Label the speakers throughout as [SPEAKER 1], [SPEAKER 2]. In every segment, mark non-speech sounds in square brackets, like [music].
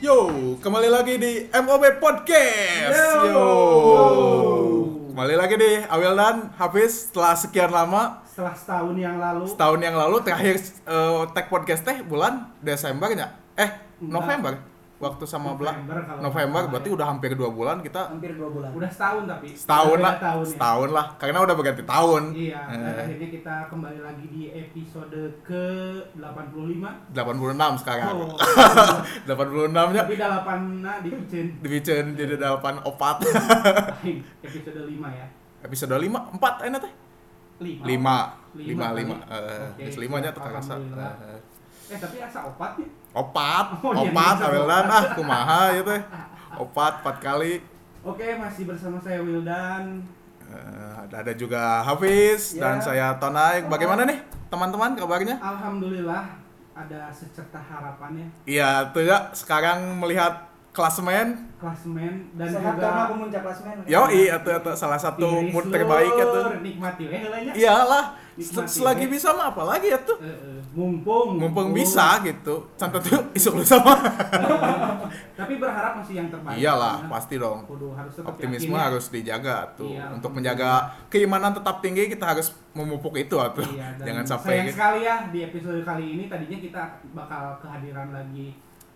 [SPEAKER 1] Yo, kembali lagi di MOB Podcast.
[SPEAKER 2] Yo.
[SPEAKER 1] Kembali lagi di Awil dan Hafiz setelah sekian lama
[SPEAKER 2] setelah setahun yang lalu
[SPEAKER 1] setahun yang lalu terakhir eh, tag podcast teh bulan Desember ya? Eh, November. Waktu sama Bla
[SPEAKER 2] November kalau nggak
[SPEAKER 1] November
[SPEAKER 2] salah
[SPEAKER 1] berarti
[SPEAKER 2] ya.
[SPEAKER 1] udah hampir dua bulan kita
[SPEAKER 3] hampir dua bulan.
[SPEAKER 2] udah setahun tapi
[SPEAKER 1] setahun
[SPEAKER 2] Udah
[SPEAKER 1] lah,
[SPEAKER 2] beda tahun ya.
[SPEAKER 1] setahun lah karena udah berganti tahun.
[SPEAKER 2] iya dan
[SPEAKER 1] Eh,
[SPEAKER 2] akhirnya kita kembali lagi di episode ke 85
[SPEAKER 1] 86 sekarang.
[SPEAKER 2] oh
[SPEAKER 1] 86 nya
[SPEAKER 2] tapi delapan nah di kucing
[SPEAKER 1] dibikin jadi 8 opat. [laughs]
[SPEAKER 2] Aing, episode 5 ya
[SPEAKER 1] Episode 5 4 enak teh. lima
[SPEAKER 2] 5
[SPEAKER 1] lima
[SPEAKER 2] Lima
[SPEAKER 1] lima
[SPEAKER 2] kali. Oke,
[SPEAKER 1] eh lima nya
[SPEAKER 2] siap.
[SPEAKER 1] terasa
[SPEAKER 2] Alhamdulillah.
[SPEAKER 1] Eh,
[SPEAKER 2] eh tapi asa opat ya
[SPEAKER 1] opat
[SPEAKER 2] Oh, iya,
[SPEAKER 1] opat
[SPEAKER 2] bisa
[SPEAKER 1] awelan
[SPEAKER 2] opat.
[SPEAKER 1] ah kumaha ya teh opat empat kali
[SPEAKER 2] oke masih bersama saya Wildan
[SPEAKER 1] Eh, ada ada juga Hafiz
[SPEAKER 2] Ya.
[SPEAKER 1] dan saya Tonaik bagaimana nih teman-teman kabarnya
[SPEAKER 2] alhamdulillah ada secerta harapan ya
[SPEAKER 1] iya tuh ya sekarang melihat klasemen
[SPEAKER 2] klasmen dan
[SPEAKER 3] Dan
[SPEAKER 2] juga
[SPEAKER 3] karena pemuncak klasemen.
[SPEAKER 1] yo iya tuh tuh salah satu
[SPEAKER 2] Tiris
[SPEAKER 1] mood terbaik ya tuh
[SPEAKER 2] lur, nikmati eh, we heulanya.
[SPEAKER 1] iyalah
[SPEAKER 2] Nikmati,
[SPEAKER 1] selagi
[SPEAKER 2] we.
[SPEAKER 1] bisa mah apalagi ya tuh
[SPEAKER 2] Eh, eh, mumpung
[SPEAKER 1] mumpung bisa gitu santai tuh isuk lu sama
[SPEAKER 2] tapi berharap masih yang terbaik
[SPEAKER 1] iyalah
[SPEAKER 2] Karena
[SPEAKER 1] pasti dong
[SPEAKER 2] kudu harus tetap
[SPEAKER 1] optimisme
[SPEAKER 2] yakin ya.
[SPEAKER 1] harus dijaga tuh
[SPEAKER 2] Iya,
[SPEAKER 1] untuk
[SPEAKER 2] optimisme.
[SPEAKER 1] menjaga keimanan tetap tinggi kita harus memupuk itu tuh
[SPEAKER 2] Iya, dan
[SPEAKER 1] [laughs] jangan
[SPEAKER 2] sayang
[SPEAKER 1] sampai gitu.
[SPEAKER 2] sekali ya di episode kali ini tadinya kita bakal kehadiran lagi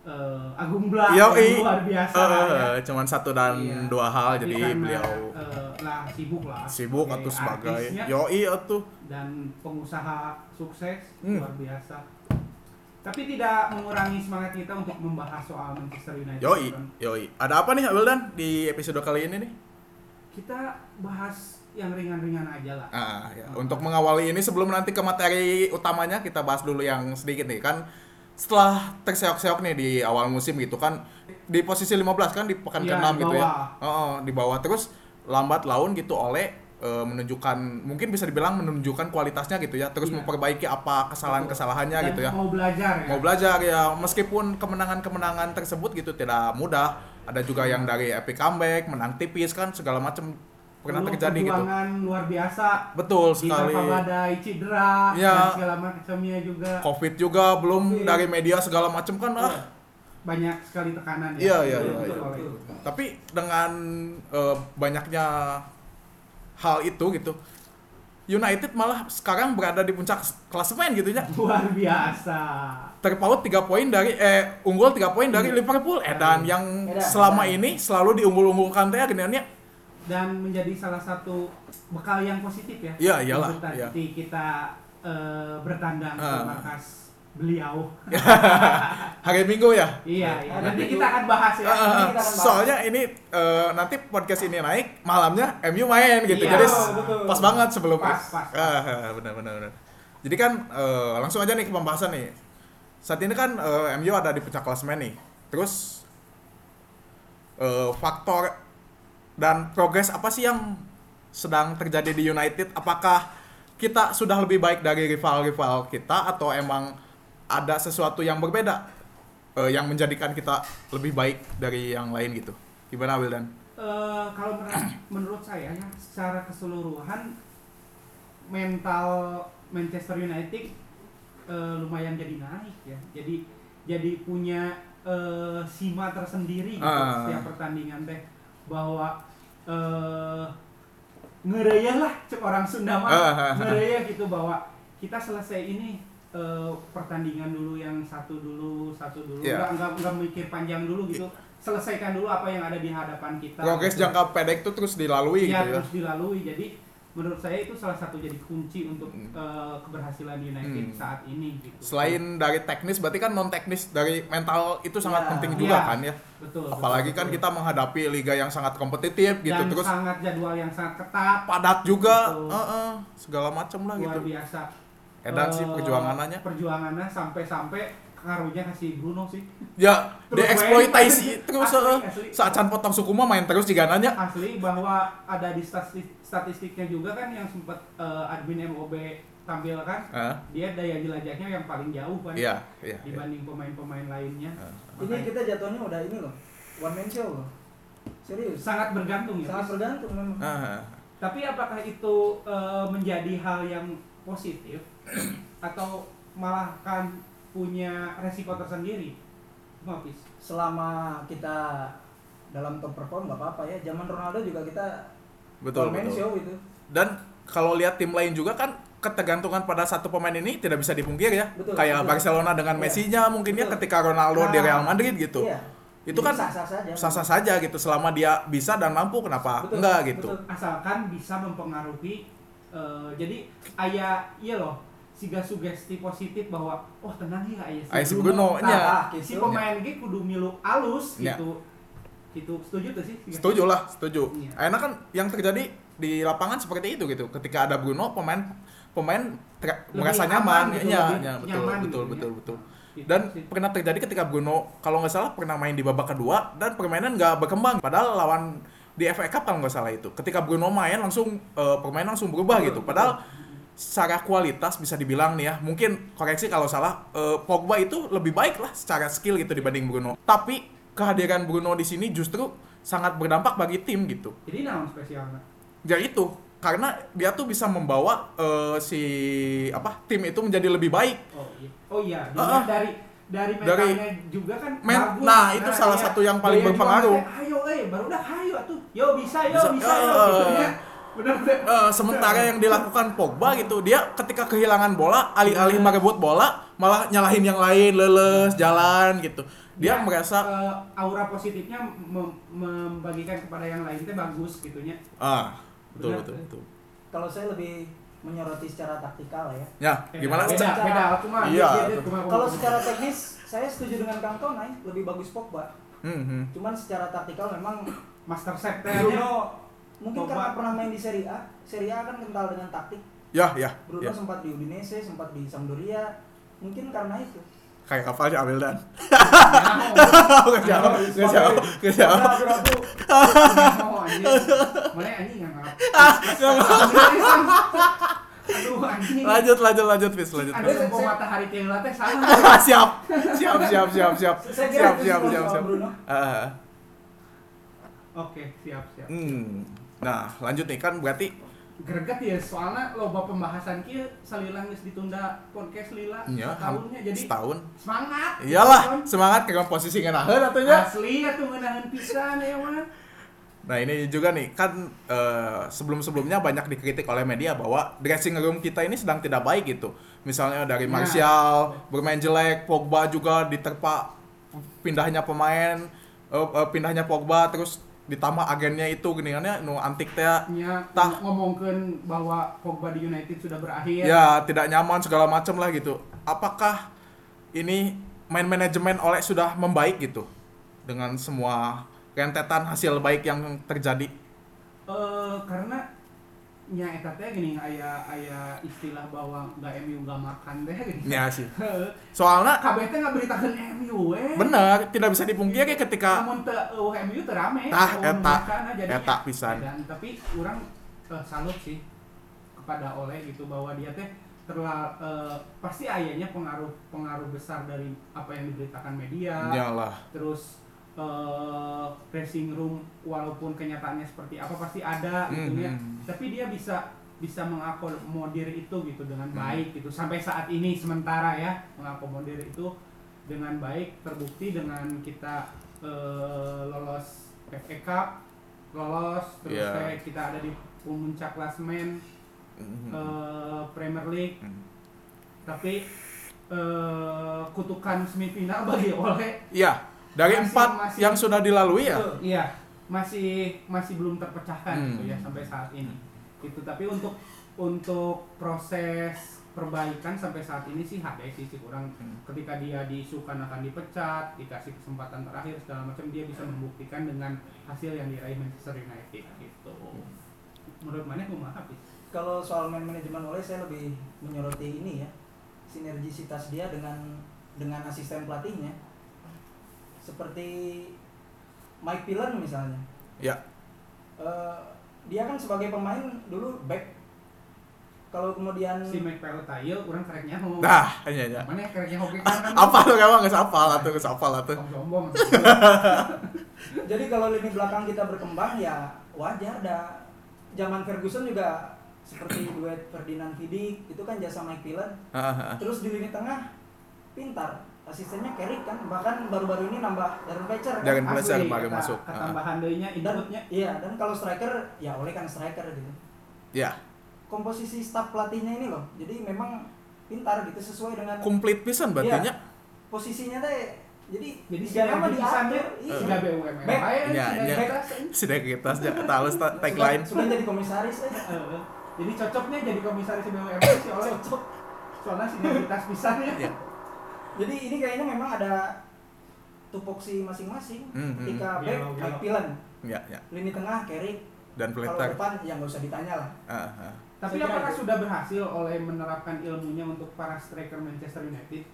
[SPEAKER 2] eh, Agung Bla
[SPEAKER 1] Yoi.
[SPEAKER 2] yang luar biasa
[SPEAKER 1] Eh,
[SPEAKER 2] ya.
[SPEAKER 1] cuman satu dan
[SPEAKER 2] Iya.
[SPEAKER 1] dua hal
[SPEAKER 2] Tapi
[SPEAKER 1] jadi
[SPEAKER 2] karena,
[SPEAKER 1] beliau
[SPEAKER 2] eh, lah sibuk lah
[SPEAKER 1] sibuk atau
[SPEAKER 2] sebagai
[SPEAKER 1] sebagai
[SPEAKER 2] artisnya
[SPEAKER 1] yoi atuh
[SPEAKER 2] dan pengusaha sukses
[SPEAKER 1] Hmm.
[SPEAKER 2] luar biasa tapi tidak mengurangi semangat kita untuk membahas soal Manchester United
[SPEAKER 1] yoi
[SPEAKER 2] kan.
[SPEAKER 1] yoi ada apa nih Wildan di episode kali ini nih
[SPEAKER 2] kita bahas yang ringan-ringan aja lah
[SPEAKER 1] ah ya. untuk mengawali ini sebelum nanti ke materi utamanya kita bahas dulu yang sedikit nih kan setelah terseok-seok nih di awal musim gitu kan di posisi 15 kan di pekan
[SPEAKER 2] Iya,
[SPEAKER 1] ke-6
[SPEAKER 2] di
[SPEAKER 1] gitu ya.
[SPEAKER 2] bawah.
[SPEAKER 1] Heeh, di bawah terus lambat laun gitu oleh eh, menunjukkan mungkin bisa dibilang menunjukkan kualitasnya gitu ya, terus
[SPEAKER 2] Iya.
[SPEAKER 1] memperbaiki apa kesalahan-kesalahannya
[SPEAKER 2] Dan
[SPEAKER 1] gitu ya.
[SPEAKER 2] mau belajar ya
[SPEAKER 1] Mau belajar ya meskipun kemenangan-kemenangan tersebut gitu tidak mudah, ada juga
[SPEAKER 2] Iya.
[SPEAKER 1] yang dari epic comeback, menang tipis kan segala macam pernah
[SPEAKER 2] Dulu
[SPEAKER 1] terjadi gitu.
[SPEAKER 2] perjuangan luar biasa
[SPEAKER 1] Betul
[SPEAKER 2] Sekali.
[SPEAKER 1] sekali.
[SPEAKER 2] badai cedera
[SPEAKER 1] Iya.
[SPEAKER 2] dan segala macamnya juga
[SPEAKER 1] Covid juga belum
[SPEAKER 3] Covid.
[SPEAKER 1] dari media segala macam kan ah.
[SPEAKER 2] banyak sekali tekanan
[SPEAKER 1] Iya,
[SPEAKER 2] ya.
[SPEAKER 1] iya,
[SPEAKER 2] Betul,
[SPEAKER 1] iya,
[SPEAKER 2] betul,
[SPEAKER 3] iya.
[SPEAKER 2] betul.
[SPEAKER 1] Tapi dengan eh, banyaknya hal itu gitu, United malah sekarang berada di puncak klasemen gitu ya.
[SPEAKER 2] Luar biasa.
[SPEAKER 1] Terpaut 3 poin dari eh unggul 3 poin dari Liverpool eh dan yang
[SPEAKER 3] Edan,
[SPEAKER 1] selama
[SPEAKER 3] edan.
[SPEAKER 1] ini selalu diunggul-unggulkan teh akhirnya
[SPEAKER 2] Dan menjadi salah satu bekal yang positif ya.
[SPEAKER 1] Iya, iyalah,
[SPEAKER 2] Untuk tadi
[SPEAKER 1] iya.
[SPEAKER 2] kita eh, bertandang ke
[SPEAKER 1] Ah.
[SPEAKER 2] markas beliau. [laughs]
[SPEAKER 1] hari Minggu ya.
[SPEAKER 2] iya, iya.
[SPEAKER 3] Ah,
[SPEAKER 2] Nanti
[SPEAKER 3] nanti
[SPEAKER 2] kita akan bahas ya.
[SPEAKER 1] Eh, eh, eh,
[SPEAKER 3] kita akan bahas.
[SPEAKER 1] soalnya ini eh, nanti podcast ini naik malamnya MU main gitu.
[SPEAKER 2] Iya,
[SPEAKER 1] Jadi
[SPEAKER 3] betul.
[SPEAKER 1] pas banget sebelum
[SPEAKER 2] Pas, pas, pas.
[SPEAKER 1] Ah, ah, benar benar benar. Jadi kan eh, langsung aja nih ke pembahasan nih. Saat ini kan eh, MU ada di puncak klasemen nih. Terus eh, faktor dan progres apa sih yang sedang terjadi di United? Apakah kita sudah lebih baik dari rival-rival kita atau emang ada sesuatu yang berbeda eh, yang menjadikan kita lebih baik dari yang lain gitu? Gimana Wildan?
[SPEAKER 2] Eh, kalau menurut- [clears throat] menurut saya ya, secara keseluruhan mental Manchester United eh, lumayan jadi naik ya. Jadi jadi punya eh, sima tersendiri gitu
[SPEAKER 1] Ah.
[SPEAKER 2] setiap pertandingan teh bahwa eh ngereyeh lah cek orang Sunda mah
[SPEAKER 1] Ah.
[SPEAKER 2] ngereyeh gitu bahwa kita selesai ini eh, pertandingan dulu yang satu dulu satu dulu
[SPEAKER 1] Iya.
[SPEAKER 2] nggak nggak nggak mikir panjang dulu gitu
[SPEAKER 1] Ya.
[SPEAKER 2] selesaikan dulu apa yang ada di hadapan kita
[SPEAKER 1] Progres jangka pendek tuh terus dilalui gitu ya.
[SPEAKER 2] ya, Nah, terus dilalui jadi menurut saya itu salah satu jadi kunci untuk
[SPEAKER 1] Hmm.
[SPEAKER 2] eh, keberhasilan United
[SPEAKER 1] Hmm.
[SPEAKER 2] saat ini gitu
[SPEAKER 1] Selain dari teknis, berarti kan non teknis dari mental itu sangat
[SPEAKER 3] Ya.
[SPEAKER 1] penting juga
[SPEAKER 2] Ya.
[SPEAKER 1] kan ya.
[SPEAKER 2] betul
[SPEAKER 1] Apalagi kan kita menghadapi liga yang sangat kompetitif gitu,
[SPEAKER 2] dan
[SPEAKER 1] terus
[SPEAKER 2] sangat jadwal yang sangat ketat
[SPEAKER 1] padat juga,
[SPEAKER 2] Betul.
[SPEAKER 1] Heeh, segala macam lah
[SPEAKER 2] luar
[SPEAKER 1] gitu.
[SPEAKER 2] biasa
[SPEAKER 1] Edan sih
[SPEAKER 2] Eh,
[SPEAKER 1] perjuanganannya.
[SPEAKER 2] perjuangannya sampai-sampai karunya kasih Bruno sih
[SPEAKER 1] Ya,
[SPEAKER 2] Terus main.
[SPEAKER 1] dieksploitasi terus
[SPEAKER 2] Asli,
[SPEAKER 1] heeh.
[SPEAKER 2] asli.
[SPEAKER 1] Saat Can potong suku mah main terus juga nanya.
[SPEAKER 2] asli bahwa ada di statistik- statistiknya juga kan yang sempat eh, admin MOB tampilkan
[SPEAKER 1] Heeh.
[SPEAKER 2] kan, dia daya jelajahnya yang paling jauh kan
[SPEAKER 1] Iya, iya. iya.
[SPEAKER 2] dibanding pemain-pemain lainnya
[SPEAKER 3] Ini
[SPEAKER 2] Makanya
[SPEAKER 3] kita jatuhnya udah ini loh. One man show loh. Serius.
[SPEAKER 2] sangat bergantung ya
[SPEAKER 3] Sangat bergantung memang.
[SPEAKER 1] Heeh.
[SPEAKER 2] tapi apakah itu eh, menjadi hal yang positif atau malah kan punya resiko tersendiri Maafis.
[SPEAKER 3] selama kita dalam top perform nggak apa-apa ya zaman Ronaldo juga kita
[SPEAKER 1] Betul,
[SPEAKER 3] one man
[SPEAKER 1] betul.
[SPEAKER 3] show gitu
[SPEAKER 1] Dan kalau lihat tim lain juga kan ketergantungan pada satu pemain ini tidak bisa dipungkiri ya.
[SPEAKER 3] Betul,
[SPEAKER 1] Kayak
[SPEAKER 3] betul.
[SPEAKER 1] Barcelona dengan
[SPEAKER 3] Iya.
[SPEAKER 1] Messi-nya mungkin ya
[SPEAKER 3] Betul.
[SPEAKER 1] ketika Ronaldo di
[SPEAKER 3] Nah,
[SPEAKER 1] Real Madrid gitu.
[SPEAKER 3] iya
[SPEAKER 1] Itu kan
[SPEAKER 3] sah sah saja
[SPEAKER 1] sah-sah saja gitu selama dia bisa dan mampu kenapa
[SPEAKER 3] Betul,
[SPEAKER 1] enggak gitu.
[SPEAKER 3] betul.
[SPEAKER 2] Asalkan bisa mempengaruhi eh, jadi ayah iya loh siga sugesti positif bahwa oh tenang ya ayah
[SPEAKER 1] Aya si Bruno
[SPEAKER 3] Nah,
[SPEAKER 1] nya
[SPEAKER 3] ah,
[SPEAKER 2] si
[SPEAKER 3] gitu.
[SPEAKER 2] pemain ge kudu milu alus
[SPEAKER 1] Iya.
[SPEAKER 2] gitu gitu setuju tuh sih Siga?
[SPEAKER 1] Setuju lah, setuju.
[SPEAKER 2] Iya.
[SPEAKER 1] Akhirnya kan yang terjadi di lapangan seperti itu gitu. Ketika ada Bruno pemain pemain ter-
[SPEAKER 2] Lebih
[SPEAKER 1] merasa
[SPEAKER 2] aman
[SPEAKER 1] nyaman,
[SPEAKER 2] gitu,
[SPEAKER 1] Iya,
[SPEAKER 2] lebih
[SPEAKER 1] iya, betul,
[SPEAKER 2] nyaman
[SPEAKER 1] betul, betul,
[SPEAKER 2] gitu ya.
[SPEAKER 1] betul.
[SPEAKER 3] Iya,
[SPEAKER 2] Gitu
[SPEAKER 1] Dan
[SPEAKER 2] sih.
[SPEAKER 1] pernah terjadi ketika Bruno kalau nggak salah pernah main di babak kedua dan permainan nggak berkembang. Padahal lawan di FA Cup kalau nggak salah itu. Ketika Bruno main langsung eh, permainan langsung berubah
[SPEAKER 3] Betul,
[SPEAKER 1] gitu. Padahal secara kualitas bisa dibilang nih ya, mungkin koreksi kalau salah eh, Pogba itu lebih baik lah secara skill gitu dibanding Bruno. Tapi kehadiran Bruno di sini justru sangat berdampak bagi tim gitu.
[SPEAKER 2] jadi naon spesialnya
[SPEAKER 1] Ya itu karena dia tuh bisa membawa eh, si apa tim itu menjadi lebih baik
[SPEAKER 2] oh iya oh iya
[SPEAKER 1] Ah,
[SPEAKER 2] dilihat
[SPEAKER 1] ah.
[SPEAKER 2] dari dari
[SPEAKER 1] Dari-
[SPEAKER 2] mentalnya juga kan iya.
[SPEAKER 1] Men- nah, itu salah satu yang paling
[SPEAKER 2] Gaya
[SPEAKER 1] berpengaruh.
[SPEAKER 2] juangnya, ayo eh baru udah ayo tuh yo bisa yo
[SPEAKER 1] Bisa,
[SPEAKER 2] bisa, yo
[SPEAKER 1] eh,
[SPEAKER 2] gitu
[SPEAKER 1] eh,
[SPEAKER 2] ya benar benar
[SPEAKER 1] Eh, sementara yang dilakukan Pogba gitu dia ketika kehilangan bola alih-alih merebut bola malah nyalahin yang lain leles jalan gitu dia merasa
[SPEAKER 2] eh, aura positifnya mem- membagikan kepada yang lain teh bagus gitu gitunya
[SPEAKER 1] ah betul
[SPEAKER 2] benar.
[SPEAKER 1] betul betul
[SPEAKER 3] kalau saya lebih menyoroti secara taktikal lah ya
[SPEAKER 1] ya gimana
[SPEAKER 2] beda
[SPEAKER 1] Cak?
[SPEAKER 2] beda aku mah
[SPEAKER 1] Iya.
[SPEAKER 2] gitu, aku mah-
[SPEAKER 3] kalau secara teknis saya setuju dengan Kang Tonai lebih bagus Pogba
[SPEAKER 1] Hmm, hmm.
[SPEAKER 3] cuman secara taktikal memang
[SPEAKER 2] master set teh
[SPEAKER 3] Bruno mungkin
[SPEAKER 2] Pogba.
[SPEAKER 3] karena pernah main di Serie A Serie A kan kental dengan taktik
[SPEAKER 1] ya ya
[SPEAKER 3] Bruno
[SPEAKER 1] ya
[SPEAKER 3] sempat di Udinese sempat di Sampdoria mungkin karena itu
[SPEAKER 1] kayak kapal sih ambil dan [laughs]
[SPEAKER 3] Nggak
[SPEAKER 1] nggak jawab nggak jawab nggak jawab
[SPEAKER 2] mau anjing mana anjing yang ngap
[SPEAKER 1] Ah, [laughs]
[SPEAKER 2] aduh anjing
[SPEAKER 1] lanjut lanjut lanjut bis lanjut
[SPEAKER 2] ada
[SPEAKER 1] Fis.
[SPEAKER 2] sempo matahari kayak latih salah
[SPEAKER 1] [laughs] siap siap siap siap siap
[SPEAKER 3] Saya kira
[SPEAKER 1] siap siap siap
[SPEAKER 3] itu semua soal
[SPEAKER 1] siap
[SPEAKER 3] Bruno.
[SPEAKER 1] Ah.
[SPEAKER 2] oke siap siap
[SPEAKER 1] Hmm. nah lanjut nih kan berarti
[SPEAKER 2] greget ya soalnya loba pembahasan kia salilah geus ditunda podcast lila
[SPEAKER 1] ya
[SPEAKER 2] tahunnya jadi
[SPEAKER 1] setahun
[SPEAKER 2] semangat
[SPEAKER 1] Iyalah,
[SPEAKER 2] Kon.
[SPEAKER 1] semangat ke posisi ngenaheun atunya.
[SPEAKER 2] asli atuh ngeunaheun pisan ya mah
[SPEAKER 1] Nah, ini juga nih kan eh, sebelum-sebelumnya banyak dikritik oleh media bahwa dressing room kita ini sedang tidak baik gitu. Misalnya dari
[SPEAKER 2] Nah.
[SPEAKER 1] Martial bermain jelek, Pogba juga diterpa pindahnya pemain, eh, eh, pindahnya Pogba terus ditambah agennya itu geningannya nu antik teh ya,
[SPEAKER 2] nya
[SPEAKER 1] Tah.
[SPEAKER 2] ngomongkeun bahwa Pogba di United sudah berakhir
[SPEAKER 1] ya tidak nyaman segala macam lah gitu. Apakah ini main manajemen oleh sudah membaik gitu dengan semua rentetan hasil baik yang terjadi?
[SPEAKER 2] Eh, karena nya eta teh gini aya aya istilah bahwa nggak MU nggak makan teh gini.
[SPEAKER 1] Ya sih.
[SPEAKER 2] Heeh.
[SPEAKER 1] Soalnya
[SPEAKER 2] Kabeh teh ngaberitakeun MU we.
[SPEAKER 1] bener tidak bisa dipungkiri ketika
[SPEAKER 2] Namun teu eueuh MU teu eh, rame.
[SPEAKER 1] Tah,
[SPEAKER 2] Eueuh
[SPEAKER 1] eta.
[SPEAKER 2] makan, nah, jadi
[SPEAKER 1] eta pisan.
[SPEAKER 2] dan tapi orang eh, salut sih kepada Oleh gitu bahwa dia teh terla eh, pasti ayahnya pengaruh pengaruh besar dari apa yang diberitakan media
[SPEAKER 1] Ya. Iyalah.
[SPEAKER 2] terus eh dressing room walaupun kenyataannya seperti apa pasti ada gitu ya
[SPEAKER 1] Mhm.
[SPEAKER 2] tapi dia bisa bisa mengakomodir itu gitu dengan
[SPEAKER 1] Hmm.
[SPEAKER 2] baik gitu sampai saat ini sementara ya mengakomodir itu dengan baik terbukti dengan kita eh, lolos FA Cup lolos terus
[SPEAKER 1] Iya.
[SPEAKER 2] kayak kita ada di puncak klasemen
[SPEAKER 1] Hmm.
[SPEAKER 2] eh, Premier League tapi eh, kutukan semifinal bagi Oleh
[SPEAKER 1] Iya, dari
[SPEAKER 2] Masih-
[SPEAKER 1] empat
[SPEAKER 2] masih-
[SPEAKER 1] yang sudah dilalui ya.
[SPEAKER 2] Betul, Iya, masih masih belum terpecahkan
[SPEAKER 1] Hmm.
[SPEAKER 2] gitu ya sampai saat ini. Itu tapi untuk untuk proses perbaikan sampai saat ini sih HDI sih sih kurang
[SPEAKER 1] Hmm.
[SPEAKER 2] ketika dia diisukan akan dipecat, dikasih kesempatan terakhir segala macam dia bisa membuktikan dengan hasil yang diraih Manchester United gitu. Menurut mana kumaha habis?
[SPEAKER 3] kalau soal man manajemen oleh saya lebih menyoroti ini ya sinergisitas dia dengan dengan asisten pelatihnya seperti Mike Pillen misalnya
[SPEAKER 1] Ya.
[SPEAKER 3] Eh, dia kan sebagai pemain dulu back kalau kemudian
[SPEAKER 2] Si Mike Pelotaya kurang kereknya ngomong.
[SPEAKER 1] Nah, iya iya.
[SPEAKER 2] Mana kereknya hoki kan kan
[SPEAKER 1] Apa lu emang nggak sapal atau nggak sapal atau?
[SPEAKER 2] Tong sombong.
[SPEAKER 3] jadi kalau lini belakang kita berkembang ya wajar dah zaman Ferguson juga seperti duet Ferdinand Vidic itu kan jasa Mike Pillen
[SPEAKER 1] Hahaha.
[SPEAKER 3] terus di lini tengah pintar asistennya Carrick kan bahkan baru-baru ini nambah Darren Fletcher kan?
[SPEAKER 2] Darren
[SPEAKER 1] Darren Fletcher
[SPEAKER 2] Asli,
[SPEAKER 1] kemarin
[SPEAKER 2] kata-
[SPEAKER 1] masuk.
[SPEAKER 2] Ketambahan deunya
[SPEAKER 3] dan
[SPEAKER 2] inputnya.
[SPEAKER 3] iya dan kalau striker ya oleh kan striker gitu
[SPEAKER 1] Ya,
[SPEAKER 3] komposisi staf pelatihnya ini loh jadi memang pintar gitu sesuai dengan
[SPEAKER 1] komplit pisan
[SPEAKER 2] Iya.
[SPEAKER 1] berarti nya.
[SPEAKER 3] posisinya teh jadi
[SPEAKER 2] Jadi
[SPEAKER 3] tiga nama
[SPEAKER 2] sinergi pisannya,
[SPEAKER 3] diatur iya.
[SPEAKER 1] Eh,
[SPEAKER 2] sudah BUMN
[SPEAKER 3] Back.
[SPEAKER 2] bae,
[SPEAKER 1] Iya,
[SPEAKER 2] sudah
[SPEAKER 1] iya.
[SPEAKER 2] kita-
[SPEAKER 1] Sudah kita sudah tahu sta- tagline.
[SPEAKER 3] Sudah, sudah jadi komisaris eh.
[SPEAKER 2] Eh, Jadi cocoknya jadi komisaris BUMN sih oleh
[SPEAKER 3] Cocok. Iya.
[SPEAKER 2] soalnya sinergitas pisannya.
[SPEAKER 1] Ya.
[SPEAKER 3] jadi ini kayaknya memang ada tupoksi masing-masing
[SPEAKER 1] Hmm, hmm.
[SPEAKER 3] ketika back
[SPEAKER 2] Dialog,
[SPEAKER 3] Mike
[SPEAKER 2] dialog.
[SPEAKER 3] Pillen
[SPEAKER 1] Ya, ya.
[SPEAKER 3] lini tengah Carrick
[SPEAKER 1] Dan
[SPEAKER 3] kalau
[SPEAKER 1] Fletter.
[SPEAKER 3] depan ya nggak usah ditanya lah
[SPEAKER 1] Ah, ah.
[SPEAKER 2] Tapi
[SPEAKER 3] Saya kira
[SPEAKER 2] apakah
[SPEAKER 3] itu.
[SPEAKER 2] sudah berhasil oleh menerapkan ilmunya untuk para striker Manchester United?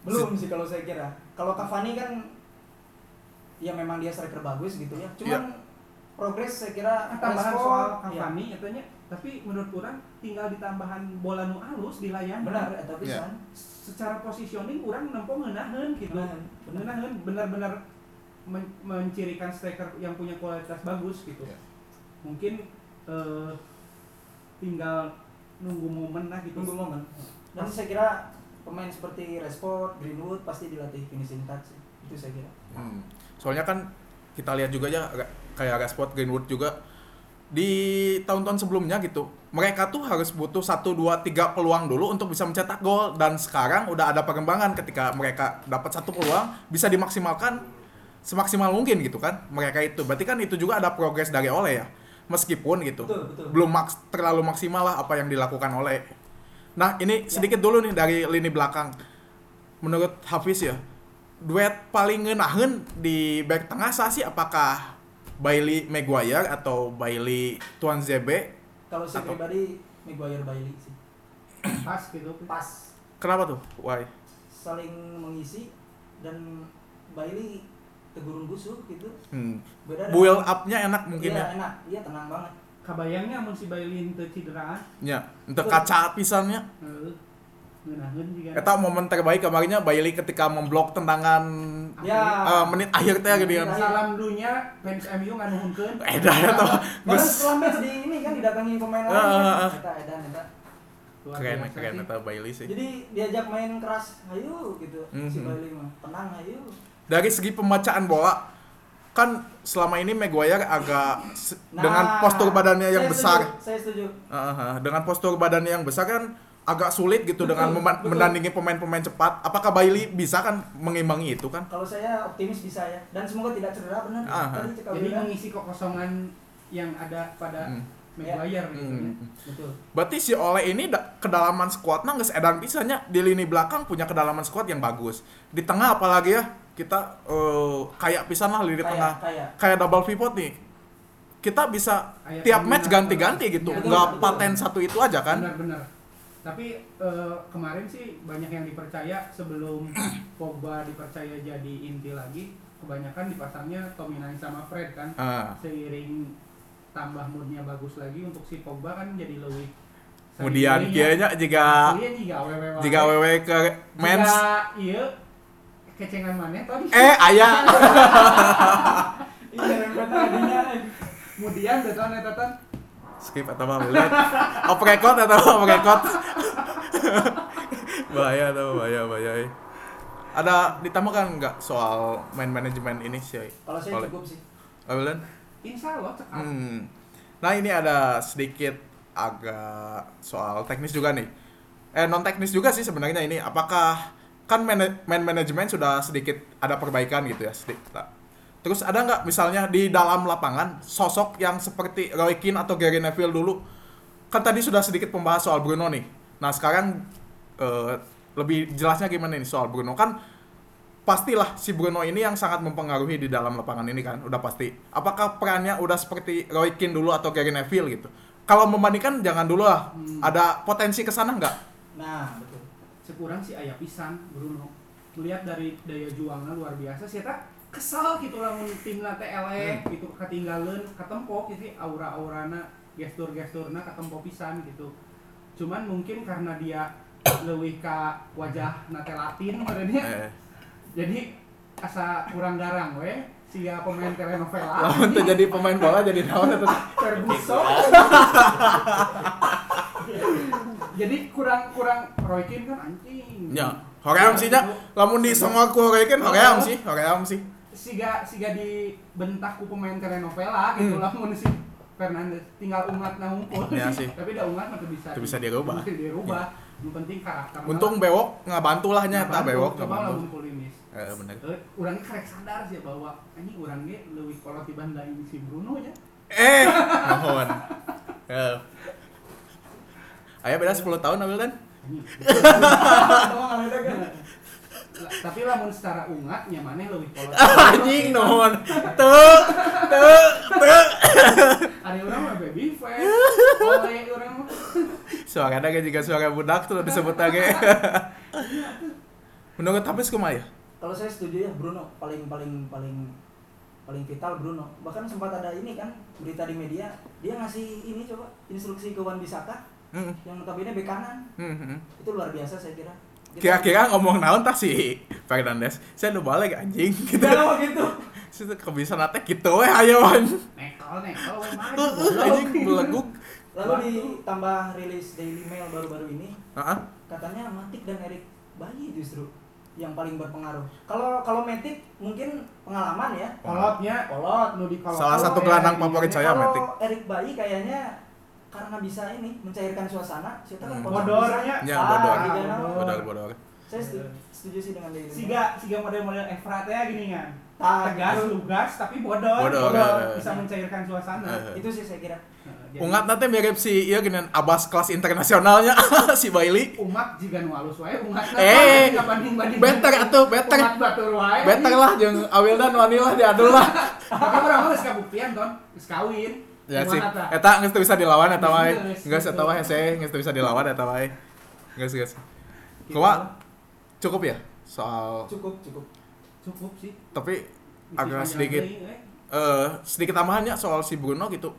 [SPEAKER 3] belum sih kalau saya kira kalau Cavani kan ya memang dia striker bagus gitu
[SPEAKER 1] Iya.
[SPEAKER 3] ya cuman progres saya kira
[SPEAKER 2] Ah, tambahan
[SPEAKER 3] respon,
[SPEAKER 2] soal
[SPEAKER 3] ya.
[SPEAKER 2] Cavani katanya, tapi menurut orang tinggal ditambahan bola nu alus dilayani.
[SPEAKER 3] benar eh, atau
[SPEAKER 1] Iya.
[SPEAKER 3] pisan
[SPEAKER 2] Secara positioning orang nempo ngeunaheun gitu.
[SPEAKER 3] Benar, benar.
[SPEAKER 2] Ngeunaheun benar-benar men- mencirikan striker yang punya kualitas bagus gitu.
[SPEAKER 1] Ya.
[SPEAKER 2] Mungkin eh, tinggal nunggu momen lah gitu.
[SPEAKER 3] tunggu momen dan saya kira pemain seperti Rashford, Greenwood pasti dilatih finishing touch sih. itu saya kira
[SPEAKER 1] Hmm. Soalnya kan kita lihat juga ya ra- kayak Rashford Greenwood juga di tahun-tahun sebelumnya gitu. Mereka tuh harus butuh 1 2 3 peluang dulu untuk bisa mencetak gol dan sekarang udah ada perkembangan ketika mereka dapat satu peluang bisa dimaksimalkan semaksimal mungkin gitu kan. Mereka itu berarti kan itu juga ada progres dari Oleh ya. Meskipun gitu.
[SPEAKER 3] Betul, betul.
[SPEAKER 1] Belum maks terlalu maksimal lah apa yang dilakukan oleh Nah, ini
[SPEAKER 3] Ya.
[SPEAKER 1] sedikit dulu nih dari lini belakang. Menurut Hafiz ya, duet paling ngenahen di back tengah saya sih apakah Bailey Maguire atau Bailey Tuan ZB?
[SPEAKER 3] kalau saya
[SPEAKER 1] Atau-
[SPEAKER 3] pribadi Maguire Bailey sih
[SPEAKER 2] Pas gitu.
[SPEAKER 3] pas
[SPEAKER 1] Kenapa tuh? Why?
[SPEAKER 3] saling mengisi dan Bailey tegurun busuk gitu
[SPEAKER 1] Hmm.
[SPEAKER 3] beda dengan-
[SPEAKER 1] Build up-nya enak mungkin
[SPEAKER 3] iya,
[SPEAKER 1] ya.
[SPEAKER 3] enak iya tenang banget
[SPEAKER 2] Kabayangnya mun si Bailin teu cedera,
[SPEAKER 1] Ya,
[SPEAKER 3] Iya.
[SPEAKER 1] untuk kaca pisannya.
[SPEAKER 2] heeh. Ngeunaheun juga.
[SPEAKER 3] Iya.
[SPEAKER 1] Eta momen terbaik kemarinnya Bailey ketika memblok tendangan
[SPEAKER 3] ya
[SPEAKER 1] eh, menit akhir teh gitu kan.
[SPEAKER 2] Salam dunia fans MU nganuhunkeun.
[SPEAKER 1] Edah ya tuh.
[SPEAKER 3] Baru
[SPEAKER 1] Geus.
[SPEAKER 3] setelah match di ini kan didatangi pemain lain.
[SPEAKER 1] Ah, ah, ah.
[SPEAKER 3] kan. Eta, edan, eta.
[SPEAKER 2] Luar
[SPEAKER 1] Keren,
[SPEAKER 2] biasa
[SPEAKER 1] keren
[SPEAKER 2] sih.
[SPEAKER 1] eta Bailey sih.
[SPEAKER 3] Jadi diajak main keras, ayo gitu. Si
[SPEAKER 1] Mhm.
[SPEAKER 3] Bailey mah tenang ayo.
[SPEAKER 1] dari segi pembacaan bola kan selama ini Maguire agak se-
[SPEAKER 3] Nah,
[SPEAKER 1] dengan postur badannya yang
[SPEAKER 3] saya
[SPEAKER 1] besar
[SPEAKER 3] Setuju, saya setuju.
[SPEAKER 1] Aha, dengan postur badannya yang besar kan agak sulit gitu
[SPEAKER 3] Betul,
[SPEAKER 1] dengan mema-
[SPEAKER 3] betul.
[SPEAKER 1] mendandingi pemain-pemain cepat apakah Bailey bisa kan mengimbangi itu kan
[SPEAKER 3] Kalau saya optimis bisa ya dan semoga tidak cedera benar.
[SPEAKER 1] Ah,
[SPEAKER 3] Tadi cekal
[SPEAKER 2] Jadi
[SPEAKER 3] bilang.
[SPEAKER 2] mengisi kekosongan yang ada pada
[SPEAKER 1] Hmm.
[SPEAKER 2] Maguire gitu. ya.
[SPEAKER 1] Hmm.
[SPEAKER 3] betul.
[SPEAKER 1] berarti si Oleh ini da- kedalaman skuadnya nggak sedan pisannya di lini belakang punya kedalaman skuad yang bagus di tengah apalagi ya kita eh, kayak pisan lah lini
[SPEAKER 3] Kayak-
[SPEAKER 1] tengah
[SPEAKER 3] kayak.
[SPEAKER 1] kayak double pivot nih kita bisa
[SPEAKER 2] Kayak
[SPEAKER 1] tiap
[SPEAKER 2] pembina-
[SPEAKER 1] match ganti-ganti gitu
[SPEAKER 2] Betul,
[SPEAKER 1] nggak
[SPEAKER 3] Iya, betul.
[SPEAKER 1] paten satu itu aja kan
[SPEAKER 2] Benar-benar. Tapi eh, kemarin sih banyak yang dipercaya sebelum Pogba dipercaya jadi inti lagi, kebanyakan dipasangnya Tominay sama Fred kan.
[SPEAKER 1] Ah,
[SPEAKER 2] Seiring tambah moodnya bagus lagi untuk si Pogba kan jadi lebih
[SPEAKER 1] kemudian kayaknya jika
[SPEAKER 2] Iya jika awewe wae.
[SPEAKER 1] jika wewe ke mens
[SPEAKER 2] Jika iya kecengan maneh tadi.
[SPEAKER 1] eh ayah
[SPEAKER 3] Iya, rempet [laughs] tadinya.
[SPEAKER 2] Kemudian tetan tetan
[SPEAKER 1] skip atau apa lihat off record atau off record bahaya atau bahaya bahaya eh. ada ditambahkan nggak soal main manajemen ini sih
[SPEAKER 3] Kalau saya
[SPEAKER 1] Oleh.
[SPEAKER 3] cukup sih.
[SPEAKER 1] Abelan?
[SPEAKER 2] Insya Allah cekap.
[SPEAKER 1] Hmm. Nah ini ada sedikit agak soal teknis juga nih. Eh non teknis juga sih sebenarnya ini. Apakah kan mana- man manajemen sudah sedikit ada perbaikan gitu ya sedikit. Nah, Terus ada nggak misalnya di dalam lapangan sosok yang seperti Roy Keane atau Gary Neville dulu? Kan tadi sudah sedikit pembahas soal Bruno nih. Nah sekarang eh, lebih jelasnya gimana nih soal Bruno kan pastilah si Bruno ini yang sangat mempengaruhi di dalam lapangan ini kan udah pasti apakah perannya udah seperti Roy Keane dulu atau Gary Neville gitu kalau membandingkan jangan dulu lah
[SPEAKER 2] Hmm.
[SPEAKER 1] ada potensi ke sana nggak
[SPEAKER 3] Nah, betul.
[SPEAKER 2] Sekurang si ayah pisan Bruno. Melihat dari daya juangnya luar biasa sih tak kesal gitu lamun timna teh eleh
[SPEAKER 1] Hmm.
[SPEAKER 2] gitu ketinggalan ketempo gitu aura-aurana gestur-gesturna ketempo pisan gitu. Cuman mungkin karena dia leuwih ka wajah nate Latin badannya.
[SPEAKER 1] eh,
[SPEAKER 2] Jadi asa kurang garang we sia pemain telenovela.
[SPEAKER 1] [laughs] lawan tuh jadi pemain bola jadi lawan atau
[SPEAKER 2] [laughs]
[SPEAKER 1] [laughs]
[SPEAKER 2] Ferguson. Jadi kurang kurang Roy Keane kan anjing.
[SPEAKER 1] Ya. Hoream sih nya, lamun di semua kore kan Hoream sih, Hoream sih.
[SPEAKER 2] siga siga dibentak ku pemain telenovela gitu
[SPEAKER 1] Hmm.
[SPEAKER 2] lamun si Fernandes tinggal umat nah hukum
[SPEAKER 1] Iya sih.
[SPEAKER 2] [laughs] tapi da umat mah teu bisa
[SPEAKER 1] Teu bisa dirubah. Iya.
[SPEAKER 2] teu dirubah nu penting karakter
[SPEAKER 1] Untung bewok ngebantu lah nya, tak bewok
[SPEAKER 2] coba
[SPEAKER 1] ngebantu.
[SPEAKER 2] lamun kulimis
[SPEAKER 1] Eh bener.
[SPEAKER 2] Eh, urang karek sadar sih bahwa ini urang ge leuwih kolot dibanding si Bruno
[SPEAKER 1] [laughs]
[SPEAKER 2] ya.
[SPEAKER 1] Eh, mohon. Eh. Aya beda 10 tahun kan? Nabil dan.
[SPEAKER 2] Anjing.
[SPEAKER 3] Tolong ada kan.
[SPEAKER 2] La- Tapi lamun secara ungat nya maneh leuwih kolot.
[SPEAKER 1] Ah. Anjing nohon. Teu, teu, teu.
[SPEAKER 2] Ari urang mah baby
[SPEAKER 1] [laughs]
[SPEAKER 2] face. Oleh urang mah
[SPEAKER 1] Suara ada juga suara budak tuh disebut lagi. [laughs] Menurut tapi kumaha ya?
[SPEAKER 3] Kalau saya setuju ya Bruno paling paling paling paling vital Bruno. Bahkan sempat ada ini kan berita di media dia ngasih ini coba instruksi ke Wan Bisaka
[SPEAKER 1] Hmm,
[SPEAKER 3] yang notabene bek kanan.
[SPEAKER 1] hmm, hmm.
[SPEAKER 3] Itu luar biasa saya kira. Kita- [laughs]
[SPEAKER 1] Kira-kira ngomong naon tah si Fernandes? Saya nu balik anjing. [laughs] Gitu.
[SPEAKER 3] Jangan mau gitu.
[SPEAKER 1] Situ kebiasaan nate gitu weh hayawan.
[SPEAKER 2] nekel nekel we mah.
[SPEAKER 1] Anjing beleguk.
[SPEAKER 3] Lalu ditambah rilis Daily Mail baru-baru ini
[SPEAKER 1] Heeh.
[SPEAKER 3] katanya Matik dan Erik Bayi justru yang paling berpengaruh. Kalau kalau Matik mungkin pengalaman ya.
[SPEAKER 2] Kolotnya
[SPEAKER 3] Kolot.
[SPEAKER 2] nu di kolot. Oh, iya,
[SPEAKER 1] Salah satu gelandang favorit saya
[SPEAKER 3] Kalau
[SPEAKER 1] Matic.
[SPEAKER 3] Erik Bayi kayaknya karena bisa ini mencairkan suasana, kita
[SPEAKER 1] Hmm.
[SPEAKER 3] kan kalau
[SPEAKER 2] Bodornya.
[SPEAKER 3] bisa-
[SPEAKER 1] Ya,
[SPEAKER 3] Ah,
[SPEAKER 1] bodor.
[SPEAKER 3] di danau.
[SPEAKER 2] Bodor.
[SPEAKER 1] Bodor-bodor.
[SPEAKER 3] Saya setuju, setuju sih dengan Daily Mail.
[SPEAKER 2] siga siga model-model Efrat ya gini kan
[SPEAKER 3] Ah,
[SPEAKER 2] tegas
[SPEAKER 3] gitu.
[SPEAKER 2] lugas tapi bodoh
[SPEAKER 1] Bodoh,
[SPEAKER 2] Bodoh.
[SPEAKER 1] iya, iya.
[SPEAKER 2] bisa mencairkan suasana
[SPEAKER 1] Iya.
[SPEAKER 3] Itu sih saya kira.
[SPEAKER 2] Nah, jadi
[SPEAKER 1] Ungat nanti mirip si iya gini abas kelas internasionalnya [laughs] si Bailey.
[SPEAKER 2] umat jika nu halus wae umat
[SPEAKER 1] Eh,
[SPEAKER 2] banding banding
[SPEAKER 1] Better atuh,
[SPEAKER 2] umat
[SPEAKER 1] better.
[SPEAKER 2] batur wae [laughs]
[SPEAKER 1] Better lah jeung Awil dan Wanila diadul lah.
[SPEAKER 2] tapi orang geus kabuktian ton geus kawin
[SPEAKER 1] Ya
[SPEAKER 2] Umat
[SPEAKER 1] sih.
[SPEAKER 2] eta.
[SPEAKER 1] Eta geus teu bisa dilawan eta wae.
[SPEAKER 2] Geus,
[SPEAKER 1] Iya, Geus eta wae hese, geus teu bisa dilawan eta wae. Geus geus.
[SPEAKER 2] Gitu.
[SPEAKER 1] Kumaha? Cukup ya soal
[SPEAKER 3] Cukup, cukup.
[SPEAKER 2] cukup sih
[SPEAKER 1] tapi
[SPEAKER 2] Isi
[SPEAKER 1] agak
[SPEAKER 2] panjang
[SPEAKER 1] sedikit
[SPEAKER 2] deui, eh.
[SPEAKER 1] eh sedikit tambahannya soal si Bruno gitu.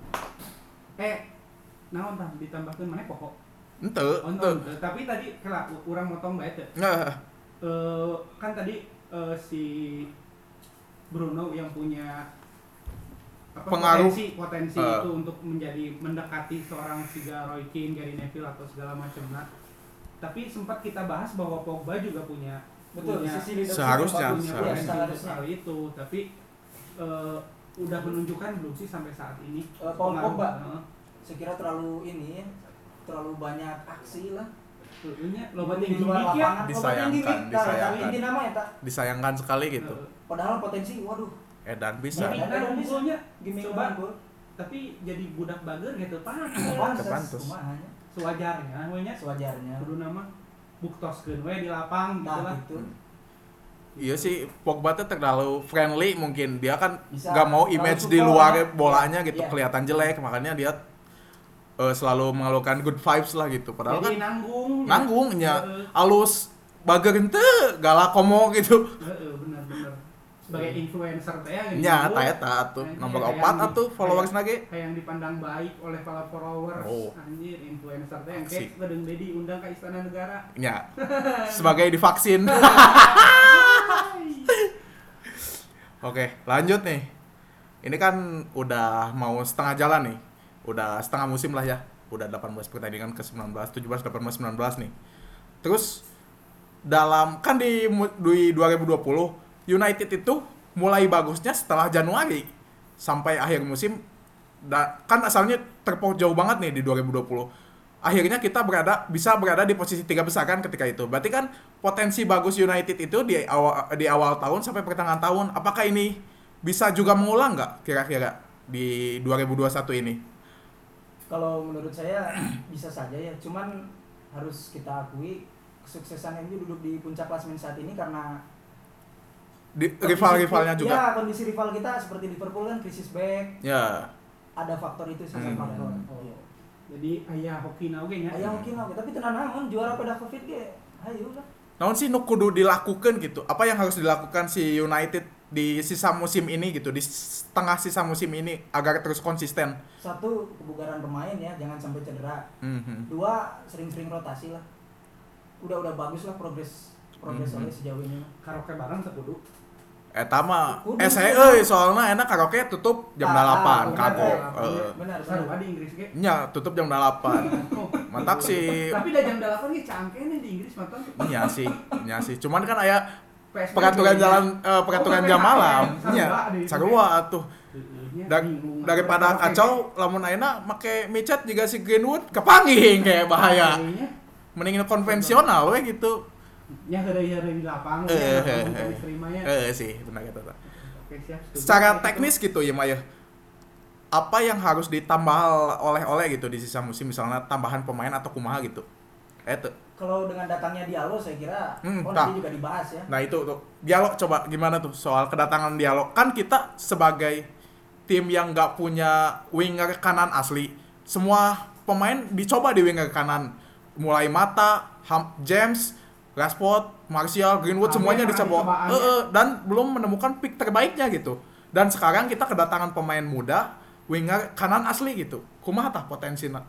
[SPEAKER 2] eh naon tah ditambahkeun maneh pokok
[SPEAKER 1] Ente, ente.
[SPEAKER 2] Ontong, eh, tapi tadi kelak urang motong bae teh
[SPEAKER 1] Nah,
[SPEAKER 2] Eh, kan tadi eh, si Bruno yang punya apa,
[SPEAKER 1] Pengaruh.
[SPEAKER 2] potensi, potensi
[SPEAKER 1] Eh.
[SPEAKER 2] itu untuk menjadi mendekati seorang Siga Roy Keane, Gary Neville atau segala macam. Nah, tapi sempat kita bahas bahwa Pogba juga punya
[SPEAKER 3] Betul,
[SPEAKER 2] punya,
[SPEAKER 3] sisi leadership
[SPEAKER 1] Seharusnya,
[SPEAKER 3] yang bagus.
[SPEAKER 2] punya
[SPEAKER 3] Iya,
[SPEAKER 1] seharusnya.
[SPEAKER 2] potensi untuk
[SPEAKER 3] seharusnya.
[SPEAKER 2] hal itu. Tapi eh, udah menunjukkan belum sih sampai saat ini
[SPEAKER 3] Eh, Paul
[SPEAKER 2] pengaruh,
[SPEAKER 3] Pogba.
[SPEAKER 2] eh,
[SPEAKER 3] Saya kira terlalu ini ya, terlalu banyak aksi lah.
[SPEAKER 2] sebetulnya loba yang
[SPEAKER 3] Di
[SPEAKER 2] gimmick
[SPEAKER 3] luar
[SPEAKER 2] ya.
[SPEAKER 3] lapangan, loba yang
[SPEAKER 1] Disayangkan,
[SPEAKER 3] gimmick. Nah,
[SPEAKER 1] disayangkan.
[SPEAKER 3] tapi inti nama ya, tak.
[SPEAKER 1] disayangkan sekali gitu.
[SPEAKER 2] Eh,
[SPEAKER 3] Padahal potensi, waduh,
[SPEAKER 1] Edan bisa.
[SPEAKER 2] gimmick, nah, unggulnya.
[SPEAKER 3] gimmick
[SPEAKER 2] Coba.
[SPEAKER 3] banget, Bro.
[SPEAKER 2] tapi jadi budak bager gitu pan
[SPEAKER 3] Pantes,
[SPEAKER 1] Kepantes.
[SPEAKER 3] kumahanya.
[SPEAKER 2] sewajarnya we nya
[SPEAKER 3] Sewajarnya.
[SPEAKER 2] kudu nama buktoskeun we di lapang gitu
[SPEAKER 3] Nah,
[SPEAKER 2] lah
[SPEAKER 3] gitu.
[SPEAKER 1] Iya sih, Pogba tuh terlalu friendly mungkin. Dia kan
[SPEAKER 3] Bisa.
[SPEAKER 1] nggak mau
[SPEAKER 3] Terlalu
[SPEAKER 1] image
[SPEAKER 3] support
[SPEAKER 1] di
[SPEAKER 3] ya.
[SPEAKER 1] luar bolanya gitu
[SPEAKER 3] Iya.
[SPEAKER 1] kelihatan jelek, makanya dia eh, selalu mengeluarkan good vibes lah gitu. Padahal kan
[SPEAKER 2] jadi
[SPEAKER 3] ya.
[SPEAKER 2] nanggung
[SPEAKER 3] Iya.
[SPEAKER 1] nanggungnya
[SPEAKER 2] Heeh.
[SPEAKER 1] alus bager henteu, galak komo gitu.
[SPEAKER 2] Heeh, bener bener sebagai
[SPEAKER 1] Hmm.
[SPEAKER 2] influencer teh ya gini,
[SPEAKER 1] Nya
[SPEAKER 3] Iya.
[SPEAKER 2] nanggung.
[SPEAKER 1] eta eta atuh
[SPEAKER 2] Nah,
[SPEAKER 1] nomor
[SPEAKER 2] kayak yang
[SPEAKER 1] opat
[SPEAKER 2] di-
[SPEAKER 1] atuh followers
[SPEAKER 2] kayak-
[SPEAKER 1] nage.
[SPEAKER 2] kayak yang dipandang baik oleh para followers
[SPEAKER 1] Oh.
[SPEAKER 2] anjir influencer teh yang
[SPEAKER 1] Asik.
[SPEAKER 2] kayak gedeng dedi undang ke istana negara
[SPEAKER 1] Nya Ya. sebagai divaksin. Oke, lanjut nih. Ini kan udah mau setengah jalan nih. Udah setengah musim lah ya. Udah 18 pertandingan ke 19, 17, 18, 19 nih. Terus dalam kan di, mu- di 2020 United itu mulai bagusnya setelah Januari sampai akhir musim da- kan asalnya terpojok jauh banget nih di 2020. Akhirnya kita berada bisa berada di posisi tiga besar kan ketika itu. Berarti kan potensi bagus United itu di awal di awal tahun sampai pertengahan tahun. Apakah ini bisa juga mengulang nggak kira-kira di 2021 ini?
[SPEAKER 3] Kalau menurut saya [clears throat] bisa saja ya, cuman harus kita akui kesuksesan MU duduk di puncak klasemen saat ini karena
[SPEAKER 1] Di- rival-rivalnya
[SPEAKER 3] kondisi-
[SPEAKER 1] juga.
[SPEAKER 3] Ya, kondisi rival kita seperti Liverpool kan krisis back,
[SPEAKER 1] Ya.
[SPEAKER 3] ada faktor itu sih
[SPEAKER 1] Hmm.
[SPEAKER 3] faktor. Oh,
[SPEAKER 2] jadi ayah hoki na oge nya
[SPEAKER 3] Ayah ya, mungkin oke, tapi tenang naon juara pada Covid ge. Hayu lah.
[SPEAKER 1] Namun sih nu kudu dilakukan gitu. Apa yang harus dilakukan si United di sisa musim ini gitu, di setengah sisa musim ini agar terus konsisten.
[SPEAKER 3] Satu kebugaran pemain ya, jangan sampai cedera.
[SPEAKER 1] Mhm.
[SPEAKER 3] Dua sering-sering rotasi lah. Udah-udah bagus lah progres progres
[SPEAKER 1] Hmm.
[SPEAKER 3] oleh sejauh ini. mah.
[SPEAKER 2] karaoke bareng sekudu
[SPEAKER 1] Eta mah
[SPEAKER 3] Kudu.
[SPEAKER 1] eh saya euy soalna enak karaoke tutup jam Eh,
[SPEAKER 3] Ah,
[SPEAKER 1] 8
[SPEAKER 3] bener,
[SPEAKER 1] kabok.
[SPEAKER 3] bener. Benar,
[SPEAKER 1] hmm.
[SPEAKER 2] sarua
[SPEAKER 3] benar.
[SPEAKER 2] di Inggris ge
[SPEAKER 1] Nya tutup jam 8.
[SPEAKER 2] Oh,
[SPEAKER 1] mantap sih
[SPEAKER 2] Tapi dah jam 8 nih cangkehnya di Inggris mantan.
[SPEAKER 1] Iya sih, iya sih. Cuman kan aya
[SPEAKER 2] PSBB
[SPEAKER 1] peraturan
[SPEAKER 2] nya.
[SPEAKER 1] jalan eh, peraturan
[SPEAKER 2] Oh,
[SPEAKER 1] jam
[SPEAKER 2] PSBB.
[SPEAKER 1] malam.
[SPEAKER 2] Sarua
[SPEAKER 1] Iya.
[SPEAKER 2] deh.
[SPEAKER 1] Sarua atuh.
[SPEAKER 2] Heeh,
[SPEAKER 1] Dar-
[SPEAKER 2] bingung.
[SPEAKER 1] daripada
[SPEAKER 2] Pakai-
[SPEAKER 1] kacau lamun ayeuna make micet juga si Greenwood kepanggih kayak bahaya.
[SPEAKER 2] pakainya,
[SPEAKER 1] Mending konvensional we gitu.
[SPEAKER 2] Ya hari-hari di lapang.
[SPEAKER 1] Eh,
[SPEAKER 2] ya,
[SPEAKER 1] eh, eh,
[SPEAKER 2] kamu
[SPEAKER 1] eh.
[SPEAKER 2] terimanya.
[SPEAKER 1] Eh sih, benar kata. Tata.
[SPEAKER 2] ya. Oke, siap, setuju.
[SPEAKER 1] Secara teknis gitu ya Maya. Apa yang harus ditambah oleh-oleh gitu di sisa musim misalnya tambahan pemain atau kumaha gitu. Eh tuh.
[SPEAKER 3] Kalau dengan datangnya Diallo saya kira
[SPEAKER 1] Hmm,
[SPEAKER 3] oh,
[SPEAKER 1] tak.
[SPEAKER 3] nanti juga dibahas ya.
[SPEAKER 1] Nah itu tuh dialog coba gimana tuh soal kedatangan dialog kan kita sebagai tim yang nggak punya winger kanan asli semua pemain dicoba di winger kanan mulai mata Ham- James Rashford Martial Greenwood
[SPEAKER 2] Amin,
[SPEAKER 1] semuanya
[SPEAKER 2] amin,
[SPEAKER 1] dicoba
[SPEAKER 2] cobaannya.
[SPEAKER 1] Eh, eh, dan belum menemukan pick terbaiknya gitu dan sekarang kita kedatangan pemain muda winger kanan asli gitu kumaha tah potensinya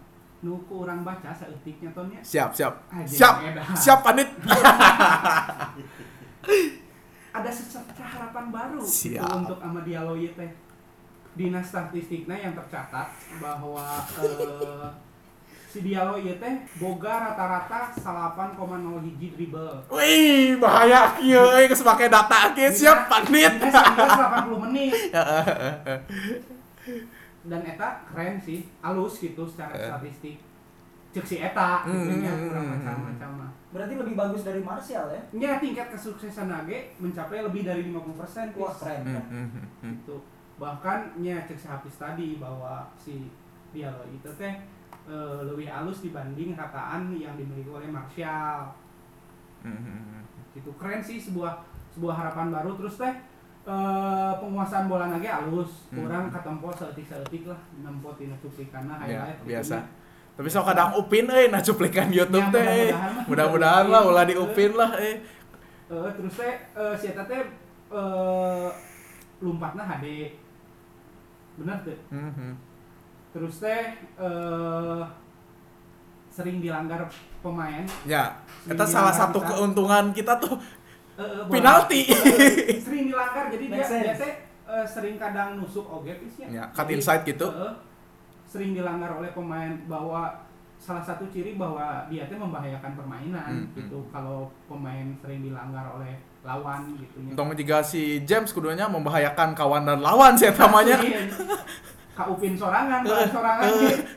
[SPEAKER 2] Nu kurang baca saeutiknya tonnya.
[SPEAKER 1] siap siap
[SPEAKER 2] Ah,
[SPEAKER 1] siap
[SPEAKER 2] jadi edan.
[SPEAKER 1] siap panit
[SPEAKER 2] Ada secerca harapan baru
[SPEAKER 1] Siap.
[SPEAKER 2] gitu untuk sama dialog ieu teh. Dina statistiknya yang tercatat bahwa eh, si dialog ieu teh boga rata-rata 8,0 hiji dribble.
[SPEAKER 1] Wih, bahaya kieu euy geus make data kieu siap panit. Ya,
[SPEAKER 2] Dina
[SPEAKER 1] [laughs]
[SPEAKER 2] sehingga 80 menit. dan eta keren sih halus gitu secara
[SPEAKER 1] Eh.
[SPEAKER 2] statistik cek si eta
[SPEAKER 1] Hmm,
[SPEAKER 2] gitu nya
[SPEAKER 1] hmm,
[SPEAKER 2] kurang
[SPEAKER 1] hmm,
[SPEAKER 2] macam-macam mah
[SPEAKER 3] Berarti lebih bagus dari Martial ya.
[SPEAKER 2] nya tingkat kesuksesan Nage mencapai lebih dari 50%
[SPEAKER 3] Wah
[SPEAKER 2] wah
[SPEAKER 3] keren.
[SPEAKER 1] Hmm.
[SPEAKER 3] ya. keren.
[SPEAKER 2] gitu bahkan nya cek si Hafiz tadi bahwa si dialog itu teh eh, lebih halus dibanding rataan yang dimiliki oleh Martial gitu keren sih sebuah sebuah harapan baru terus teh eh, penguasaan bola nage halus
[SPEAKER 1] Hmm.
[SPEAKER 2] kurang katempo seetik-seetik lah nempo tina cuplikanna
[SPEAKER 1] Ya,
[SPEAKER 2] highlight
[SPEAKER 1] biasa.
[SPEAKER 2] gitu nya.
[SPEAKER 1] Tapi sok kadang upin euy na cuplikan YouTube
[SPEAKER 2] Ya,
[SPEAKER 1] teh. euy.
[SPEAKER 2] mudah-mudahan Iya. lah.
[SPEAKER 1] Mudah-mudahan lah ulah
[SPEAKER 2] [laughs]
[SPEAKER 1] diupin lah euy.
[SPEAKER 2] Eh, terus teh eh, si eta teh eh, lompatna HD bener tuh terus teh eh, sering dilanggar pemain
[SPEAKER 1] Ya,
[SPEAKER 2] Sering
[SPEAKER 1] kita salah
[SPEAKER 2] dilanggar
[SPEAKER 1] satu
[SPEAKER 2] kita.
[SPEAKER 1] keuntungan kita tuh
[SPEAKER 2] Eh, eh, bola.
[SPEAKER 1] penalti. [laughs]
[SPEAKER 2] Eh, sering dilanggar jadi dia
[SPEAKER 3] Make sense.
[SPEAKER 2] dia teh eh, sering kadang nusuk oge pisnya
[SPEAKER 1] Ya, cut inside gitu.
[SPEAKER 2] eh, sering dilanggar oleh pemain bahwa salah satu ciri bahwa dia teh membahayakan permainan
[SPEAKER 1] Hmm,
[SPEAKER 2] gitu kalau pemain sering dilanggar oleh lawan gitu nya.
[SPEAKER 1] Untung juga si James kudunya membahayakan kawan dan lawan sih namanya.
[SPEAKER 2] Iya. Kak Upin sorangan, Kak
[SPEAKER 1] [laughs]
[SPEAKER 2] sorangan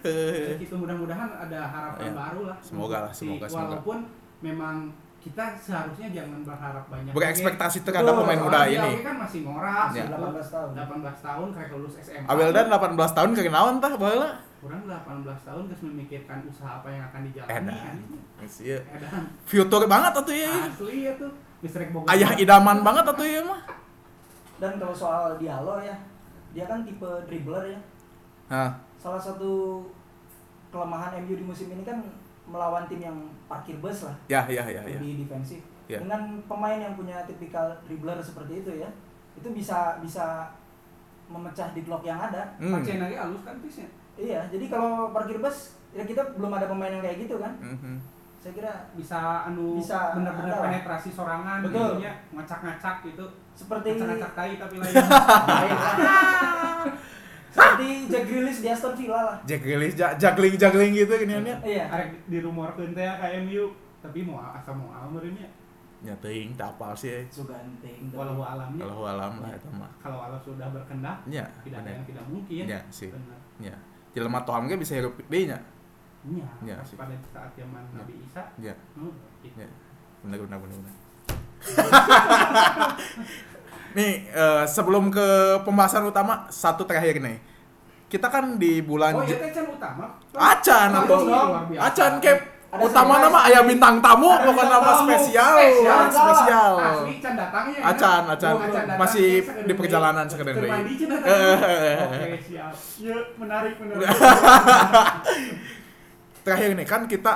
[SPEAKER 1] Eh,
[SPEAKER 2] gitu. Mudah-mudahan ada harapan
[SPEAKER 1] Iya.
[SPEAKER 2] baru lah.
[SPEAKER 1] Semoga lah,
[SPEAKER 2] Si-
[SPEAKER 1] semoga, semoga.
[SPEAKER 2] Walaupun memang kita seharusnya jangan berharap banyak.
[SPEAKER 1] Berekspektasi terhadap
[SPEAKER 3] Betul,
[SPEAKER 1] pemain
[SPEAKER 2] Soalnya
[SPEAKER 1] muda
[SPEAKER 2] dia
[SPEAKER 1] ini.
[SPEAKER 2] Oke kan masih ngorak,
[SPEAKER 1] Iya.
[SPEAKER 2] gitu.
[SPEAKER 3] 18 tahun.
[SPEAKER 2] 18 tahun kayak lulus SMA.
[SPEAKER 1] Abeldan 18 tahun kekenalan tah baheula.
[SPEAKER 2] kurang 18 tahun terus memikirkan usaha apa yang akan
[SPEAKER 1] Edan.
[SPEAKER 2] dijalani. anjing.
[SPEAKER 1] Eh, Iya.
[SPEAKER 2] Edan.
[SPEAKER 1] Future banget atau ya.
[SPEAKER 2] Asli ya tuh. Mistrek Bogor.
[SPEAKER 1] Ayah idaman banget atau ya mah.
[SPEAKER 3] Dan kalau soal Diallo ya, dia kan tipe dribbler ya.
[SPEAKER 1] Hah.
[SPEAKER 3] Salah satu kelemahan MU di musim ini kan melawan tim yang parkir bus lah,
[SPEAKER 1] Ya, ya, ya, ya.
[SPEAKER 3] lebih defensif.
[SPEAKER 1] Ya.
[SPEAKER 3] Dengan pemain yang punya tipikal dribbler seperti itu ya, itu bisa bisa memecah deadlock yang ada.
[SPEAKER 1] Hmm.
[SPEAKER 2] Pacain lagi halus kan pisnya.
[SPEAKER 3] Iya, jadi kalau parkir bus ya kita belum ada pemain yang kayak gitu kan.
[SPEAKER 1] Mhm.
[SPEAKER 3] Saya kira
[SPEAKER 2] Bisa anu
[SPEAKER 3] Bisa,
[SPEAKER 2] benar-benar
[SPEAKER 3] ada lah.
[SPEAKER 2] penetrasi sorangan
[SPEAKER 3] Betul.
[SPEAKER 2] gitu nya, ngacak-ngacak gitu.
[SPEAKER 3] seperti
[SPEAKER 2] Ngacak-ngacak
[SPEAKER 3] [laughs]
[SPEAKER 2] tai tapi lain.
[SPEAKER 3] seperti Jack Grealish di Aston Villa lah.
[SPEAKER 1] Jack Grealish ja- juggling juggling gitu giniannya.
[SPEAKER 3] Iya.
[SPEAKER 2] Arek dirumorkeun teh ka MU, tapi mau asa mau almeureun nya.
[SPEAKER 1] Ya teuing tak apal sih. euy.
[SPEAKER 3] Suganteng.
[SPEAKER 2] Walau alamnya
[SPEAKER 1] Allahu alam lah eta mah.
[SPEAKER 2] kalau Allah sudah berkendak
[SPEAKER 1] Nya,
[SPEAKER 2] tidak ya. ada
[SPEAKER 1] bener.
[SPEAKER 2] yang tidak mungkin.
[SPEAKER 1] Nya Ya, sih.
[SPEAKER 2] Benar.
[SPEAKER 1] Nya. Jelema toam ge bisa hirup deui nya.
[SPEAKER 2] Iya.
[SPEAKER 1] Iya,
[SPEAKER 2] pas
[SPEAKER 1] sih.
[SPEAKER 2] pada saat zaman Nabi Isa.
[SPEAKER 1] Iya.
[SPEAKER 2] hmm, gitu.
[SPEAKER 1] Iya. Bener bener bener. bener. [laughs] nih, eh, sebelum ke pembahasan utama, satu terakhir nih. Kita kan di bulan
[SPEAKER 2] Oh,
[SPEAKER 1] Ju-
[SPEAKER 2] iya teh can utama.
[SPEAKER 1] Acan atau
[SPEAKER 2] Acan luar biasa.
[SPEAKER 1] Acan Cap.
[SPEAKER 3] Ada
[SPEAKER 1] Utama
[SPEAKER 3] surprise.
[SPEAKER 1] nama ayah bintang tamu bukan
[SPEAKER 3] Ada bintang
[SPEAKER 1] nama
[SPEAKER 3] tamu.
[SPEAKER 1] spesial,
[SPEAKER 2] Spesial,
[SPEAKER 1] orang spesial.
[SPEAKER 2] Asli can datangnya. ya.
[SPEAKER 1] Acan, Acan.
[SPEAKER 2] Oh, datang.
[SPEAKER 1] Masih
[SPEAKER 2] Saya sekedar
[SPEAKER 1] di perjalanan,
[SPEAKER 2] beli.
[SPEAKER 1] sekedar
[SPEAKER 2] Keur
[SPEAKER 1] beli.
[SPEAKER 2] mandi
[SPEAKER 1] [laughs]
[SPEAKER 2] can datang. Oke, siap. Yuk, menarik menarik.
[SPEAKER 1] Terakhir nih kan kita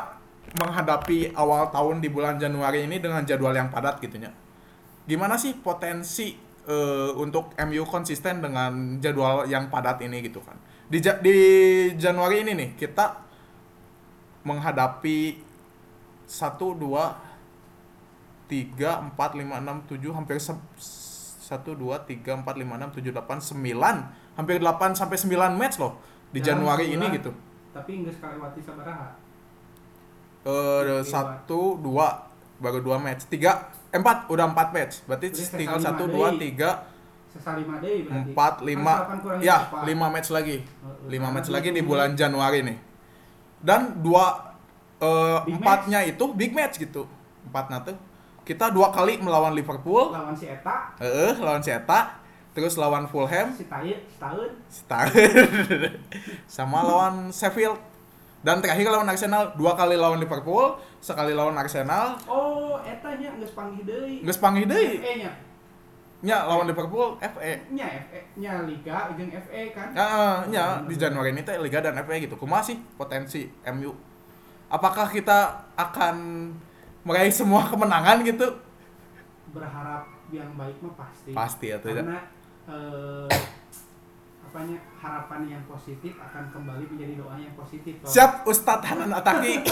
[SPEAKER 1] menghadapi awal tahun di bulan Januari ini dengan jadwal yang padat gitunya. Gimana sih potensi eh, untuk MU konsisten dengan jadwal yang padat ini gitu kan? Di Ja- di Januari ini nih kita menghadapi satu dua tiga empat lima enam tujuh hampir se- satu dua tiga empat lima enam tujuh delapan sembilan hampir 8 sampai 9 match loh di
[SPEAKER 2] Dalam
[SPEAKER 1] Januari ini
[SPEAKER 2] sebulan.
[SPEAKER 1] gitu
[SPEAKER 2] Tapi enggak sekali wati sabaraha.
[SPEAKER 1] eh satu dua baru dua match tiga eh, empat udah empat match berarti
[SPEAKER 2] Udah
[SPEAKER 1] tinggal
[SPEAKER 2] sisa
[SPEAKER 1] satu
[SPEAKER 2] lima
[SPEAKER 1] dua
[SPEAKER 2] deui.
[SPEAKER 1] tiga
[SPEAKER 2] Sisa lima deh berarti.
[SPEAKER 1] empat
[SPEAKER 2] Kan
[SPEAKER 1] lima
[SPEAKER 2] delapan kurang
[SPEAKER 1] ya
[SPEAKER 2] berapa?
[SPEAKER 1] lima match lagi
[SPEAKER 2] Heeh.
[SPEAKER 1] lima
[SPEAKER 2] Karena
[SPEAKER 1] match
[SPEAKER 2] dia
[SPEAKER 1] lagi di
[SPEAKER 2] punya-
[SPEAKER 1] bulan Januari nih dan dua eh,
[SPEAKER 2] Big
[SPEAKER 1] empatnya itu big match gitu empatnya tuh kita dua kali melawan Liverpool
[SPEAKER 2] lawan si Eta,
[SPEAKER 1] eh lawan si Eta terus lawan Fulham
[SPEAKER 2] si Taye, setahun.
[SPEAKER 1] Star [laughs] sama lawan Sheffield dan terakhir lawan Arsenal dua kali lawan Liverpool sekali lawan Arsenal
[SPEAKER 2] Oh, Eta nya nggak sepanggil deui.
[SPEAKER 1] nggak sepanggih deui
[SPEAKER 2] FA nya,
[SPEAKER 1] nya lawan Liverpool E. FA
[SPEAKER 2] nya FA nya Liga jeung FA kan.
[SPEAKER 1] ya nya di Januari ini teh Liga dan FA gitu kumaha sih potensi MU apakah kita akan meraih semua kemenangan gitu
[SPEAKER 2] Berharap yang baik mah pasti.
[SPEAKER 1] pasti ya tidak
[SPEAKER 2] Iya. Karena eh, apanya harapan yang positif akan kembali menjadi doa yang positif. Ton.
[SPEAKER 1] siap Ustadz Hanan Ataki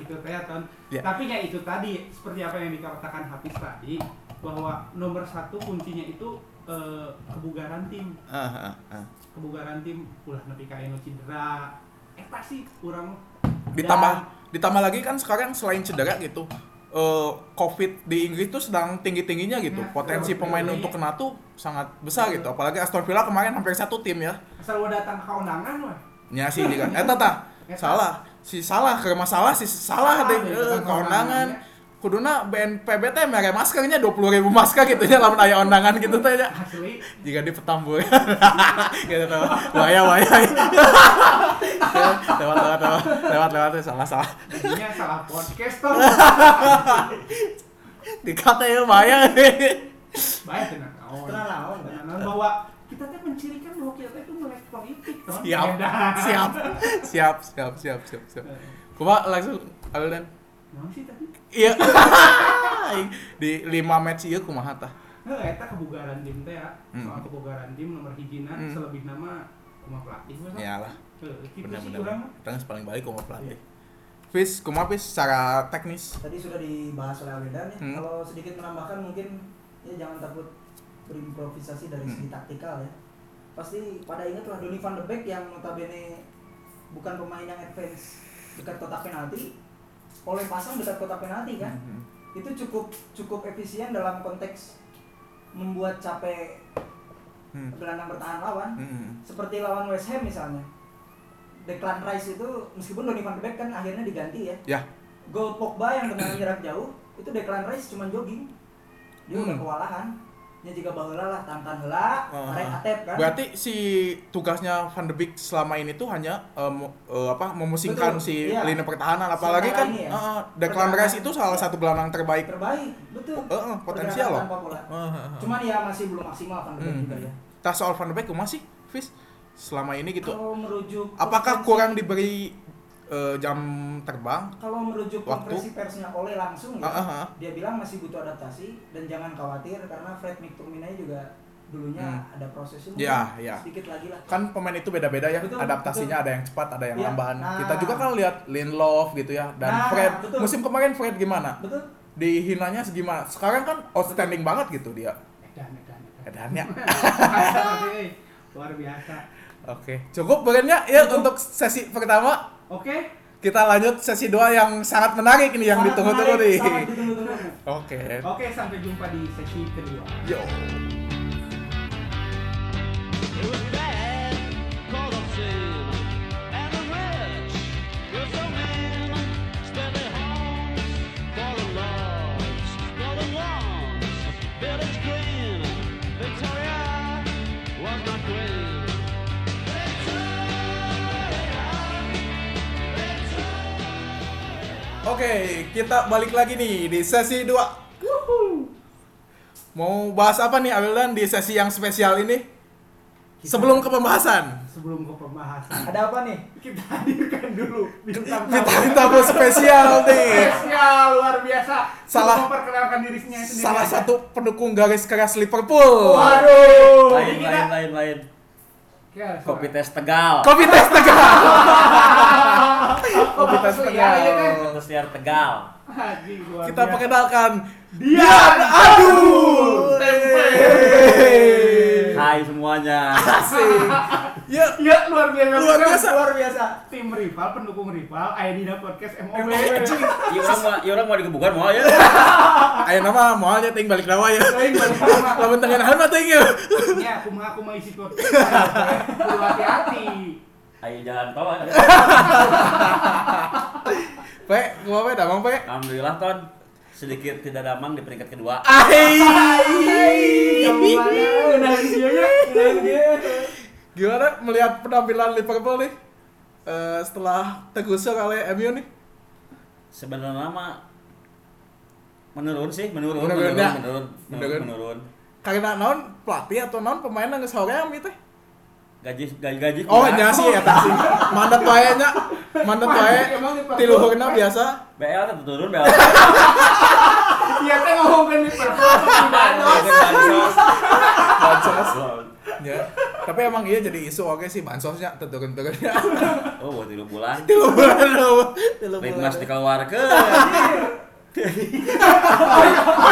[SPEAKER 2] Itu teh ya, Ton.
[SPEAKER 1] Ya.
[SPEAKER 2] Tapi ya itu tadi seperti apa yang dikatakan Hafiz tadi bahwa nomor satu kuncinya itu eh, kebugaran tim.
[SPEAKER 1] Ah, ah, ah.
[SPEAKER 2] kebugaran tim ulah nepi ka anu cedera eta sih kurang
[SPEAKER 1] ditambah ditambah lagi kan sekarang selain cedera gitu eh, covid di Inggris tuh sedang tinggi tingginya gitu
[SPEAKER 2] Nah,
[SPEAKER 1] potensi
[SPEAKER 2] betul,
[SPEAKER 1] pemain
[SPEAKER 2] betul.
[SPEAKER 1] untuk kena tuh sangat besar gitu apalagi Aston Villa kemarin hampir satu tim ya
[SPEAKER 2] asal udah datang ke undangan mah
[SPEAKER 1] nya sih juga eh tata
[SPEAKER 2] Eta.
[SPEAKER 1] salah si salah ke masalah si salah deh eh,
[SPEAKER 2] deh, ya, datang gitu ke
[SPEAKER 1] keundangan
[SPEAKER 2] ya.
[SPEAKER 1] kuduna BNPB teh mere maskernya dua puluh ribu masker gitu ya lamun aya undangan gitu teh nya.
[SPEAKER 2] asli
[SPEAKER 1] jika di petambur [laughs] gitu tahu waya waya lewat lewat lewat lewat lewat salah salah
[SPEAKER 2] jadinya salah podcast
[SPEAKER 1] [laughs]
[SPEAKER 2] tuh
[SPEAKER 1] dikata ya waya
[SPEAKER 2] baik tenang kawan
[SPEAKER 3] Tenang, kawan.
[SPEAKER 2] Tenang, kawan. bahwa kita teh mencirikan bahwa kita itu melek politik tuh
[SPEAKER 1] siap siap siap siap siap siap siap kuma langsung Alden
[SPEAKER 2] Nah, sih tadi
[SPEAKER 1] iya [laughs] di lima match iya kumaha tah
[SPEAKER 2] Heh, eta kebugaran tim teh ya soal
[SPEAKER 1] Hmm.
[SPEAKER 2] kebugaran tim nomor hijina
[SPEAKER 1] Hmm. Iya.
[SPEAKER 2] selebih nama rumah pelatih masa
[SPEAKER 1] iyalah
[SPEAKER 2] Heh, gitu sih kurang
[SPEAKER 1] benar-benar kita paling balik kuma pelatih Iya. Fis, kuma Fis secara teknis
[SPEAKER 3] tadi sudah dibahas oleh Alwedan ya.
[SPEAKER 1] Hmm.
[SPEAKER 3] Kalau sedikit menambahkan mungkin ya jangan takut berimprovisasi dari segi
[SPEAKER 1] Hmm.
[SPEAKER 3] taktikal ya. Pasti pada ingatlah Donny van de Beek yang notabene bukan pemain yang advance dekat kotak penalti, oleh pasang dekat kotak penalti kan.
[SPEAKER 1] Hmm.
[SPEAKER 3] Itu cukup cukup efisien dalam konteks membuat capek
[SPEAKER 1] Hmm.
[SPEAKER 3] gelandang bertahan lawan
[SPEAKER 1] Hmm.
[SPEAKER 3] seperti lawan West Ham misalnya Declan Rice itu meskipun Donny van de Beek kan akhirnya diganti ya
[SPEAKER 1] Ya.
[SPEAKER 3] gol Pogba yang dengan jarak jauh itu Declan Rice cuma jogging dia udah
[SPEAKER 1] Hmm.
[SPEAKER 3] kewalahan ya jika baheula lah tantan heula
[SPEAKER 1] Ah.
[SPEAKER 3] arek atep kan
[SPEAKER 1] Berarti si tugasnya Van de Beek selama ini tuh hanya eh, mo- eh, apa memusingkan si
[SPEAKER 3] Betul, iya.
[SPEAKER 1] lini pertahanan apalagi kan
[SPEAKER 3] Sementara ini ya.
[SPEAKER 1] eh, eh, Declan
[SPEAKER 3] Pertahanan.
[SPEAKER 1] Rice itu salah satu gelandang terbaik.
[SPEAKER 3] terbaik betul
[SPEAKER 1] Eh, eh, potensial
[SPEAKER 3] Pergerakan
[SPEAKER 1] loh.
[SPEAKER 3] tanpa bola.
[SPEAKER 1] Eh, eh, eh.
[SPEAKER 3] cuman ya masih belum maksimal van de Beek
[SPEAKER 1] Hmm.
[SPEAKER 3] juga ya
[SPEAKER 1] Tah soal Van de Beek kumaha sih, Fis? Selama ini gitu.
[SPEAKER 3] kalau merujuk
[SPEAKER 1] Apakah
[SPEAKER 3] konferensi-
[SPEAKER 1] kurang diberi eh, jam terbang?
[SPEAKER 3] kalau merujuk
[SPEAKER 1] Waktu?
[SPEAKER 3] konferensi persnya oleh langsung ya
[SPEAKER 1] Ah, ah, ah.
[SPEAKER 3] dia bilang masih butuh adaptasi dan jangan khawatir karena Fred McTominay juga dulunya
[SPEAKER 1] Hmm.
[SPEAKER 3] ada prosesnya
[SPEAKER 1] Ya,
[SPEAKER 3] mungkin
[SPEAKER 1] ya.
[SPEAKER 3] sedikit lagi lah
[SPEAKER 1] Kan pemain itu beda-beda ya,
[SPEAKER 3] Betul,
[SPEAKER 1] adaptasinya ada yang cepat, ada yang
[SPEAKER 3] Iya,
[SPEAKER 1] lamban.
[SPEAKER 3] nah.
[SPEAKER 1] Kita juga kan lihat Lindelof gitu ya dan
[SPEAKER 3] Nah,
[SPEAKER 1] Fred.
[SPEAKER 3] betul.
[SPEAKER 1] Musim kemarin Fred gimana?
[SPEAKER 3] betul
[SPEAKER 1] Dihinanya segimana? Sekarang kan outstanding banget gitu dia.
[SPEAKER 2] edan edan
[SPEAKER 1] [laughs]
[SPEAKER 2] edan
[SPEAKER 3] [laughs]
[SPEAKER 1] Edannya.
[SPEAKER 2] Masa, eh, luar biasa
[SPEAKER 1] Oke, cukup bagiannya ya untuk sesi pertama.
[SPEAKER 2] oke
[SPEAKER 1] Kita lanjut sesi dua yang sangat menarik nih yang
[SPEAKER 3] Sangat
[SPEAKER 1] ditunggu-tunggu
[SPEAKER 3] menarik,
[SPEAKER 1] nih.
[SPEAKER 3] sangat ditunggu-tunggu.
[SPEAKER 1] Oke.
[SPEAKER 2] Oke, sampai jumpa di sesi kedua.
[SPEAKER 1] Yo.
[SPEAKER 4] It was bad, called up sin, and the rich were so mean. Spent their homes for the lords, for the ones. Village green, Victoria was my queen.
[SPEAKER 1] Oke, kita balik lagi nih di sesi dua. Mau bahas apa nih Awildan di sesi yang spesial ini? Sebelum ke pembahasan.
[SPEAKER 2] Sebelum ke pembahasan,
[SPEAKER 3] ada apa nih
[SPEAKER 2] kita hadirkan dulu bintang
[SPEAKER 1] Kita
[SPEAKER 2] tamu
[SPEAKER 1] tamu spesial nih.
[SPEAKER 2] spesial luar biasa.
[SPEAKER 1] Salah-
[SPEAKER 2] Untuk memperkenalkan dirinya sendiri.
[SPEAKER 1] Salah
[SPEAKER 2] aja.
[SPEAKER 1] satu pendukung garis keras Liverpool.
[SPEAKER 2] Waduh. Ini
[SPEAKER 5] lain lain
[SPEAKER 2] kita-
[SPEAKER 5] lain lain
[SPEAKER 2] Ya, suara.
[SPEAKER 5] kopi tes tegal
[SPEAKER 1] Kopi tes
[SPEAKER 2] [laughs]
[SPEAKER 1] tegal. Kopi tes
[SPEAKER 2] Iya, iya,
[SPEAKER 1] tegal.
[SPEAKER 2] kan?
[SPEAKER 5] kopi tes liar tegal
[SPEAKER 2] Haji, luar
[SPEAKER 1] Kita
[SPEAKER 2] biasa.
[SPEAKER 1] perkenalkan
[SPEAKER 2] Dian
[SPEAKER 1] Aduh.
[SPEAKER 2] Tempe.
[SPEAKER 1] Iya. [laughs]
[SPEAKER 5] hai semuanya
[SPEAKER 1] Asik.
[SPEAKER 2] [laughs]
[SPEAKER 1] Ya,
[SPEAKER 2] Ya luar biasa.
[SPEAKER 1] Luar biasa.
[SPEAKER 3] luar biasa
[SPEAKER 2] Tim rival, pendukung rival, Aidina Podcast MOB.
[SPEAKER 1] anjing.
[SPEAKER 5] Iya orang mau, iya orang mau digebukan mau ya.
[SPEAKER 1] Ayo nama moalnya ting balik dawa ya.
[SPEAKER 2] Lain balik nama.
[SPEAKER 1] Lamun tengen hal mah ting ya.
[SPEAKER 2] Ya, aku mau aku mau isi podcast. Perlu hati-hati.
[SPEAKER 5] Ayo jalan tol. ada.
[SPEAKER 1] Pe, gua pe damang pe.
[SPEAKER 5] Alhamdulillah ton sedikit tidak damang di peringkat kedua.
[SPEAKER 1] Ai.
[SPEAKER 2] Kamu mana? Ngenahin dia ya. Ngenahin dia.
[SPEAKER 1] Gimana melihat penampilan Liverpool nih? Eh, setelah tergusur oleh MU nih.
[SPEAKER 5] Sebenarnya mah menurun sih, menurun,
[SPEAKER 1] Menurun,
[SPEAKER 5] menurun,
[SPEAKER 1] ya?
[SPEAKER 5] menurun,
[SPEAKER 1] Menurun.
[SPEAKER 5] menurun, menurun.
[SPEAKER 1] Karena non pelatih atau non pemain nggak soream gitu.
[SPEAKER 5] Gaji, gaji, gaji.
[SPEAKER 1] Oh,
[SPEAKER 5] kurang.
[SPEAKER 1] nya sih ya tasi. Mandat wae nya. Mandat wae.
[SPEAKER 2] Emang Liverpool,
[SPEAKER 1] Tiluhurna biasa.
[SPEAKER 5] BL tetap turun, [laughs] BL.
[SPEAKER 2] Iya kan ngomongin Liverpool. Tidak ada.
[SPEAKER 5] Bansos.
[SPEAKER 1] Ya. Tapi emang iya jadi isu oke sih bansosnya teturun-turunnya.
[SPEAKER 5] Oh, buat tiga bulan.
[SPEAKER 1] [laughs] Tilu bulan. Tilu bulan.
[SPEAKER 5] Ritmas dikeluarkan.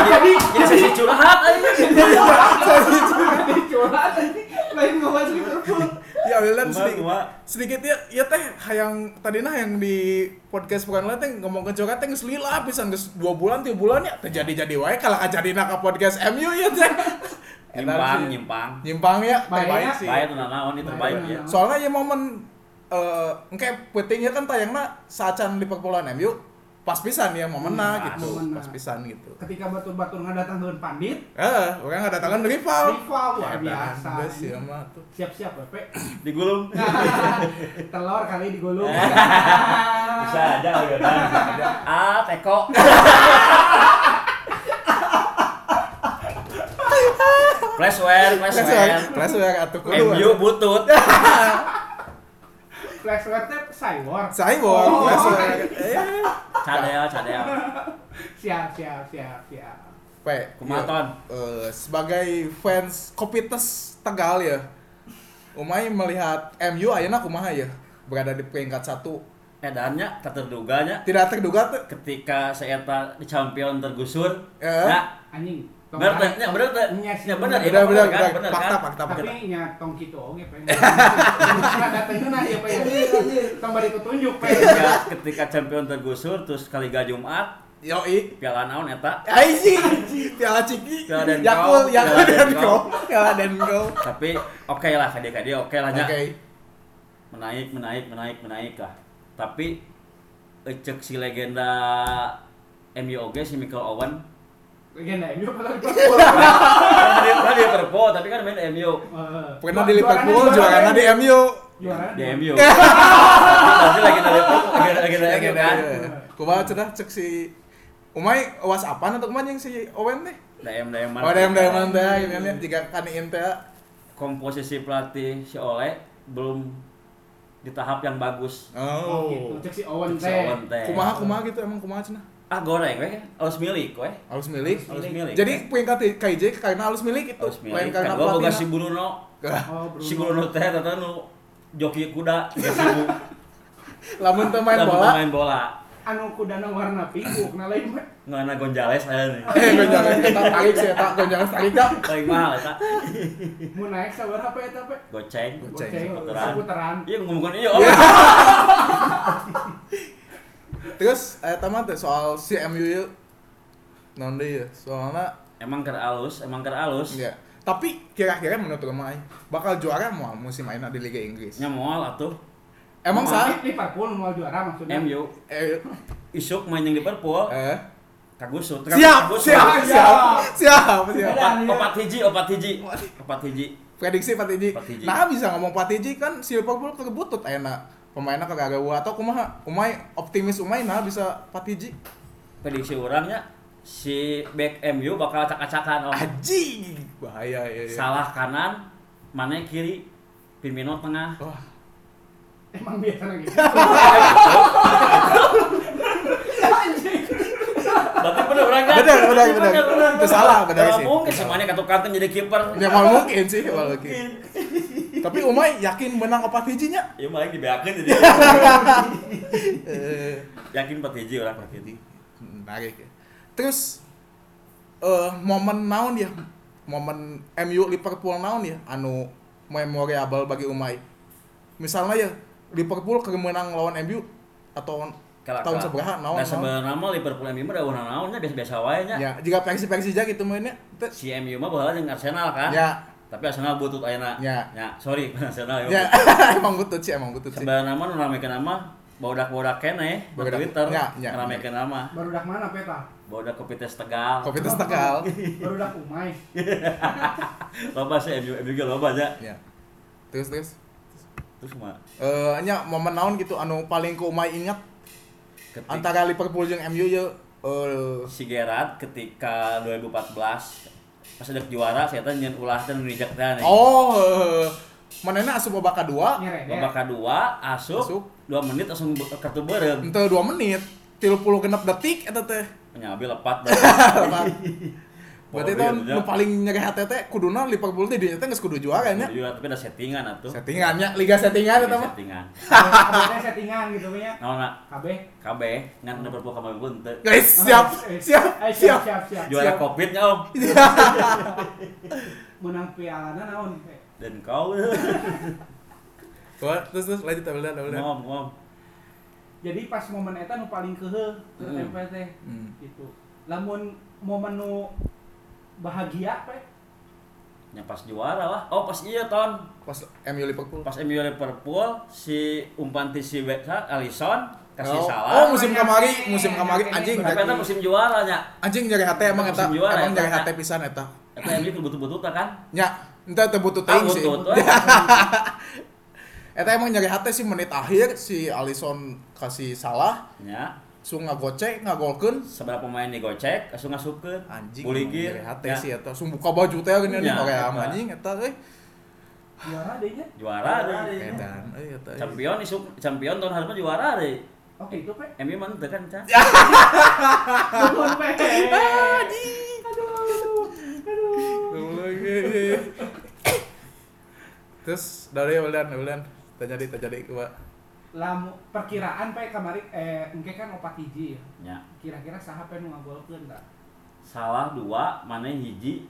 [SPEAKER 2] Jadi
[SPEAKER 5] Ini sesi curhat aja.
[SPEAKER 2] jadi curhat ini lain ngomongin Liverpool.
[SPEAKER 1] Ya, Wildan
[SPEAKER 5] Cuma,
[SPEAKER 1] sedikit.
[SPEAKER 5] cuma.
[SPEAKER 1] sedikit ya ya teh hayang tadi nah yang di podcast bukan lain teh ngomong ke Joka teh geus lila pisan geus 2 bulan 3 bulan ya terjadi jadi wae kalau kajadina ke podcast MU ya teh.
[SPEAKER 5] [laughs] Nyimpang,
[SPEAKER 1] Edan sih.
[SPEAKER 5] nyimpang.
[SPEAKER 1] Nyimpang ya teh
[SPEAKER 2] Baik
[SPEAKER 1] baik
[SPEAKER 2] ya.
[SPEAKER 1] sih.
[SPEAKER 5] Baik tuh nanaon ini terbaik ya.
[SPEAKER 1] Soalnya ya momen eh engke pentingnya kan tayangna saacan Liverpool lawan MU pas pisan ya momenna
[SPEAKER 5] Hmm,
[SPEAKER 1] gitu,
[SPEAKER 2] momenna.
[SPEAKER 1] pas pisan gitu.
[SPEAKER 2] Ketika batur-batur ngadatangkeun pandit,
[SPEAKER 1] Eh, orang ada tangan rival.
[SPEAKER 2] rival luar
[SPEAKER 1] Ya,
[SPEAKER 2] biasa.
[SPEAKER 1] geus ya mah tuh.
[SPEAKER 2] Siap-siap, Bapak. Eh,
[SPEAKER 5] Digulung.
[SPEAKER 2] Telur kali digulung.
[SPEAKER 1] Eh.
[SPEAKER 2] [laughs]
[SPEAKER 5] Bisa aja udah. Ah, teko. Flashware, flashware.
[SPEAKER 1] Flashback atuh kudu.
[SPEAKER 5] MU [laughs] butut.
[SPEAKER 2] Flash web cyborg.
[SPEAKER 1] Cyborg,
[SPEAKER 2] Oh.
[SPEAKER 1] flashback. Eh.
[SPEAKER 5] Cadel, cadel.
[SPEAKER 2] Siap, siap, siap, siap.
[SPEAKER 1] Pe,
[SPEAKER 5] Kumaha,
[SPEAKER 1] iya.
[SPEAKER 5] Ton?
[SPEAKER 1] Eh, sebagai fans Kopites Tegal ya. Umay melihat MU ayeuna kumaha ya? Berada di peringkat satu.
[SPEAKER 5] Edannya tak terduganya
[SPEAKER 1] Tidak terduga tuh.
[SPEAKER 5] ketika saya di champion tergusur.
[SPEAKER 1] Eh.
[SPEAKER 5] Ya,
[SPEAKER 2] Anjing. tong
[SPEAKER 5] benar teh,
[SPEAKER 2] tarik.
[SPEAKER 5] ya benar teh.
[SPEAKER 2] Iya sih,
[SPEAKER 5] Ya benar,
[SPEAKER 1] Bener,
[SPEAKER 5] ya
[SPEAKER 1] bener,
[SPEAKER 5] kan,
[SPEAKER 1] bener.
[SPEAKER 5] bener
[SPEAKER 1] Fakta,
[SPEAKER 5] kan.
[SPEAKER 1] fakta, fakta.
[SPEAKER 2] Tapi nya [laughs] tong kitu oge pengen. Datangkeun nah ya
[SPEAKER 1] Iya,
[SPEAKER 2] pengen. Tong bari kutunjuk pengen.
[SPEAKER 5] Ketika, ketika champion tergusur terus kaliga Jumat
[SPEAKER 1] Yoi.
[SPEAKER 5] piala naon ya, eta
[SPEAKER 1] Aisi, Piala Ciki,
[SPEAKER 5] Piala Denko,
[SPEAKER 1] Yakul, Yakul
[SPEAKER 5] Piala Denko.
[SPEAKER 1] Denko, Piala Denko.
[SPEAKER 5] tapi oke lah kadi kadi oke lah
[SPEAKER 1] Oke,
[SPEAKER 5] nya menaik menaik menaik menaik lah tapi ecek si legenda MU oge si Michael Owen
[SPEAKER 2] Legenda ya, MU kalau di
[SPEAKER 5] kan dia kan dia Liverpool tapi kan main MU
[SPEAKER 1] pernah di Liverpool, juaranya di MU.
[SPEAKER 2] Juara.
[SPEAKER 5] di MU tapi legenda Liverpool legenda legenda
[SPEAKER 1] Ya, gitu,
[SPEAKER 5] MU kan
[SPEAKER 1] ya. Kumaha cenah cek si Umay was apaan atau kemana yang si Owen teh?
[SPEAKER 5] DM DM
[SPEAKER 1] Oh, ada yang mana teh? Gitu kan ya, jika kan teh.
[SPEAKER 5] komposisi pelatih si Ole belum di tahap yang bagus
[SPEAKER 2] Oh, gitu.
[SPEAKER 1] Oh.
[SPEAKER 2] Cek si Owen
[SPEAKER 5] si
[SPEAKER 2] teh.
[SPEAKER 5] Owen teh
[SPEAKER 1] Kumaha kumaha gitu emang kumaha cenah?
[SPEAKER 5] ah goreng we harus milik we
[SPEAKER 1] Alus milik.
[SPEAKER 5] harus milik
[SPEAKER 1] Jadi peringkat KJ karena alus milik itu.
[SPEAKER 5] harus milik
[SPEAKER 1] karena
[SPEAKER 5] kedua Kan boga
[SPEAKER 1] platina.
[SPEAKER 5] si Bruno
[SPEAKER 2] Oh, Bruno.
[SPEAKER 5] [laughs] si Bruno teh tata nu joki kuda geus sibuk
[SPEAKER 1] Lamun teu [laughs] main
[SPEAKER 5] Lamun
[SPEAKER 1] bola.
[SPEAKER 5] main bola
[SPEAKER 2] Anu kudana warna pink na lain mah.
[SPEAKER 5] ngana Gonzales aya nih
[SPEAKER 1] Eh, gonjangan eta tarik sih eta gonjangan tarik dah.
[SPEAKER 5] paling mahal eta
[SPEAKER 2] Mun naik sabar apa ya, eta pe?
[SPEAKER 5] goceng
[SPEAKER 1] Goceng.
[SPEAKER 5] seputaran.
[SPEAKER 2] Seputaran.
[SPEAKER 5] iya ngomongkan iya
[SPEAKER 1] Iya.
[SPEAKER 5] oh
[SPEAKER 1] Terus eh, eta mah teh soal si MU yuk. Naon deui ya? Soalna
[SPEAKER 5] emang ker alus emang ker alus
[SPEAKER 1] ya. Tapi kira-kira menurut Umay bakal juara mau musim mainnya di Liga Inggris.
[SPEAKER 5] nyamual atuh
[SPEAKER 1] Emang sah?
[SPEAKER 2] Liverpool mau juara maksudnya.
[SPEAKER 5] MU
[SPEAKER 1] Eh,
[SPEAKER 5] isuk main yang Liverpool
[SPEAKER 1] eh.
[SPEAKER 5] kagusut
[SPEAKER 1] Siap,
[SPEAKER 5] kagusut.
[SPEAKER 1] siap, siap, siap, siap.
[SPEAKER 5] opat opat hiji opat hiji opat hiji
[SPEAKER 1] prediksi Patiji.
[SPEAKER 5] Patiji.
[SPEAKER 1] Nah bisa ngomong Patiji kan si Liverpool kebutut enak pemainnya kagak gawa atau kumaha umay optimis umay nah bisa Patiji
[SPEAKER 5] prediksi orangnya si back MU bakal acak-acakan oh.
[SPEAKER 1] aji bahaya ya, ya.
[SPEAKER 5] salah kanan mana kiri Firmino tengah
[SPEAKER 1] Wah,
[SPEAKER 2] Emang biasanya gitu.
[SPEAKER 5] berarti bener orang kan
[SPEAKER 1] Bener, bener, bener. Itu salah, bener
[SPEAKER 5] Nggak
[SPEAKER 1] sih.
[SPEAKER 5] mungkin semuanya kartu kartu jadi kiper
[SPEAKER 1] ya mal mungkin sih mal mungkin tapi umay yakin menang ke Patijinya
[SPEAKER 5] [laughs] ya malah dibeakin jadi
[SPEAKER 1] eh,
[SPEAKER 5] yakin empat hiji orang empat hiji
[SPEAKER 1] menarik ya. terus eh momen naon ya momen MU Liverpool naon ya anu memorable bagi Umay? Misalnya ya Liverpool keur menang lawan MU atau tahun seberaha naon
[SPEAKER 5] Nah
[SPEAKER 1] naon.
[SPEAKER 5] sebenarnya mah Liverpool MU mah udah naonnya biasa-biasa wae nya.
[SPEAKER 1] Ya, jika Persija-Persija gitu mainnya. teu-
[SPEAKER 5] Si MU mah bahala jeung Arsenal kan.
[SPEAKER 1] Ya,
[SPEAKER 5] Tapi Arsenal butut ayeuna.
[SPEAKER 1] Ya.
[SPEAKER 5] sorry [laughs] Arsenal.
[SPEAKER 1] ya [laughs] emang butut sih, emang butut sih.
[SPEAKER 5] Sebenarnya mah nu ramekeun nama bodak-bodak keneh di
[SPEAKER 1] Bodak-
[SPEAKER 5] Twitter.
[SPEAKER 1] ya, ya.
[SPEAKER 5] Ramekeun nama.
[SPEAKER 2] baru dak mana peta
[SPEAKER 5] Bodak Kopites Tegal.
[SPEAKER 1] Covid tegal.
[SPEAKER 2] [laughs] baru dak umai
[SPEAKER 5] Loba sih MU MU ge loba aja.
[SPEAKER 1] Ya. Terus terus.
[SPEAKER 5] Terus mah
[SPEAKER 1] Eh, nya momen naon gitu anu paling ku Umay ingat
[SPEAKER 5] ketik-
[SPEAKER 1] antara Liverpool jeung MU ya eh
[SPEAKER 5] si Gerard ketika 2014 pas ada juara saya tanya nyen ulah dan nunijak teh nih.
[SPEAKER 1] oh eh, manehna asup babak kedua
[SPEAKER 2] nyeredek
[SPEAKER 5] Babak kedua asup,
[SPEAKER 1] Asup.
[SPEAKER 5] dua menit langsung be- kartu bareng.
[SPEAKER 1] Ente 2 menit, 36 detik eta teh.
[SPEAKER 5] Nyabi
[SPEAKER 1] [laughs]
[SPEAKER 5] lepat [laughs]
[SPEAKER 1] Apa? Berarti
[SPEAKER 5] Power
[SPEAKER 1] itu
[SPEAKER 5] dia
[SPEAKER 1] nu
[SPEAKER 5] punya.
[SPEAKER 1] paling nyegehat teh kuduna Liverpool teh dinya teh geus kudu juara nya.
[SPEAKER 5] Juga Iya, tapi ada settingan atuh.
[SPEAKER 1] Settingannya liga settingan eta mah.
[SPEAKER 5] settingan.
[SPEAKER 2] kabeh settingan gitu punya
[SPEAKER 5] Nah, nah,
[SPEAKER 2] kabeh
[SPEAKER 5] kabeh ngan ada berpuluh kamar pun teu.
[SPEAKER 1] Guys, siap,
[SPEAKER 2] Eh,
[SPEAKER 1] siap, Iya,
[SPEAKER 2] eh,
[SPEAKER 1] siap.
[SPEAKER 2] siap siap siap
[SPEAKER 5] Juara Covid-nya Om.
[SPEAKER 2] menang pialana naon eh,
[SPEAKER 5] Dan kau
[SPEAKER 1] Iya. Wah, terus terus lanjut tabel tabel.
[SPEAKER 5] ngom ngom.
[SPEAKER 2] jadi pas momen eta nu paling kehe ke
[SPEAKER 5] Hmm.
[SPEAKER 2] MPT gitu lamun momen nu bahagia pe
[SPEAKER 5] Nya pas juara lah. Oh, pas iya ton.
[SPEAKER 1] Pas MU Liverpool.
[SPEAKER 5] Pas MU Liverpool si umpan ti si Beckham Alisson kasih
[SPEAKER 1] Oh,
[SPEAKER 5] salah.
[SPEAKER 1] oh, musim kamari, musim kamari anjing.
[SPEAKER 5] Tapi itu musim juara nya.
[SPEAKER 1] Anjing nyari hati emang
[SPEAKER 5] Musim
[SPEAKER 1] eta,
[SPEAKER 5] juara,
[SPEAKER 1] emang
[SPEAKER 5] eta.
[SPEAKER 1] nyari hati pisan eta.
[SPEAKER 5] Eta yang itu butuh-butuh kan?
[SPEAKER 1] Nya, ente teu butuh
[SPEAKER 5] Tahu
[SPEAKER 1] ting sih.
[SPEAKER 5] tuh.
[SPEAKER 1] [laughs] Eta Eh, emang nyari hati sih menit akhir si Alisson kasih salah,
[SPEAKER 5] Ya,
[SPEAKER 1] sung ngagocek, ngagolkeun.
[SPEAKER 5] seberapa pemain digocek, langsung ngasukeun.
[SPEAKER 1] Anjing,
[SPEAKER 5] Buligir.
[SPEAKER 1] nyari hati sih ya. eta. Sung buka baju teh gini nih,
[SPEAKER 5] Nya,
[SPEAKER 1] oke
[SPEAKER 5] Ya. eta.
[SPEAKER 1] anjing eta eh. euy.
[SPEAKER 2] juara deh nya
[SPEAKER 5] Juara deh.
[SPEAKER 1] Edan, euy eta. eh. euy.
[SPEAKER 5] Champion isuk champion tahun harusnya juara deh. Eh.
[SPEAKER 2] oke itu pe
[SPEAKER 5] MU mana teu kan Ca?
[SPEAKER 1] Ya.
[SPEAKER 2] Nuhun, pe aduh aduh
[SPEAKER 1] Lagi. Terus dari Ulan, Ulan, tanya di, tanya di, coba.
[SPEAKER 2] lamu perkiraan pe kamari eh engke kan opat hiji ya
[SPEAKER 5] Nya.
[SPEAKER 2] kira-kira saha pe nu ngagolkeun da
[SPEAKER 5] Salah dua, mana hiji?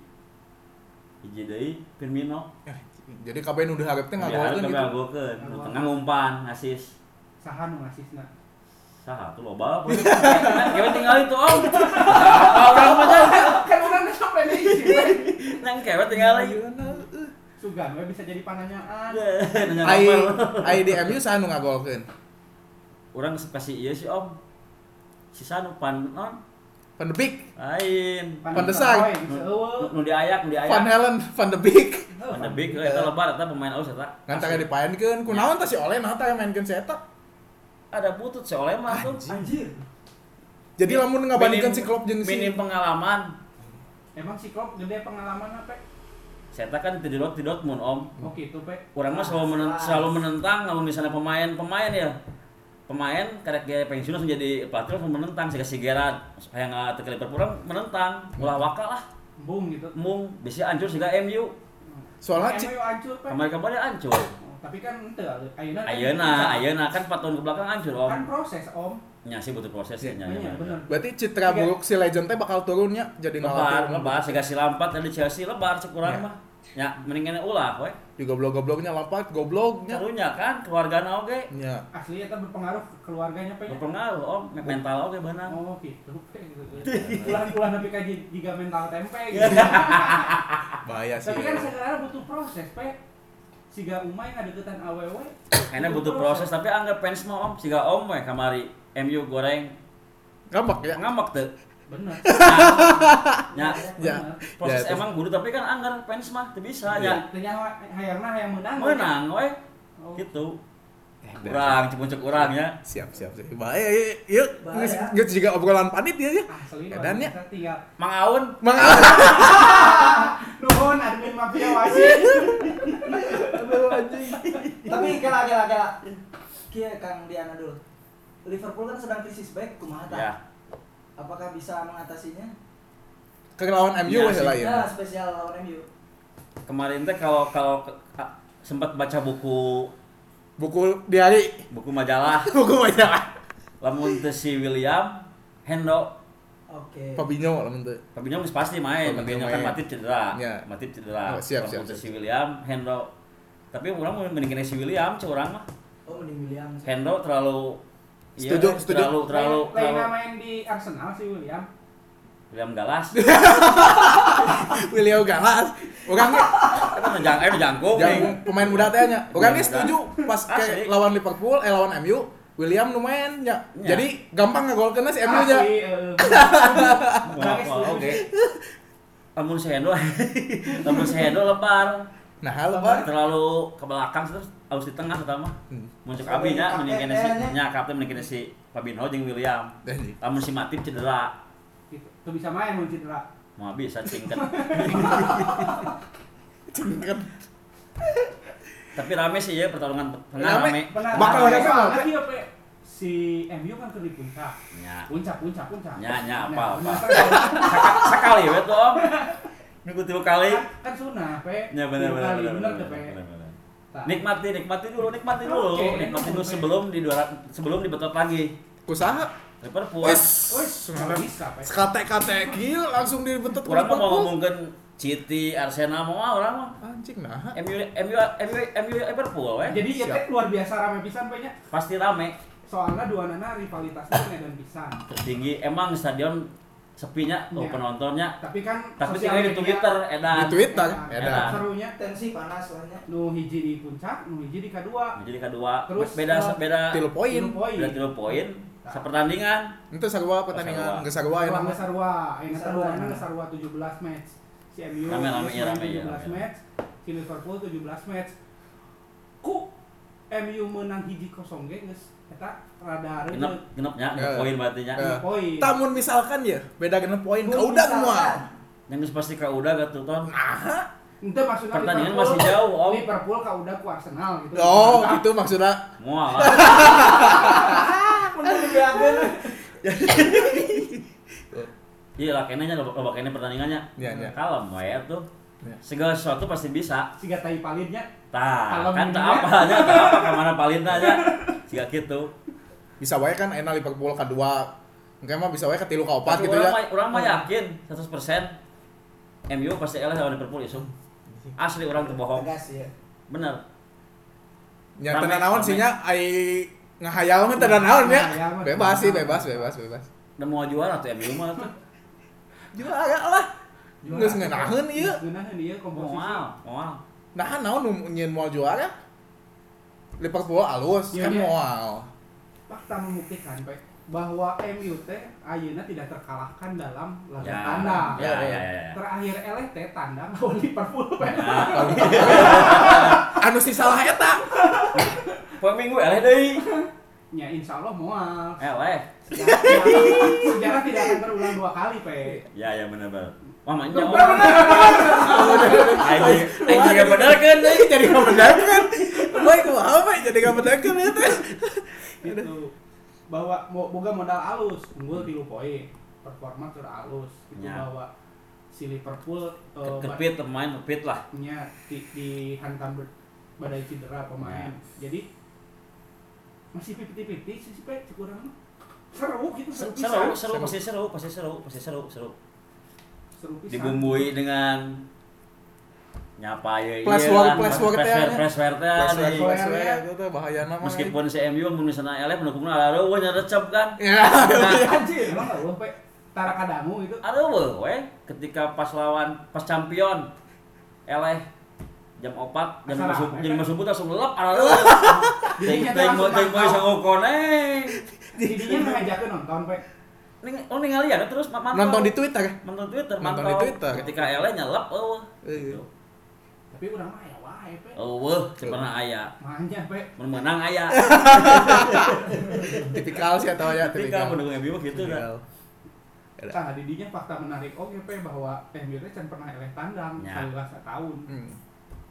[SPEAKER 5] Hiji deui Firmino.
[SPEAKER 1] Eh, Jadi kabeh nu diharap teh
[SPEAKER 5] Ya,
[SPEAKER 1] ngagolkeun
[SPEAKER 5] tapi
[SPEAKER 1] gitu.
[SPEAKER 5] ngagolkeun. Nu tengah ngumpan, asis.
[SPEAKER 2] saha nu ngasihna
[SPEAKER 5] Saha tuh [laughs] loba. apa? Kita tinggal itu, Om. Apa orang mah Ca?
[SPEAKER 2] kan orang nggak sampai di sini
[SPEAKER 5] nang kewe tinggal lagi.
[SPEAKER 2] sugan we ya, bisa jadi pananyaan
[SPEAKER 1] eh.
[SPEAKER 5] Nanya
[SPEAKER 1] Ai
[SPEAKER 5] Rafael.
[SPEAKER 1] ai di MU saha nu ngagolkeun?
[SPEAKER 5] Orang suka si iya si Om. Sisa nu pan non
[SPEAKER 1] Van de Beek,
[SPEAKER 5] lain.
[SPEAKER 1] Pandesang.
[SPEAKER 2] Oh, yang seueuh.
[SPEAKER 5] Nu diayak, nu
[SPEAKER 1] Van
[SPEAKER 5] diayak.
[SPEAKER 1] Halen, Van de Beek.
[SPEAKER 5] Van de Beek, eta lebar, eta pemain aus eta.
[SPEAKER 1] Ngan tara dipaenkeun, kunaon tah si Oleh nah tah yang mainkeun si eta?
[SPEAKER 5] Ada butut si Oleh mah tuh.
[SPEAKER 3] anjir
[SPEAKER 1] Jadi lamun ngabandingkeun
[SPEAKER 5] Minim-
[SPEAKER 1] si Klopp jeung si
[SPEAKER 5] minim pengalaman.
[SPEAKER 2] emang si Klopp gede pengalaman apa
[SPEAKER 5] Hmm. Saya kan di Dortmund, di Dortmund om.
[SPEAKER 2] oke itu pe
[SPEAKER 5] Orang mah selalu, menen- selalu menentang kalau misalnya pemain-pemain ya. Pemain karek gaya pensiun langsung jadi pelatih langsung menentang si kasih Gerard. Hayang nggak tekel Liverpool orang menentang. Ulah waka lah.
[SPEAKER 2] embung gitu
[SPEAKER 5] Mung bisa hancur sehingga MU.
[SPEAKER 1] Soalnya
[SPEAKER 2] MU hancur pe
[SPEAKER 5] Kemarin kemarin hancur.
[SPEAKER 2] Oh, tapi kan ente ayeuna kan-
[SPEAKER 5] Ayeuna, ayeuna kan 4 tahun ke belakang hancur om.
[SPEAKER 2] kan proses om
[SPEAKER 5] Nya sih butuh prosesnya.
[SPEAKER 2] Iya, bener
[SPEAKER 1] berarti citra
[SPEAKER 2] Oke.
[SPEAKER 1] buruk si legend teh bakal turunnya jadi
[SPEAKER 5] Lebar,
[SPEAKER 1] ngelatih.
[SPEAKER 5] lebar, sehingga si Lampard dari Chelsea
[SPEAKER 2] Iya.
[SPEAKER 5] lebar
[SPEAKER 1] Ya.
[SPEAKER 5] sekurang mah. Ya, mendingan ulah we.
[SPEAKER 1] Juga goblok-gobloknya Lampard, gobloknya.
[SPEAKER 5] Karunya kan keluarga oge
[SPEAKER 1] Nya.
[SPEAKER 2] asli eta berpengaruh ke keluarganya pe
[SPEAKER 5] berpengaruh om mental oge benar.
[SPEAKER 2] oh [laughs] gitu pe ulah-ulah tapi kaji juga mental tempe gitu
[SPEAKER 1] Bahaya sih.
[SPEAKER 2] tapi kan sekarang butuh proses pe siga umay ngadeukeutan awewe
[SPEAKER 5] Karena butuh proses tapi anggap fans mah om siga om we kamari MU goreng
[SPEAKER 1] Ngambek ya.
[SPEAKER 5] ngamak teu.
[SPEAKER 2] bener Iya.
[SPEAKER 5] Nya
[SPEAKER 1] Ya.
[SPEAKER 2] bener
[SPEAKER 1] Ya,
[SPEAKER 5] proses
[SPEAKER 1] terus-
[SPEAKER 5] emang guru tapi kan anggar fans mah teu
[SPEAKER 2] Ya,
[SPEAKER 5] bisa ya.
[SPEAKER 2] ternyata hayangna hayang menang.
[SPEAKER 5] Menang we
[SPEAKER 2] Oh.
[SPEAKER 5] gitu.
[SPEAKER 1] Ya.
[SPEAKER 5] Kurang cepuncuk urang ya.
[SPEAKER 1] Eh, siap siap siap bahaya ya yuk
[SPEAKER 3] Bahaya.
[SPEAKER 1] nggak juga obrolan panit ya ya
[SPEAKER 2] Asli
[SPEAKER 1] Edan ya?
[SPEAKER 2] kita tinggal.
[SPEAKER 5] Mang Aun
[SPEAKER 1] mang
[SPEAKER 2] Nuhun admin mafia wasit.
[SPEAKER 3] Aduh anjing. Tapi kela kela kela. Kia Kang Diana dulu. Liverpool kan sedang krisis back kumaha tah?
[SPEAKER 5] ya.
[SPEAKER 3] Apakah bisa mengatasinya?
[SPEAKER 1] ke lawan MU
[SPEAKER 5] Ya,
[SPEAKER 1] ya lah ya
[SPEAKER 3] Ya, spesial lawan MU.
[SPEAKER 5] Kemarin teh kalau kalau ka- sempat baca buku
[SPEAKER 1] buku diari
[SPEAKER 5] buku majalah
[SPEAKER 1] [laughs] buku majalah
[SPEAKER 5] lamun teu si William Hendo
[SPEAKER 3] Oke.
[SPEAKER 1] Fabinho lah mentu
[SPEAKER 5] Fabinho geus pasti main,
[SPEAKER 1] Fabinho
[SPEAKER 5] Fabinho
[SPEAKER 1] Oh,
[SPEAKER 5] kan
[SPEAKER 1] main.
[SPEAKER 5] Matip cedera.
[SPEAKER 1] Ya.
[SPEAKER 5] Matip cedera.
[SPEAKER 1] Oh, siap,
[SPEAKER 5] Lamun
[SPEAKER 1] siap,
[SPEAKER 5] teu
[SPEAKER 1] siap.
[SPEAKER 5] Si William Hendo tapi orang mau mendingin si William cuy orang mah
[SPEAKER 3] Oh mending William.
[SPEAKER 5] Hendo terlalu iya,
[SPEAKER 1] Setuju, setuju.
[SPEAKER 5] terlalu [laughs] terlalu terlalu
[SPEAKER 2] Lainnya main di Arsenal sih William.
[SPEAKER 5] William
[SPEAKER 1] [laughs]
[SPEAKER 5] Galas
[SPEAKER 1] William Galas. Orang ge-
[SPEAKER 5] kan menjang eh menjangkau
[SPEAKER 1] Jangan pemain muda teh nya. Orang
[SPEAKER 5] Muda.
[SPEAKER 1] ini setuju pas
[SPEAKER 5] Asli.
[SPEAKER 1] ke lawan Liverpool eh lawan MU William lumayan nya.
[SPEAKER 5] Ya.
[SPEAKER 1] Jadi gampang ngegolkeun si MU nya.
[SPEAKER 2] Asli, eh,
[SPEAKER 5] oke namun si [laughs] Hendo namun si Hendo lebar
[SPEAKER 1] Nah, lebar.
[SPEAKER 5] terlalu ke belakang terus harus di tengah pertama
[SPEAKER 1] Hmm.
[SPEAKER 5] muncul abi nya
[SPEAKER 3] Kapten
[SPEAKER 5] mendingin si
[SPEAKER 3] nya.
[SPEAKER 5] nya kapten mendingin si Fabinho jeung William
[SPEAKER 1] Anjing.
[SPEAKER 5] namun si Matip cedera
[SPEAKER 2] gitu. Tuh bisa main mun cedera.
[SPEAKER 5] mau bisa cingket
[SPEAKER 1] [laughs] Cengket.
[SPEAKER 5] tapi rame sih ya pertarungan tengah
[SPEAKER 1] Rame.
[SPEAKER 5] rame
[SPEAKER 2] Pernah
[SPEAKER 1] Bakal ada
[SPEAKER 2] ada
[SPEAKER 1] apa?
[SPEAKER 2] banget ya, Pe. Si MU kan ke di puncak.
[SPEAKER 5] nya
[SPEAKER 2] Puncak, puncak, puncak.
[SPEAKER 5] Nya, nya,
[SPEAKER 2] Nah,
[SPEAKER 5] apa,
[SPEAKER 2] bener
[SPEAKER 5] apa.
[SPEAKER 2] kan?
[SPEAKER 5] Saka- sekali we [laughs] tuh om minggu tilu kali
[SPEAKER 2] Kan- Kan sunah, Pe.
[SPEAKER 5] ya benar
[SPEAKER 2] Tiga
[SPEAKER 5] benar
[SPEAKER 2] kali,
[SPEAKER 5] benar
[SPEAKER 2] bener
[SPEAKER 5] benar,
[SPEAKER 2] tuh, Pe.
[SPEAKER 5] benar, benar.
[SPEAKER 2] Tah.
[SPEAKER 5] nikmati nikmati dulu nikmati dulu
[SPEAKER 2] Oke.
[SPEAKER 5] nikmati dulu sebelum di dua sebelum dibetot lagi
[SPEAKER 1] Kusaha?
[SPEAKER 5] Liverpool
[SPEAKER 1] Wes.
[SPEAKER 2] Wes, nggak bisa, Pe.
[SPEAKER 1] Sekate-kate gil langsung dibentet
[SPEAKER 5] kurang mah mau
[SPEAKER 1] Liverpool.
[SPEAKER 5] ngomongin City Arsenal mau ah, orang mah
[SPEAKER 1] Anjing nah.
[SPEAKER 5] MU MU MU MU Liverpool we
[SPEAKER 2] Jadi ya teh luar biasa rame pisan pe nya.
[SPEAKER 5] pasti rame
[SPEAKER 2] Soalnya dua nana rivalitasnya kan dan pisan.
[SPEAKER 5] tertinggi emang stadion sepinya oh,
[SPEAKER 2] Iya.
[SPEAKER 5] penontonnya
[SPEAKER 2] Tapi kan
[SPEAKER 5] tapi
[SPEAKER 2] sosial
[SPEAKER 5] tinggal di
[SPEAKER 2] media-
[SPEAKER 5] Twitter
[SPEAKER 1] Di
[SPEAKER 5] edan
[SPEAKER 1] Twitter
[SPEAKER 5] Edan.
[SPEAKER 1] edan.
[SPEAKER 2] Serunya
[SPEAKER 3] Tensi panas soalnya.
[SPEAKER 2] nu hiji di puncak, nu hiji di kedua.
[SPEAKER 5] jadi kedua
[SPEAKER 2] Terus,
[SPEAKER 5] beda
[SPEAKER 2] eh,
[SPEAKER 5] beda
[SPEAKER 1] Tilu poin.
[SPEAKER 2] Tilu poin. Nah.
[SPEAKER 5] beda tilu poin sepertandingan
[SPEAKER 1] Itu sarua pertandingan
[SPEAKER 5] Sarua.
[SPEAKER 1] geus sarua ya.
[SPEAKER 2] Orang Sarwa, ini kan
[SPEAKER 3] Sarua.
[SPEAKER 2] orangnya Sarwa 17 match. Si MU
[SPEAKER 5] Rame-rame, iya, rame, iya,
[SPEAKER 2] 17
[SPEAKER 5] rame.
[SPEAKER 2] match, si Liverpool 17 match. Ku MU menang hiji kosong ge geus eta rada
[SPEAKER 5] genep
[SPEAKER 2] reueut.
[SPEAKER 5] genepnya
[SPEAKER 1] Eh.
[SPEAKER 5] poin ya. berartinya
[SPEAKER 1] Eh.
[SPEAKER 2] Poin.
[SPEAKER 1] Tamun misalkan ya beda genep poin
[SPEAKER 3] Mun
[SPEAKER 1] ka udang
[SPEAKER 3] misalkan.
[SPEAKER 1] mah.
[SPEAKER 5] yang geus pasti kau udah gitu ton
[SPEAKER 1] Nah.
[SPEAKER 2] Ente maksudnya
[SPEAKER 5] Pertandingan
[SPEAKER 2] Liverpool-
[SPEAKER 5] masih jauh, Om.
[SPEAKER 2] Liverpool ka udah ku Arsenal gitu.
[SPEAKER 1] Oh, gitu maksudnya.
[SPEAKER 5] mual lah
[SPEAKER 3] Mending diambil.
[SPEAKER 5] iya lah kenanya loba loba kene pertandingannya
[SPEAKER 1] Iya, iya.
[SPEAKER 5] kalem we tuh
[SPEAKER 1] Iya.
[SPEAKER 5] segala sesuatu pasti bisa
[SPEAKER 2] Siga tai palidnya
[SPEAKER 5] Tah,
[SPEAKER 2] Kalau
[SPEAKER 5] kan tak
[SPEAKER 2] minumnya.
[SPEAKER 5] apa aja, tak apa kemana palin aja. Jika gitu.
[SPEAKER 1] Bisa wae kan enak Liverpool ka 2. Engke mah bisa wae ka 3 ka 4 gitu
[SPEAKER 5] Tapi orang
[SPEAKER 1] ya.
[SPEAKER 5] mah- Orang mah yakin 100% MU pasti kalah lawan Liverpool isu. Asli orang tuh bohong.
[SPEAKER 3] Tegas ya.
[SPEAKER 5] Bener.
[SPEAKER 1] Nya
[SPEAKER 5] Rame,
[SPEAKER 1] tenan naon
[SPEAKER 5] rame.
[SPEAKER 1] sih nya ai ngahayal mah tenan naon ya.
[SPEAKER 2] Ngahayal mah.
[SPEAKER 1] Bebas sih, bebas, bebas, bebas.
[SPEAKER 5] Udah mau juara tuh MU mah tuh.
[SPEAKER 1] Juara ya lah. Geus iya. ngeunaheun ieu.
[SPEAKER 2] Geus ngeunaheun ieu komposisi.
[SPEAKER 5] Mual, mual.
[SPEAKER 1] Nah, naon nu nyeun moal juara? Liverpool ya? alus,
[SPEAKER 2] Iya,
[SPEAKER 1] kan
[SPEAKER 2] iya.
[SPEAKER 1] moal.
[SPEAKER 2] fakta membuktikan Pak bahwa MU teh ayeuna tidak terkalahkan dalam laga
[SPEAKER 5] Ya,
[SPEAKER 2] tandang.
[SPEAKER 5] ya, ya, ya, ya.
[SPEAKER 2] Terakhir eleh teh tandang lawan Liverpool Pak.
[SPEAKER 5] Nah,
[SPEAKER 1] Anu si salah eta.
[SPEAKER 5] poin minggu eleh deui.
[SPEAKER 2] Ya insya Allah mual.
[SPEAKER 5] Eleh.
[SPEAKER 2] Sejarah,
[SPEAKER 5] [laughs]
[SPEAKER 2] tidak- sejarah tidak akan terulang dua kali Pak.
[SPEAKER 5] Ya, ya bener bener. Mama nya. Anjing, anjing yang bener kan deui.
[SPEAKER 1] jadi nggak benar kan boy kok apa jadi nggak benar kan ya teh
[SPEAKER 2] Gitu. Bahwa mo- boga modal alus, unggul 3 poin. Performa keur alus. Itu
[SPEAKER 5] Ya.
[SPEAKER 2] bahwa si Liverpool eh,
[SPEAKER 5] Kepit pemain kepit lah.
[SPEAKER 2] nya di, dihantam ber- badai cedera pemain.
[SPEAKER 5] Ya.
[SPEAKER 2] Jadi masih 50-50 sih sih Pak, kurang seru gitu seru pisan.
[SPEAKER 5] Seru, seru, pasti seru, pasti seru, pasti seru, seru.
[SPEAKER 2] Seru pisan.
[SPEAKER 5] dibumbui dengan nyapa ya
[SPEAKER 1] Plus war- plus war teh,
[SPEAKER 5] war
[SPEAKER 1] ya.
[SPEAKER 5] plus war teh,
[SPEAKER 1] Sesuai-
[SPEAKER 5] nih.
[SPEAKER 2] war.
[SPEAKER 1] sesuai itu tuh bahaya nama
[SPEAKER 5] Iya,
[SPEAKER 1] eh.
[SPEAKER 5] meskipun si MU mun misalnya eleh pendukungnya ada eueuh nya recep kan
[SPEAKER 1] ya
[SPEAKER 2] [laughs] Anjir, emang enggak Pak tara kadamu gitu.
[SPEAKER 5] ada eueuh we ketika pas lawan pas champion eleh jam 4 jam
[SPEAKER 2] Asal
[SPEAKER 5] 5 subuh
[SPEAKER 2] apa,
[SPEAKER 5] jam
[SPEAKER 2] ya?
[SPEAKER 5] 5 subuh langsung lelep ada eueuh
[SPEAKER 2] Jadinya
[SPEAKER 5] teng
[SPEAKER 2] langsung
[SPEAKER 5] mau teng mau
[SPEAKER 2] mantau.
[SPEAKER 5] sang koneng
[SPEAKER 1] [laughs]
[SPEAKER 2] Jadinya ngajakeun nonton Pak.
[SPEAKER 5] ning oh ningali ya terus ma- mantau
[SPEAKER 1] nonton di twitter
[SPEAKER 5] nonton Twitter
[SPEAKER 1] Nonton
[SPEAKER 5] mantau
[SPEAKER 1] di Twitter.
[SPEAKER 5] ketika eleh nyelep eueuh
[SPEAKER 1] Iya.
[SPEAKER 5] Gitu.
[SPEAKER 2] Tapi urang mah aya wae Pak.
[SPEAKER 1] Oh.
[SPEAKER 5] eueuh cepana
[SPEAKER 1] Iya.
[SPEAKER 5] aya
[SPEAKER 2] Manja Pak.
[SPEAKER 5] mun menang
[SPEAKER 1] [laughs]
[SPEAKER 5] aya
[SPEAKER 1] tipikal sih atau ya
[SPEAKER 5] ketika
[SPEAKER 1] tipikal
[SPEAKER 5] pendukung MU gitu kan
[SPEAKER 1] Tipikal.
[SPEAKER 2] Tah Nah, didinya fakta menarik oge Pak bahwa MU teh can pernah eleh tandang
[SPEAKER 5] Ya.
[SPEAKER 2] kali tahun.
[SPEAKER 1] Hmm.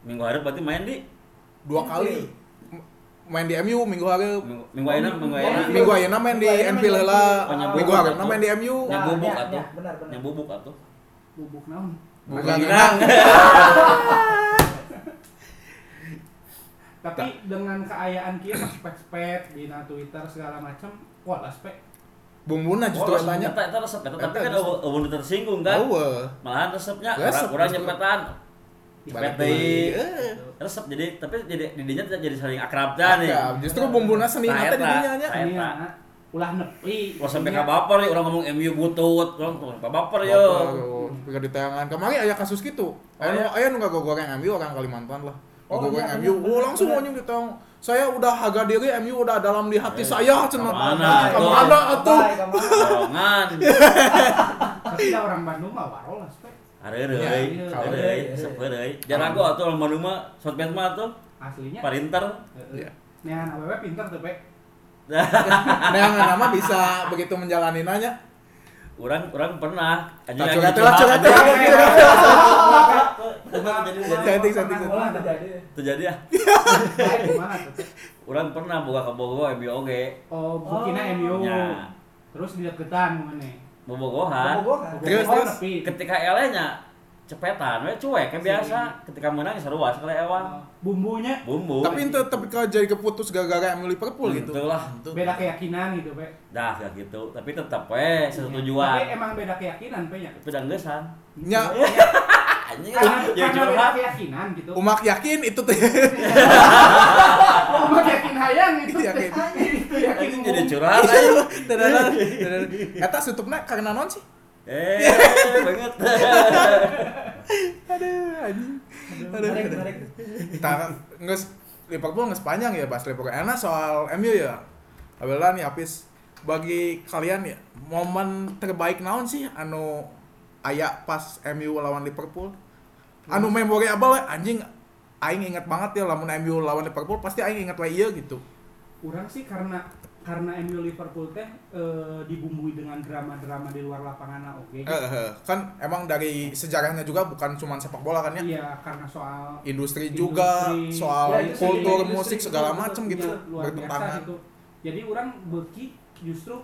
[SPEAKER 5] minggu hari berarti main di
[SPEAKER 1] dua kali M- main di MU minggu hari
[SPEAKER 5] minggu minggu ayeuna
[SPEAKER 1] Iya.
[SPEAKER 5] minggu ayeuna
[SPEAKER 3] Minggu-
[SPEAKER 1] minggu ayeuna main di
[SPEAKER 3] Minggu ayeuna
[SPEAKER 1] Anfield
[SPEAKER 3] main di-
[SPEAKER 1] lah
[SPEAKER 5] Oh,
[SPEAKER 1] E
[SPEAKER 5] nyambung.
[SPEAKER 1] minggu hari main di MU
[SPEAKER 5] Yang bubuk
[SPEAKER 3] ya,
[SPEAKER 5] atuh.
[SPEAKER 3] ya, benar benar.
[SPEAKER 5] yang bubuk atuh
[SPEAKER 2] Bubuk naon?
[SPEAKER 1] Bukan
[SPEAKER 5] Minang.
[SPEAKER 3] [laughs]
[SPEAKER 2] Tapi dengan keayaan kieu mah spek-spek di Twitter segala macam, wah lah spek.
[SPEAKER 1] bumbuna justru
[SPEAKER 5] Oh,
[SPEAKER 1] tanya
[SPEAKER 5] eta eta resep eta tapi
[SPEAKER 1] Eta
[SPEAKER 5] kan
[SPEAKER 1] resep.
[SPEAKER 5] eueuh eueuh nu tersinggung kan
[SPEAKER 1] tahu
[SPEAKER 5] malahan resepnya
[SPEAKER 1] Resep,
[SPEAKER 5] kurang
[SPEAKER 1] justru.
[SPEAKER 5] nyepetan
[SPEAKER 1] Balik
[SPEAKER 5] Balik
[SPEAKER 1] deui.
[SPEAKER 5] deui.
[SPEAKER 1] Eh,
[SPEAKER 5] resep jadi tapi jadi didinya tidak jadi saling akrab dah nih
[SPEAKER 1] akrab. Justru bumbuna seni
[SPEAKER 5] Nah,
[SPEAKER 1] nanti
[SPEAKER 5] eta.
[SPEAKER 1] didinya nya.
[SPEAKER 5] Eta.
[SPEAKER 2] Iya, ulah nepi.
[SPEAKER 5] Wah sampai
[SPEAKER 2] Iya.
[SPEAKER 5] ka baper nih, orang ngomong MU butut, orang ngomong ka baper yo.
[SPEAKER 1] Pikir di tayangan. Kemarin aya kasus gitu. Aya nu aya nu gagogoreng MU orang Kalimantan lah.
[SPEAKER 3] iya? Oh,
[SPEAKER 1] Gagogoreng
[SPEAKER 3] iya,
[SPEAKER 1] MU. Oh,
[SPEAKER 3] iya,
[SPEAKER 1] langsung
[SPEAKER 3] bener.
[SPEAKER 1] anjing ditong. Saya udah harga diri, MU udah dalam di
[SPEAKER 3] Eh,
[SPEAKER 1] hati saya cenah.
[SPEAKER 5] Kemana,
[SPEAKER 3] Nah,
[SPEAKER 5] atuh?
[SPEAKER 1] Kemana atuh? [laughs]
[SPEAKER 3] Baik, kemana?
[SPEAKER 5] Dorongan.
[SPEAKER 2] Tapi dah orang Bandung mah warolas, Pak.
[SPEAKER 5] Areureui,
[SPEAKER 1] Ya,
[SPEAKER 5] areureui,
[SPEAKER 1] kalau-
[SPEAKER 5] resep areureui. Jarago atuh orang Bandung mah sosmed mah atuh
[SPEAKER 2] Aslinya.
[SPEAKER 5] parinter.
[SPEAKER 1] Iya.
[SPEAKER 2] Heeh. Nehan awewe pinter
[SPEAKER 1] [laughs]
[SPEAKER 2] tuh, Pak.
[SPEAKER 1] Neangan Nah, nama bisa begitu menjalani nanya.
[SPEAKER 5] Orang orang pernah anjing
[SPEAKER 1] Tak
[SPEAKER 5] lagi
[SPEAKER 1] curhat lah,
[SPEAKER 5] curhat,
[SPEAKER 1] curhat
[SPEAKER 5] anjing.
[SPEAKER 1] lah. Cantik, cantik,
[SPEAKER 2] Pernah
[SPEAKER 1] cantik.
[SPEAKER 2] ulah.
[SPEAKER 5] Terjadi ah.
[SPEAKER 2] Nah, Gimana tuh? Pak?
[SPEAKER 5] Orang pernah boga ka bogo MU oge.
[SPEAKER 2] Oh, bukina
[SPEAKER 3] Oh.
[SPEAKER 2] MU.
[SPEAKER 1] Ya.
[SPEAKER 5] Nya,
[SPEAKER 2] Terus dideketan mana?
[SPEAKER 5] bobogohan.
[SPEAKER 3] Bobogohan.
[SPEAKER 1] Terus, terus.
[SPEAKER 2] Oh, Nepi.
[SPEAKER 5] Ketika ele nya cepetan we cuek kayak biasa. Ketika menang sarua sekali
[SPEAKER 2] Hmm.
[SPEAKER 5] ewa.
[SPEAKER 2] Bumbunya
[SPEAKER 5] Bumbu.
[SPEAKER 1] Tapi itu tapi kalau jadi keputus gara-gara MU Liverpool
[SPEAKER 3] Nah,
[SPEAKER 1] gitu.
[SPEAKER 5] Tentu lah.
[SPEAKER 2] beda keyakinan gitu, Pak.
[SPEAKER 5] Dah kayak gitu, tapi tetap we
[SPEAKER 2] Tapi
[SPEAKER 5] setujuan.
[SPEAKER 2] emang beda keyakinan, Pak. ya?
[SPEAKER 5] Tapi danggesan.
[SPEAKER 1] Nya
[SPEAKER 5] Anjing
[SPEAKER 2] Karena,
[SPEAKER 5] ya
[SPEAKER 2] karena beda
[SPEAKER 5] curhat.
[SPEAKER 2] keyakinan gitu.
[SPEAKER 1] umak yakin itu teh.
[SPEAKER 2] Oh, mah yakin hayang itu.
[SPEAKER 1] Yakin.
[SPEAKER 2] Itu yakin
[SPEAKER 5] Anjing jadi
[SPEAKER 2] umum.
[SPEAKER 5] curhat. anjing.
[SPEAKER 1] Tadadada, tadadada. Eta sutupna karena non sih.
[SPEAKER 2] [laughs]
[SPEAKER 5] Eh, banget.
[SPEAKER 1] Aduh, anjing. Aduh.
[SPEAKER 3] Menarik, menarik.
[SPEAKER 1] Tah, geus Liverpool geus panjang ya bahas Liverpool. Enak soal MU ya. Abela nih habis bagi kalian ya momen terbaik naon sih anu aya pas MU lawan Liverpool. Anu memorable we, anjing aing inget banget ya lamun MU lawan Liverpool pasti aing inget wae ieu gitu.
[SPEAKER 2] Kurang sih karena karena MU Liverpool teh eh, dibumbui dengan drama-drama di luar lapangan oke.
[SPEAKER 1] Eh, eh, kan emang dari sejarahnya juga bukan cuman sepak bola kan ya.
[SPEAKER 2] Iya, karena soal
[SPEAKER 1] Industri, juga
[SPEAKER 2] Industri.
[SPEAKER 1] soal
[SPEAKER 2] Ya,
[SPEAKER 3] itu sih,
[SPEAKER 1] kultur
[SPEAKER 3] industri
[SPEAKER 1] musik
[SPEAKER 3] itu
[SPEAKER 1] segala
[SPEAKER 3] betul,
[SPEAKER 1] macem
[SPEAKER 2] Iya,
[SPEAKER 1] gitu
[SPEAKER 2] luar biasa
[SPEAKER 1] bertentangan.
[SPEAKER 2] gitu. Jadi orang beki justru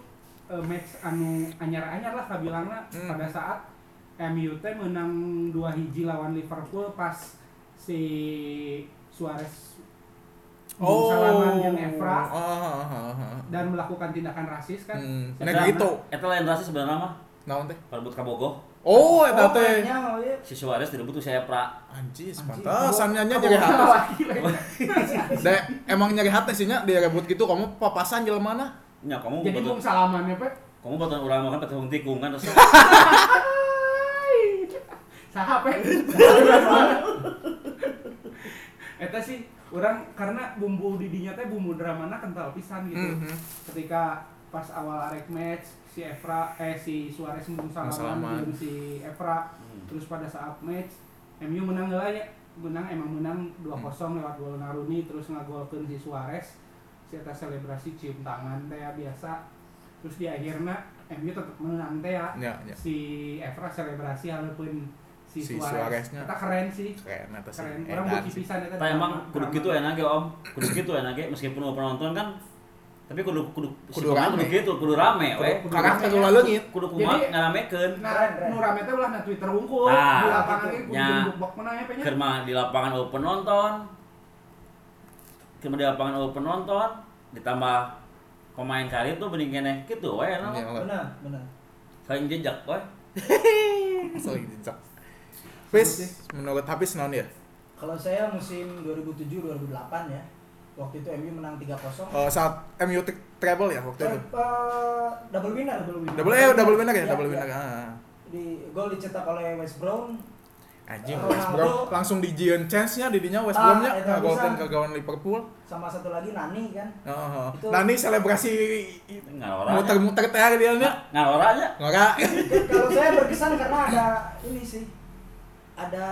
[SPEAKER 2] eh, match anu anyar-anyar lah kabilangna
[SPEAKER 1] Hmm.
[SPEAKER 2] pada saat MU teh menang dua hiji lawan Liverpool pas si Suarez
[SPEAKER 1] Oh.
[SPEAKER 2] salaman yang
[SPEAKER 1] Ah,
[SPEAKER 2] Evra
[SPEAKER 1] ah, ah, ah.
[SPEAKER 2] dan melakukan tindakan rasis kan.
[SPEAKER 1] Hmm.
[SPEAKER 2] Sedang-
[SPEAKER 1] Nah gitu.
[SPEAKER 5] Eta lain rasa sebenarnya mah
[SPEAKER 1] Naon teh?
[SPEAKER 5] perebut kabogoh.
[SPEAKER 1] Oh, eta
[SPEAKER 3] Oh,
[SPEAKER 1] teh.
[SPEAKER 3] mainnya mau ya.
[SPEAKER 5] Si Suarez tidak butuh saya pra.
[SPEAKER 1] Anjis,
[SPEAKER 3] Anjis,
[SPEAKER 1] pantasan nya
[SPEAKER 2] Kamu
[SPEAKER 1] nyari hati.
[SPEAKER 2] lagi,
[SPEAKER 1] Oh,
[SPEAKER 2] lagi.
[SPEAKER 1] De, emang nyari hati sih nya direbut gitu kamu papasan jelema mana?
[SPEAKER 5] Nya kamu
[SPEAKER 2] Jadi
[SPEAKER 5] betul.
[SPEAKER 2] bung salamannya pe.
[SPEAKER 5] Kamu betul orang makan petung tikung kan terus.
[SPEAKER 2] [laughs] Saha pe? Eta sih orang karena bumbu didinya teh bumbu dramana kental pisan gitu.
[SPEAKER 1] Mhm.
[SPEAKER 2] Ketika pas awal arek match si Evra eh si Suarez mung
[SPEAKER 1] Salaman.
[SPEAKER 2] salaman jeung si Evra terus pada saat match MU menang heula ya. Menang emang menang 2-0 lewat gol Naruni terus ngagolkeun si Suarez. Si eta selebrasi cium tangan teh ya, biasa. Terus di akhirnya MU tetap menang teh ya
[SPEAKER 1] Ya, ya.
[SPEAKER 2] si Evra selebrasi walaupun si,
[SPEAKER 1] Si
[SPEAKER 2] Suarez.
[SPEAKER 1] Suareznya.
[SPEAKER 2] Eta keren sih.
[SPEAKER 1] Keren eta sih.
[SPEAKER 2] Keren. Orang
[SPEAKER 1] Edan
[SPEAKER 2] bukti
[SPEAKER 1] sih.
[SPEAKER 2] pisan eta.
[SPEAKER 5] Tapi emang
[SPEAKER 2] drama-
[SPEAKER 5] kudu
[SPEAKER 2] drama.
[SPEAKER 5] gitu enak ya Om. Kudu gitu enak ya meskipun lu pernah nonton kan. Tapi kudu kudu
[SPEAKER 1] Kudu
[SPEAKER 5] sifatnya
[SPEAKER 1] rame.
[SPEAKER 5] Kudu gitu, kudu rame we.
[SPEAKER 2] Kudu-
[SPEAKER 1] Karakter lu leungit.
[SPEAKER 5] Kudu kumat
[SPEAKER 2] Jadi-
[SPEAKER 5] ngaramekeun.
[SPEAKER 2] Nah,
[SPEAKER 3] Keren, keren.
[SPEAKER 2] nu rame teh ulah na Twitter unggul.
[SPEAKER 5] Nah,
[SPEAKER 2] di lapangan ini
[SPEAKER 5] nya.
[SPEAKER 2] kudu bok menang ya penya.
[SPEAKER 5] Kerma di lapangan open nonton. Kerma di lapangan open nonton ditambah pemain karir tuh bening keneh gitu we enak.
[SPEAKER 1] Ya, lah.
[SPEAKER 3] Benar, benar.
[SPEAKER 5] Saling jejak we.
[SPEAKER 1] Sorry, jincak. Fis, menurut habis naon ya?
[SPEAKER 3] Kalau saya musim 2007-2008 ya, waktu itu MU menang 3-0.
[SPEAKER 1] Eh, saat MU t- treble ya waktu itu.
[SPEAKER 3] Eh, eh, double winner, double winner.
[SPEAKER 1] Double eh double winner ya,
[SPEAKER 3] Iya,
[SPEAKER 1] double
[SPEAKER 3] iya.
[SPEAKER 1] winner. Ah.
[SPEAKER 3] Di gol dicetak oleh West Brown.
[SPEAKER 1] Anjing
[SPEAKER 3] Ronaldo.
[SPEAKER 1] West Brom langsung dijieun chance-nya didinya West
[SPEAKER 3] Ah,
[SPEAKER 1] Bromnya
[SPEAKER 3] eta
[SPEAKER 1] nah, golkeun
[SPEAKER 3] pisan.
[SPEAKER 1] ke gawang Liverpool.
[SPEAKER 3] sama satu lagi Nani kan.
[SPEAKER 1] Heeh.
[SPEAKER 3] Itu-
[SPEAKER 1] Nah, ini selebrasi
[SPEAKER 5] Ngarora.
[SPEAKER 1] muter-muter teh dia nya.
[SPEAKER 5] Ngarora aja.
[SPEAKER 1] Ngora.
[SPEAKER 3] Ya, Kalau saya berkesan karena ada ini sih. Ada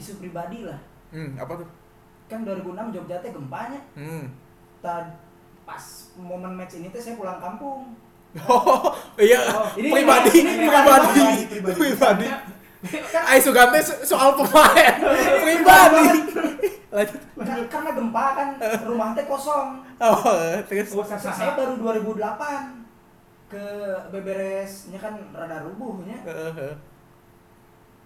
[SPEAKER 3] isu pribadi lah.
[SPEAKER 1] Hmm, apa tuh?
[SPEAKER 3] Kan 2006 Jogja teh gempanya.
[SPEAKER 1] Hmm. [laughs]
[SPEAKER 3] Ta- pas momen match ini teh saya pulang kampung.
[SPEAKER 1] Oh, iya.
[SPEAKER 3] Oh, ini-
[SPEAKER 1] pribadi,
[SPEAKER 3] ini pribadi,
[SPEAKER 1] pribadi,
[SPEAKER 3] pribadi.
[SPEAKER 1] pribadi.
[SPEAKER 2] Kan,
[SPEAKER 1] Ai Sugante so- soal
[SPEAKER 3] [laughs]
[SPEAKER 1] pemain pribadi. Lanjut.
[SPEAKER 3] Ka- Karena gempa kan rumah teh kosong.
[SPEAKER 1] Oh, terus.
[SPEAKER 2] Oh,
[SPEAKER 3] Terus
[SPEAKER 2] sasaha.
[SPEAKER 3] saya baru 2008 ke beberesnya kan rada rubuhnya.
[SPEAKER 1] Heeh.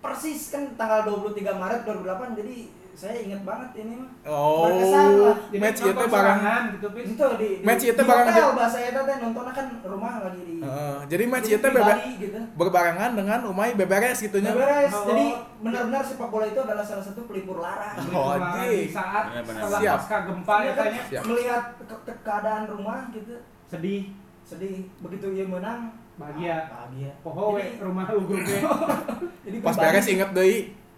[SPEAKER 3] Persis kan tanggal 23 Maret 2008 jadi saya ingat banget ini mah.
[SPEAKER 1] Oh,
[SPEAKER 3] Berkesan lah.
[SPEAKER 2] Jadi
[SPEAKER 1] match
[SPEAKER 2] nonton
[SPEAKER 1] itu barang.
[SPEAKER 2] sorangan gitu Pis.
[SPEAKER 3] Itu di, di
[SPEAKER 1] Match itu
[SPEAKER 3] di
[SPEAKER 1] barang
[SPEAKER 3] hotel
[SPEAKER 1] di-
[SPEAKER 3] bahasa eta teh nontonnya kan rumah lagi di
[SPEAKER 1] Heeh, Ah, jadi match
[SPEAKER 3] di-
[SPEAKER 1] itu
[SPEAKER 3] di
[SPEAKER 1] bebe-
[SPEAKER 3] Bali gitu.
[SPEAKER 1] berbarengan dengan umai beberes gitu gitunya.
[SPEAKER 3] Beres.
[SPEAKER 2] Oh.
[SPEAKER 3] Jadi benar-benar sepak bola itu adalah salah satu pelipur lara.
[SPEAKER 2] Jadi
[SPEAKER 1] Oh,
[SPEAKER 2] cuma
[SPEAKER 1] anjing.
[SPEAKER 2] di saat
[SPEAKER 5] Iya, benar.
[SPEAKER 2] setelah
[SPEAKER 1] Siap.
[SPEAKER 2] pasca gempa
[SPEAKER 3] Iya
[SPEAKER 2] ya
[SPEAKER 3] kan?
[SPEAKER 2] tanya
[SPEAKER 1] Siap.
[SPEAKER 3] Melihat ke- ke- keadaan rumah gitu
[SPEAKER 2] sedih
[SPEAKER 3] sedih begitu dia menang
[SPEAKER 2] Bahagia.
[SPEAKER 3] ah, bahagia
[SPEAKER 2] poho we
[SPEAKER 3] Jadi-
[SPEAKER 2] rumah ugur
[SPEAKER 3] [laughs]
[SPEAKER 2] we Oh,
[SPEAKER 3] jadi
[SPEAKER 1] Pas
[SPEAKER 3] pribadi-
[SPEAKER 1] beres inget deh.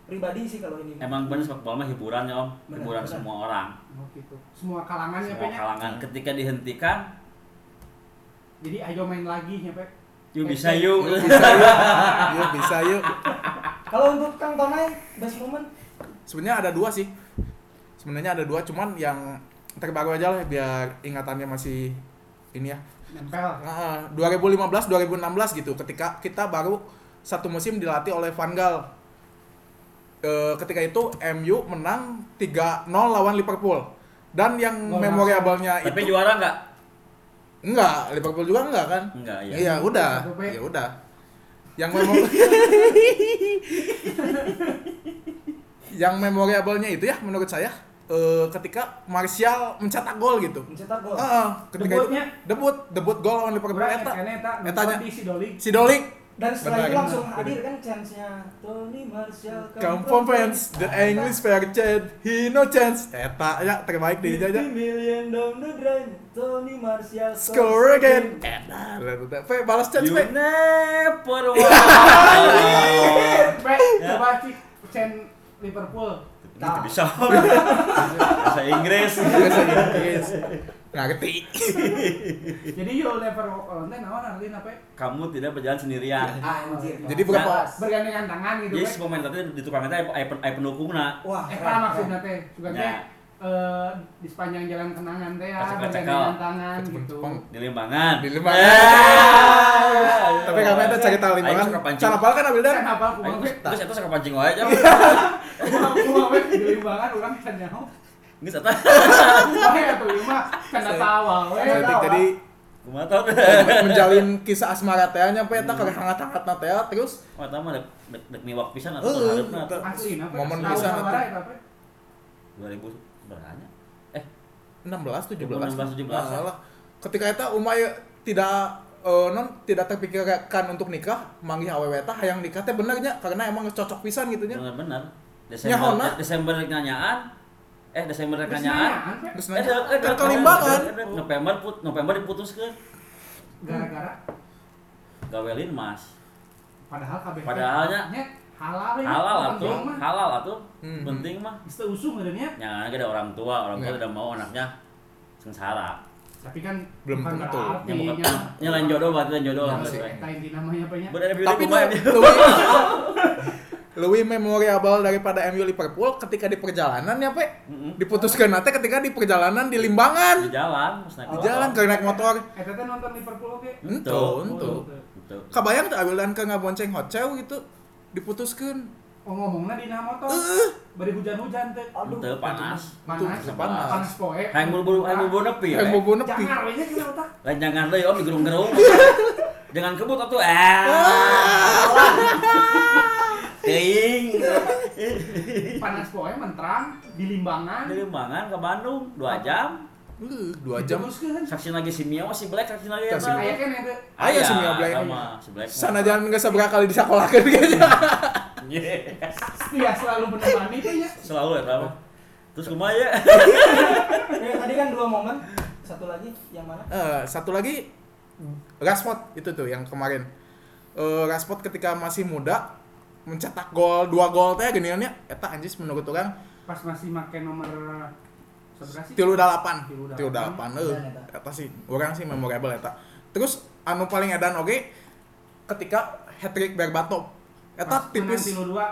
[SPEAKER 3] pribadi sih kalau ini
[SPEAKER 5] Emang bener sepak bola mah hiburan ya om,
[SPEAKER 3] Bener,
[SPEAKER 5] hiburan
[SPEAKER 3] bener.
[SPEAKER 5] semua orang,
[SPEAKER 2] Oh, gitu semua kalangannya
[SPEAKER 5] semua
[SPEAKER 2] penya
[SPEAKER 5] kalangan. Ketika dihentikan,
[SPEAKER 2] jadi ayo main lagi ya Pe.
[SPEAKER 5] yuk bisa yuk.
[SPEAKER 1] Bisa yuk. Yuk, bisa yuk.
[SPEAKER 3] kalau untuk kang Tonai best moment
[SPEAKER 1] Sebenarnya ada dua sih. Sebenarnya ada dua, cuman yang terbaru aja lah biar ingatannya masih ini ya.
[SPEAKER 2] nempel
[SPEAKER 1] Nah, 2015 2016 gitu ketika kita baru satu musim dilatih oleh Van Gaal. Eh, ketika itu MU menang 3-0 lawan Liverpool. Dan yang
[SPEAKER 2] Gol
[SPEAKER 1] memorable-nya
[SPEAKER 5] [laughs] Tapi
[SPEAKER 1] itu
[SPEAKER 5] juara nggak?
[SPEAKER 1] enggak, Liverpool juga enggak kan?
[SPEAKER 5] Enggak ya.
[SPEAKER 1] Iya, udah.
[SPEAKER 2] Satu poin.
[SPEAKER 1] Ya udah. Yang [laughs] memorable Yang memorable-nya itu ya menurut saya eh, ketika Martial mencetak gol gitu.
[SPEAKER 3] mencetak gol
[SPEAKER 1] Heeh, ketika itu-
[SPEAKER 2] Debutnya?
[SPEAKER 1] debut debut gol lawan Liverpool
[SPEAKER 2] Orang
[SPEAKER 1] eta.
[SPEAKER 2] kayaknya eta
[SPEAKER 1] Eta nya.
[SPEAKER 2] E, nonton di si Doli
[SPEAKER 1] Si Dolik
[SPEAKER 3] dan
[SPEAKER 1] Benar,
[SPEAKER 3] setelah itu langsung
[SPEAKER 1] benar.
[SPEAKER 3] hadir kan chance-nya Tony Martial
[SPEAKER 1] Come from fans, the
[SPEAKER 3] Ah,
[SPEAKER 1] English fair chance, he no chance. Eta ya terbaik di
[SPEAKER 3] Fifty
[SPEAKER 1] aja.
[SPEAKER 3] million down the drain Tony Martial
[SPEAKER 1] Score again. Eta. Fe balas chance
[SPEAKER 5] You
[SPEAKER 1] fe.
[SPEAKER 5] [laughs] never walk.
[SPEAKER 2] Pe, coba sih Cen Liverpool
[SPEAKER 3] Nah,
[SPEAKER 5] Itu bisa. Bahasa Inggris.
[SPEAKER 1] Bahasa Inggris. Iya, Ngerti.
[SPEAKER 2] jadi yo never walk alone teh naon artinya Pe?
[SPEAKER 5] Kamu tidak berjalan
[SPEAKER 1] Iya.
[SPEAKER 5] sendirian.
[SPEAKER 3] anjir
[SPEAKER 1] Jadi bukan
[SPEAKER 5] Nah,
[SPEAKER 1] pas.
[SPEAKER 2] bergandengan tangan gitu
[SPEAKER 5] Jadi
[SPEAKER 2] Pe.
[SPEAKER 5] si pemain tadi di tukang kita ay pendukung na.
[SPEAKER 3] wah
[SPEAKER 2] Eta
[SPEAKER 3] keren,
[SPEAKER 2] Eh, maksudnya
[SPEAKER 3] keren.
[SPEAKER 2] teh, juga
[SPEAKER 5] Ya.
[SPEAKER 2] teh eh, di sepanjang jalan kenangan teh ya,
[SPEAKER 5] Kacau-kacau.
[SPEAKER 2] bergandengan tangan
[SPEAKER 1] Cepeng,
[SPEAKER 2] gitu.
[SPEAKER 1] cepeng.
[SPEAKER 5] Di Limbangan.
[SPEAKER 1] Di Limbangan. Iya. Tapi kami ada cerita
[SPEAKER 5] Eh, Ayo,
[SPEAKER 1] lima
[SPEAKER 5] suka
[SPEAKER 1] kan.
[SPEAKER 5] pancing.
[SPEAKER 1] Cara pal kan ambil dan.
[SPEAKER 2] Kan apa aku
[SPEAKER 5] Ayo,
[SPEAKER 2] mau
[SPEAKER 5] Terus
[SPEAKER 2] weh,
[SPEAKER 5] terus itu suka pancing wae aja.
[SPEAKER 1] Iya.
[SPEAKER 2] aku mau weh, di limbangan orang kan nyaho.
[SPEAKER 5] Geus eta.
[SPEAKER 2] Oke atuh ieu mah canda tawa we.
[SPEAKER 1] Jadi jadi eh,
[SPEAKER 5] Kumaha tau.
[SPEAKER 1] Iya. menjalin kisah asmara teh nya pe eta
[SPEAKER 5] Hmm.
[SPEAKER 1] keur hangat-hangat na teh terus
[SPEAKER 5] Wah, tamu dek dek dek miwak pisan atau
[SPEAKER 1] Heeh.
[SPEAKER 5] hareup na.
[SPEAKER 2] Asli napa?
[SPEAKER 1] Momen
[SPEAKER 2] Tahu
[SPEAKER 1] pisan
[SPEAKER 2] sabaraha eta Pe?
[SPEAKER 5] 2000 berapa?
[SPEAKER 1] Iya.
[SPEAKER 5] Eh,
[SPEAKER 1] 16 17.
[SPEAKER 5] 16, 17.
[SPEAKER 1] Nah, lah. Ketika eta umay tidak eh, non tidak terpikirkan untuk nikah, manggih awewe eta hayang nikah teh bener nya karena emang cocok pisan gitu nya.
[SPEAKER 5] benar-benar.
[SPEAKER 1] Nyaho,
[SPEAKER 5] Desember
[SPEAKER 1] nah.
[SPEAKER 5] Desember rek nyanyaan. Eh, Desember rek
[SPEAKER 2] Terus
[SPEAKER 5] nyanyaan.
[SPEAKER 2] nanyaan, Pe,
[SPEAKER 1] Terus
[SPEAKER 5] Eh,
[SPEAKER 1] nanya,
[SPEAKER 5] eh,
[SPEAKER 1] "Kan
[SPEAKER 5] eh,
[SPEAKER 1] kalimbangan."
[SPEAKER 5] eh, eh, November put November diputuskeun.
[SPEAKER 2] gara-gara
[SPEAKER 5] Gawelin Mas.
[SPEAKER 2] padahal kabeh
[SPEAKER 5] Padahalnya.
[SPEAKER 2] nya halal we,
[SPEAKER 5] Halal atuh,
[SPEAKER 2] penting mah.
[SPEAKER 5] halal atuh.
[SPEAKER 1] Hmm.
[SPEAKER 5] Penting mah.
[SPEAKER 2] Geus teu usum ngeureunnya.
[SPEAKER 5] Nyanyaan ada orang tua, orang tua
[SPEAKER 1] Ya.
[SPEAKER 5] tidak mau anaknya sengsara.
[SPEAKER 2] Tapi kan
[SPEAKER 1] Belum
[SPEAKER 2] bukan
[SPEAKER 1] tentu.
[SPEAKER 2] berarti
[SPEAKER 5] Nya bukan
[SPEAKER 2] nya-
[SPEAKER 5] nya lain jodoh berarti lain jodoh lah.
[SPEAKER 2] Nah, Eta inti namanya apa nya?
[SPEAKER 5] Berada di
[SPEAKER 1] Iya Tapi
[SPEAKER 5] rumah [laughs] ya.
[SPEAKER 1] nu- lebih lebih memorable daripada MU Liverpool ketika di perjalanan ya, Pe.
[SPEAKER 5] Mm-mm.
[SPEAKER 1] Diputuskan nanti ketika di perjalanan di
[SPEAKER 5] di
[SPEAKER 1] Limbangan,
[SPEAKER 5] jalan, pas naik
[SPEAKER 1] di
[SPEAKER 5] motor.
[SPEAKER 1] jalan ke naik motor.
[SPEAKER 2] Eta teh Eh, nonton Liverpool oke.
[SPEAKER 1] Entu, entu.
[SPEAKER 5] Entu. Entu.
[SPEAKER 1] Kabayang teh awilan ke ngabonceng hotel gitu diputuskan.
[SPEAKER 2] Oh ngomongna di nama motor.
[SPEAKER 1] Eh.
[SPEAKER 2] Bari hujan-hujan teh.
[SPEAKER 3] aduh
[SPEAKER 5] Entu, panas.
[SPEAKER 2] Panas,
[SPEAKER 1] Tuh,
[SPEAKER 5] panas.
[SPEAKER 2] panas poe. Nah,
[SPEAKER 5] Hayang buru-buru, hayang buru-buru nepi. ya,
[SPEAKER 1] Yang bobo nepi.
[SPEAKER 2] Jangan we nya kena
[SPEAKER 1] [laughs]
[SPEAKER 2] otak.
[SPEAKER 5] Lain jangan deh om di gerung-gerung. Jangan kebut atuh.
[SPEAKER 1] [laughs]
[SPEAKER 5] Eh. Ting.
[SPEAKER 2] Panas poe menterang di Limbangan.
[SPEAKER 5] Dari Limbangan ke Bandung 2 jam.
[SPEAKER 1] Uh, dua jam.
[SPEAKER 2] Diteruskeun.
[SPEAKER 5] Saksi lagi si Mio, si Black, saksi lagi
[SPEAKER 1] Saksi
[SPEAKER 5] apa?
[SPEAKER 2] Aya kene teh.
[SPEAKER 1] Aya si Mio Black.
[SPEAKER 5] Sama si Iya, Black.
[SPEAKER 1] Sana jangan nggak seberapa kali disakolahkan kayaknya.
[SPEAKER 5] Yeah.
[SPEAKER 2] Setia selalu menemani teh nya.
[SPEAKER 5] Selalu ya tahu. Terus kumaha ya?
[SPEAKER 3] Ya, tadi kan dua momen satu lagi yang mana
[SPEAKER 1] Eh, satu lagi Rashford itu tuh yang kemarin. Eh, Rashford ketika masih muda mencetak gol dua gol teh geniannya eta anjis menurut orang
[SPEAKER 2] Pas masih make nomor seberapa sih?
[SPEAKER 1] tilu dalapan
[SPEAKER 2] Tilu dalapan.
[SPEAKER 1] tilu dalapan eh
[SPEAKER 3] Dan eta.
[SPEAKER 1] eta sih orang sih memorable eta terus anu paling edan oge ketika hat trick Berbatov eta
[SPEAKER 2] Pas
[SPEAKER 1] tipis
[SPEAKER 2] menang tilu dua.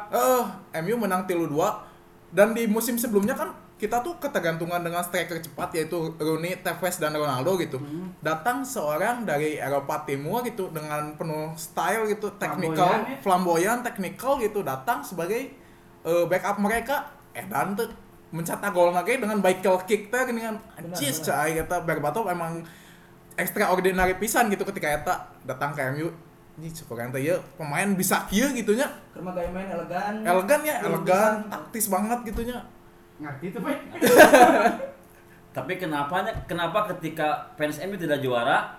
[SPEAKER 1] eh MU menang tilu dua dan di musim sebelumnya kan kita tuh ketergantungan dengan striker cepat yaitu Rooney, Tevez dan Ronaldo gitu.
[SPEAKER 2] Hmm.
[SPEAKER 1] Datang seorang dari Eropa Timur gitu dengan penuh style gitu, technical,
[SPEAKER 2] Flamboyan ya.
[SPEAKER 1] flamboyan, technical gitu datang sebagai eh, backup mereka. Eh dan tuh mencetak gol lagi dengan bicycle kick teh gini kan. Anjis
[SPEAKER 3] benar.
[SPEAKER 1] cai eta Berbatov emang extraordinary pisan gitu ketika eta datang ke MU. Ini sekurang teh ieu pemain bisa kieu gitunya
[SPEAKER 3] kerma gaya main elegan
[SPEAKER 1] elegan ya
[SPEAKER 3] Belum
[SPEAKER 1] elegan
[SPEAKER 3] bisa.
[SPEAKER 1] taktis banget gitunya
[SPEAKER 2] ngerti tuh pak
[SPEAKER 5] Tapi kenapanya kenapa ketika fans MU tidak juara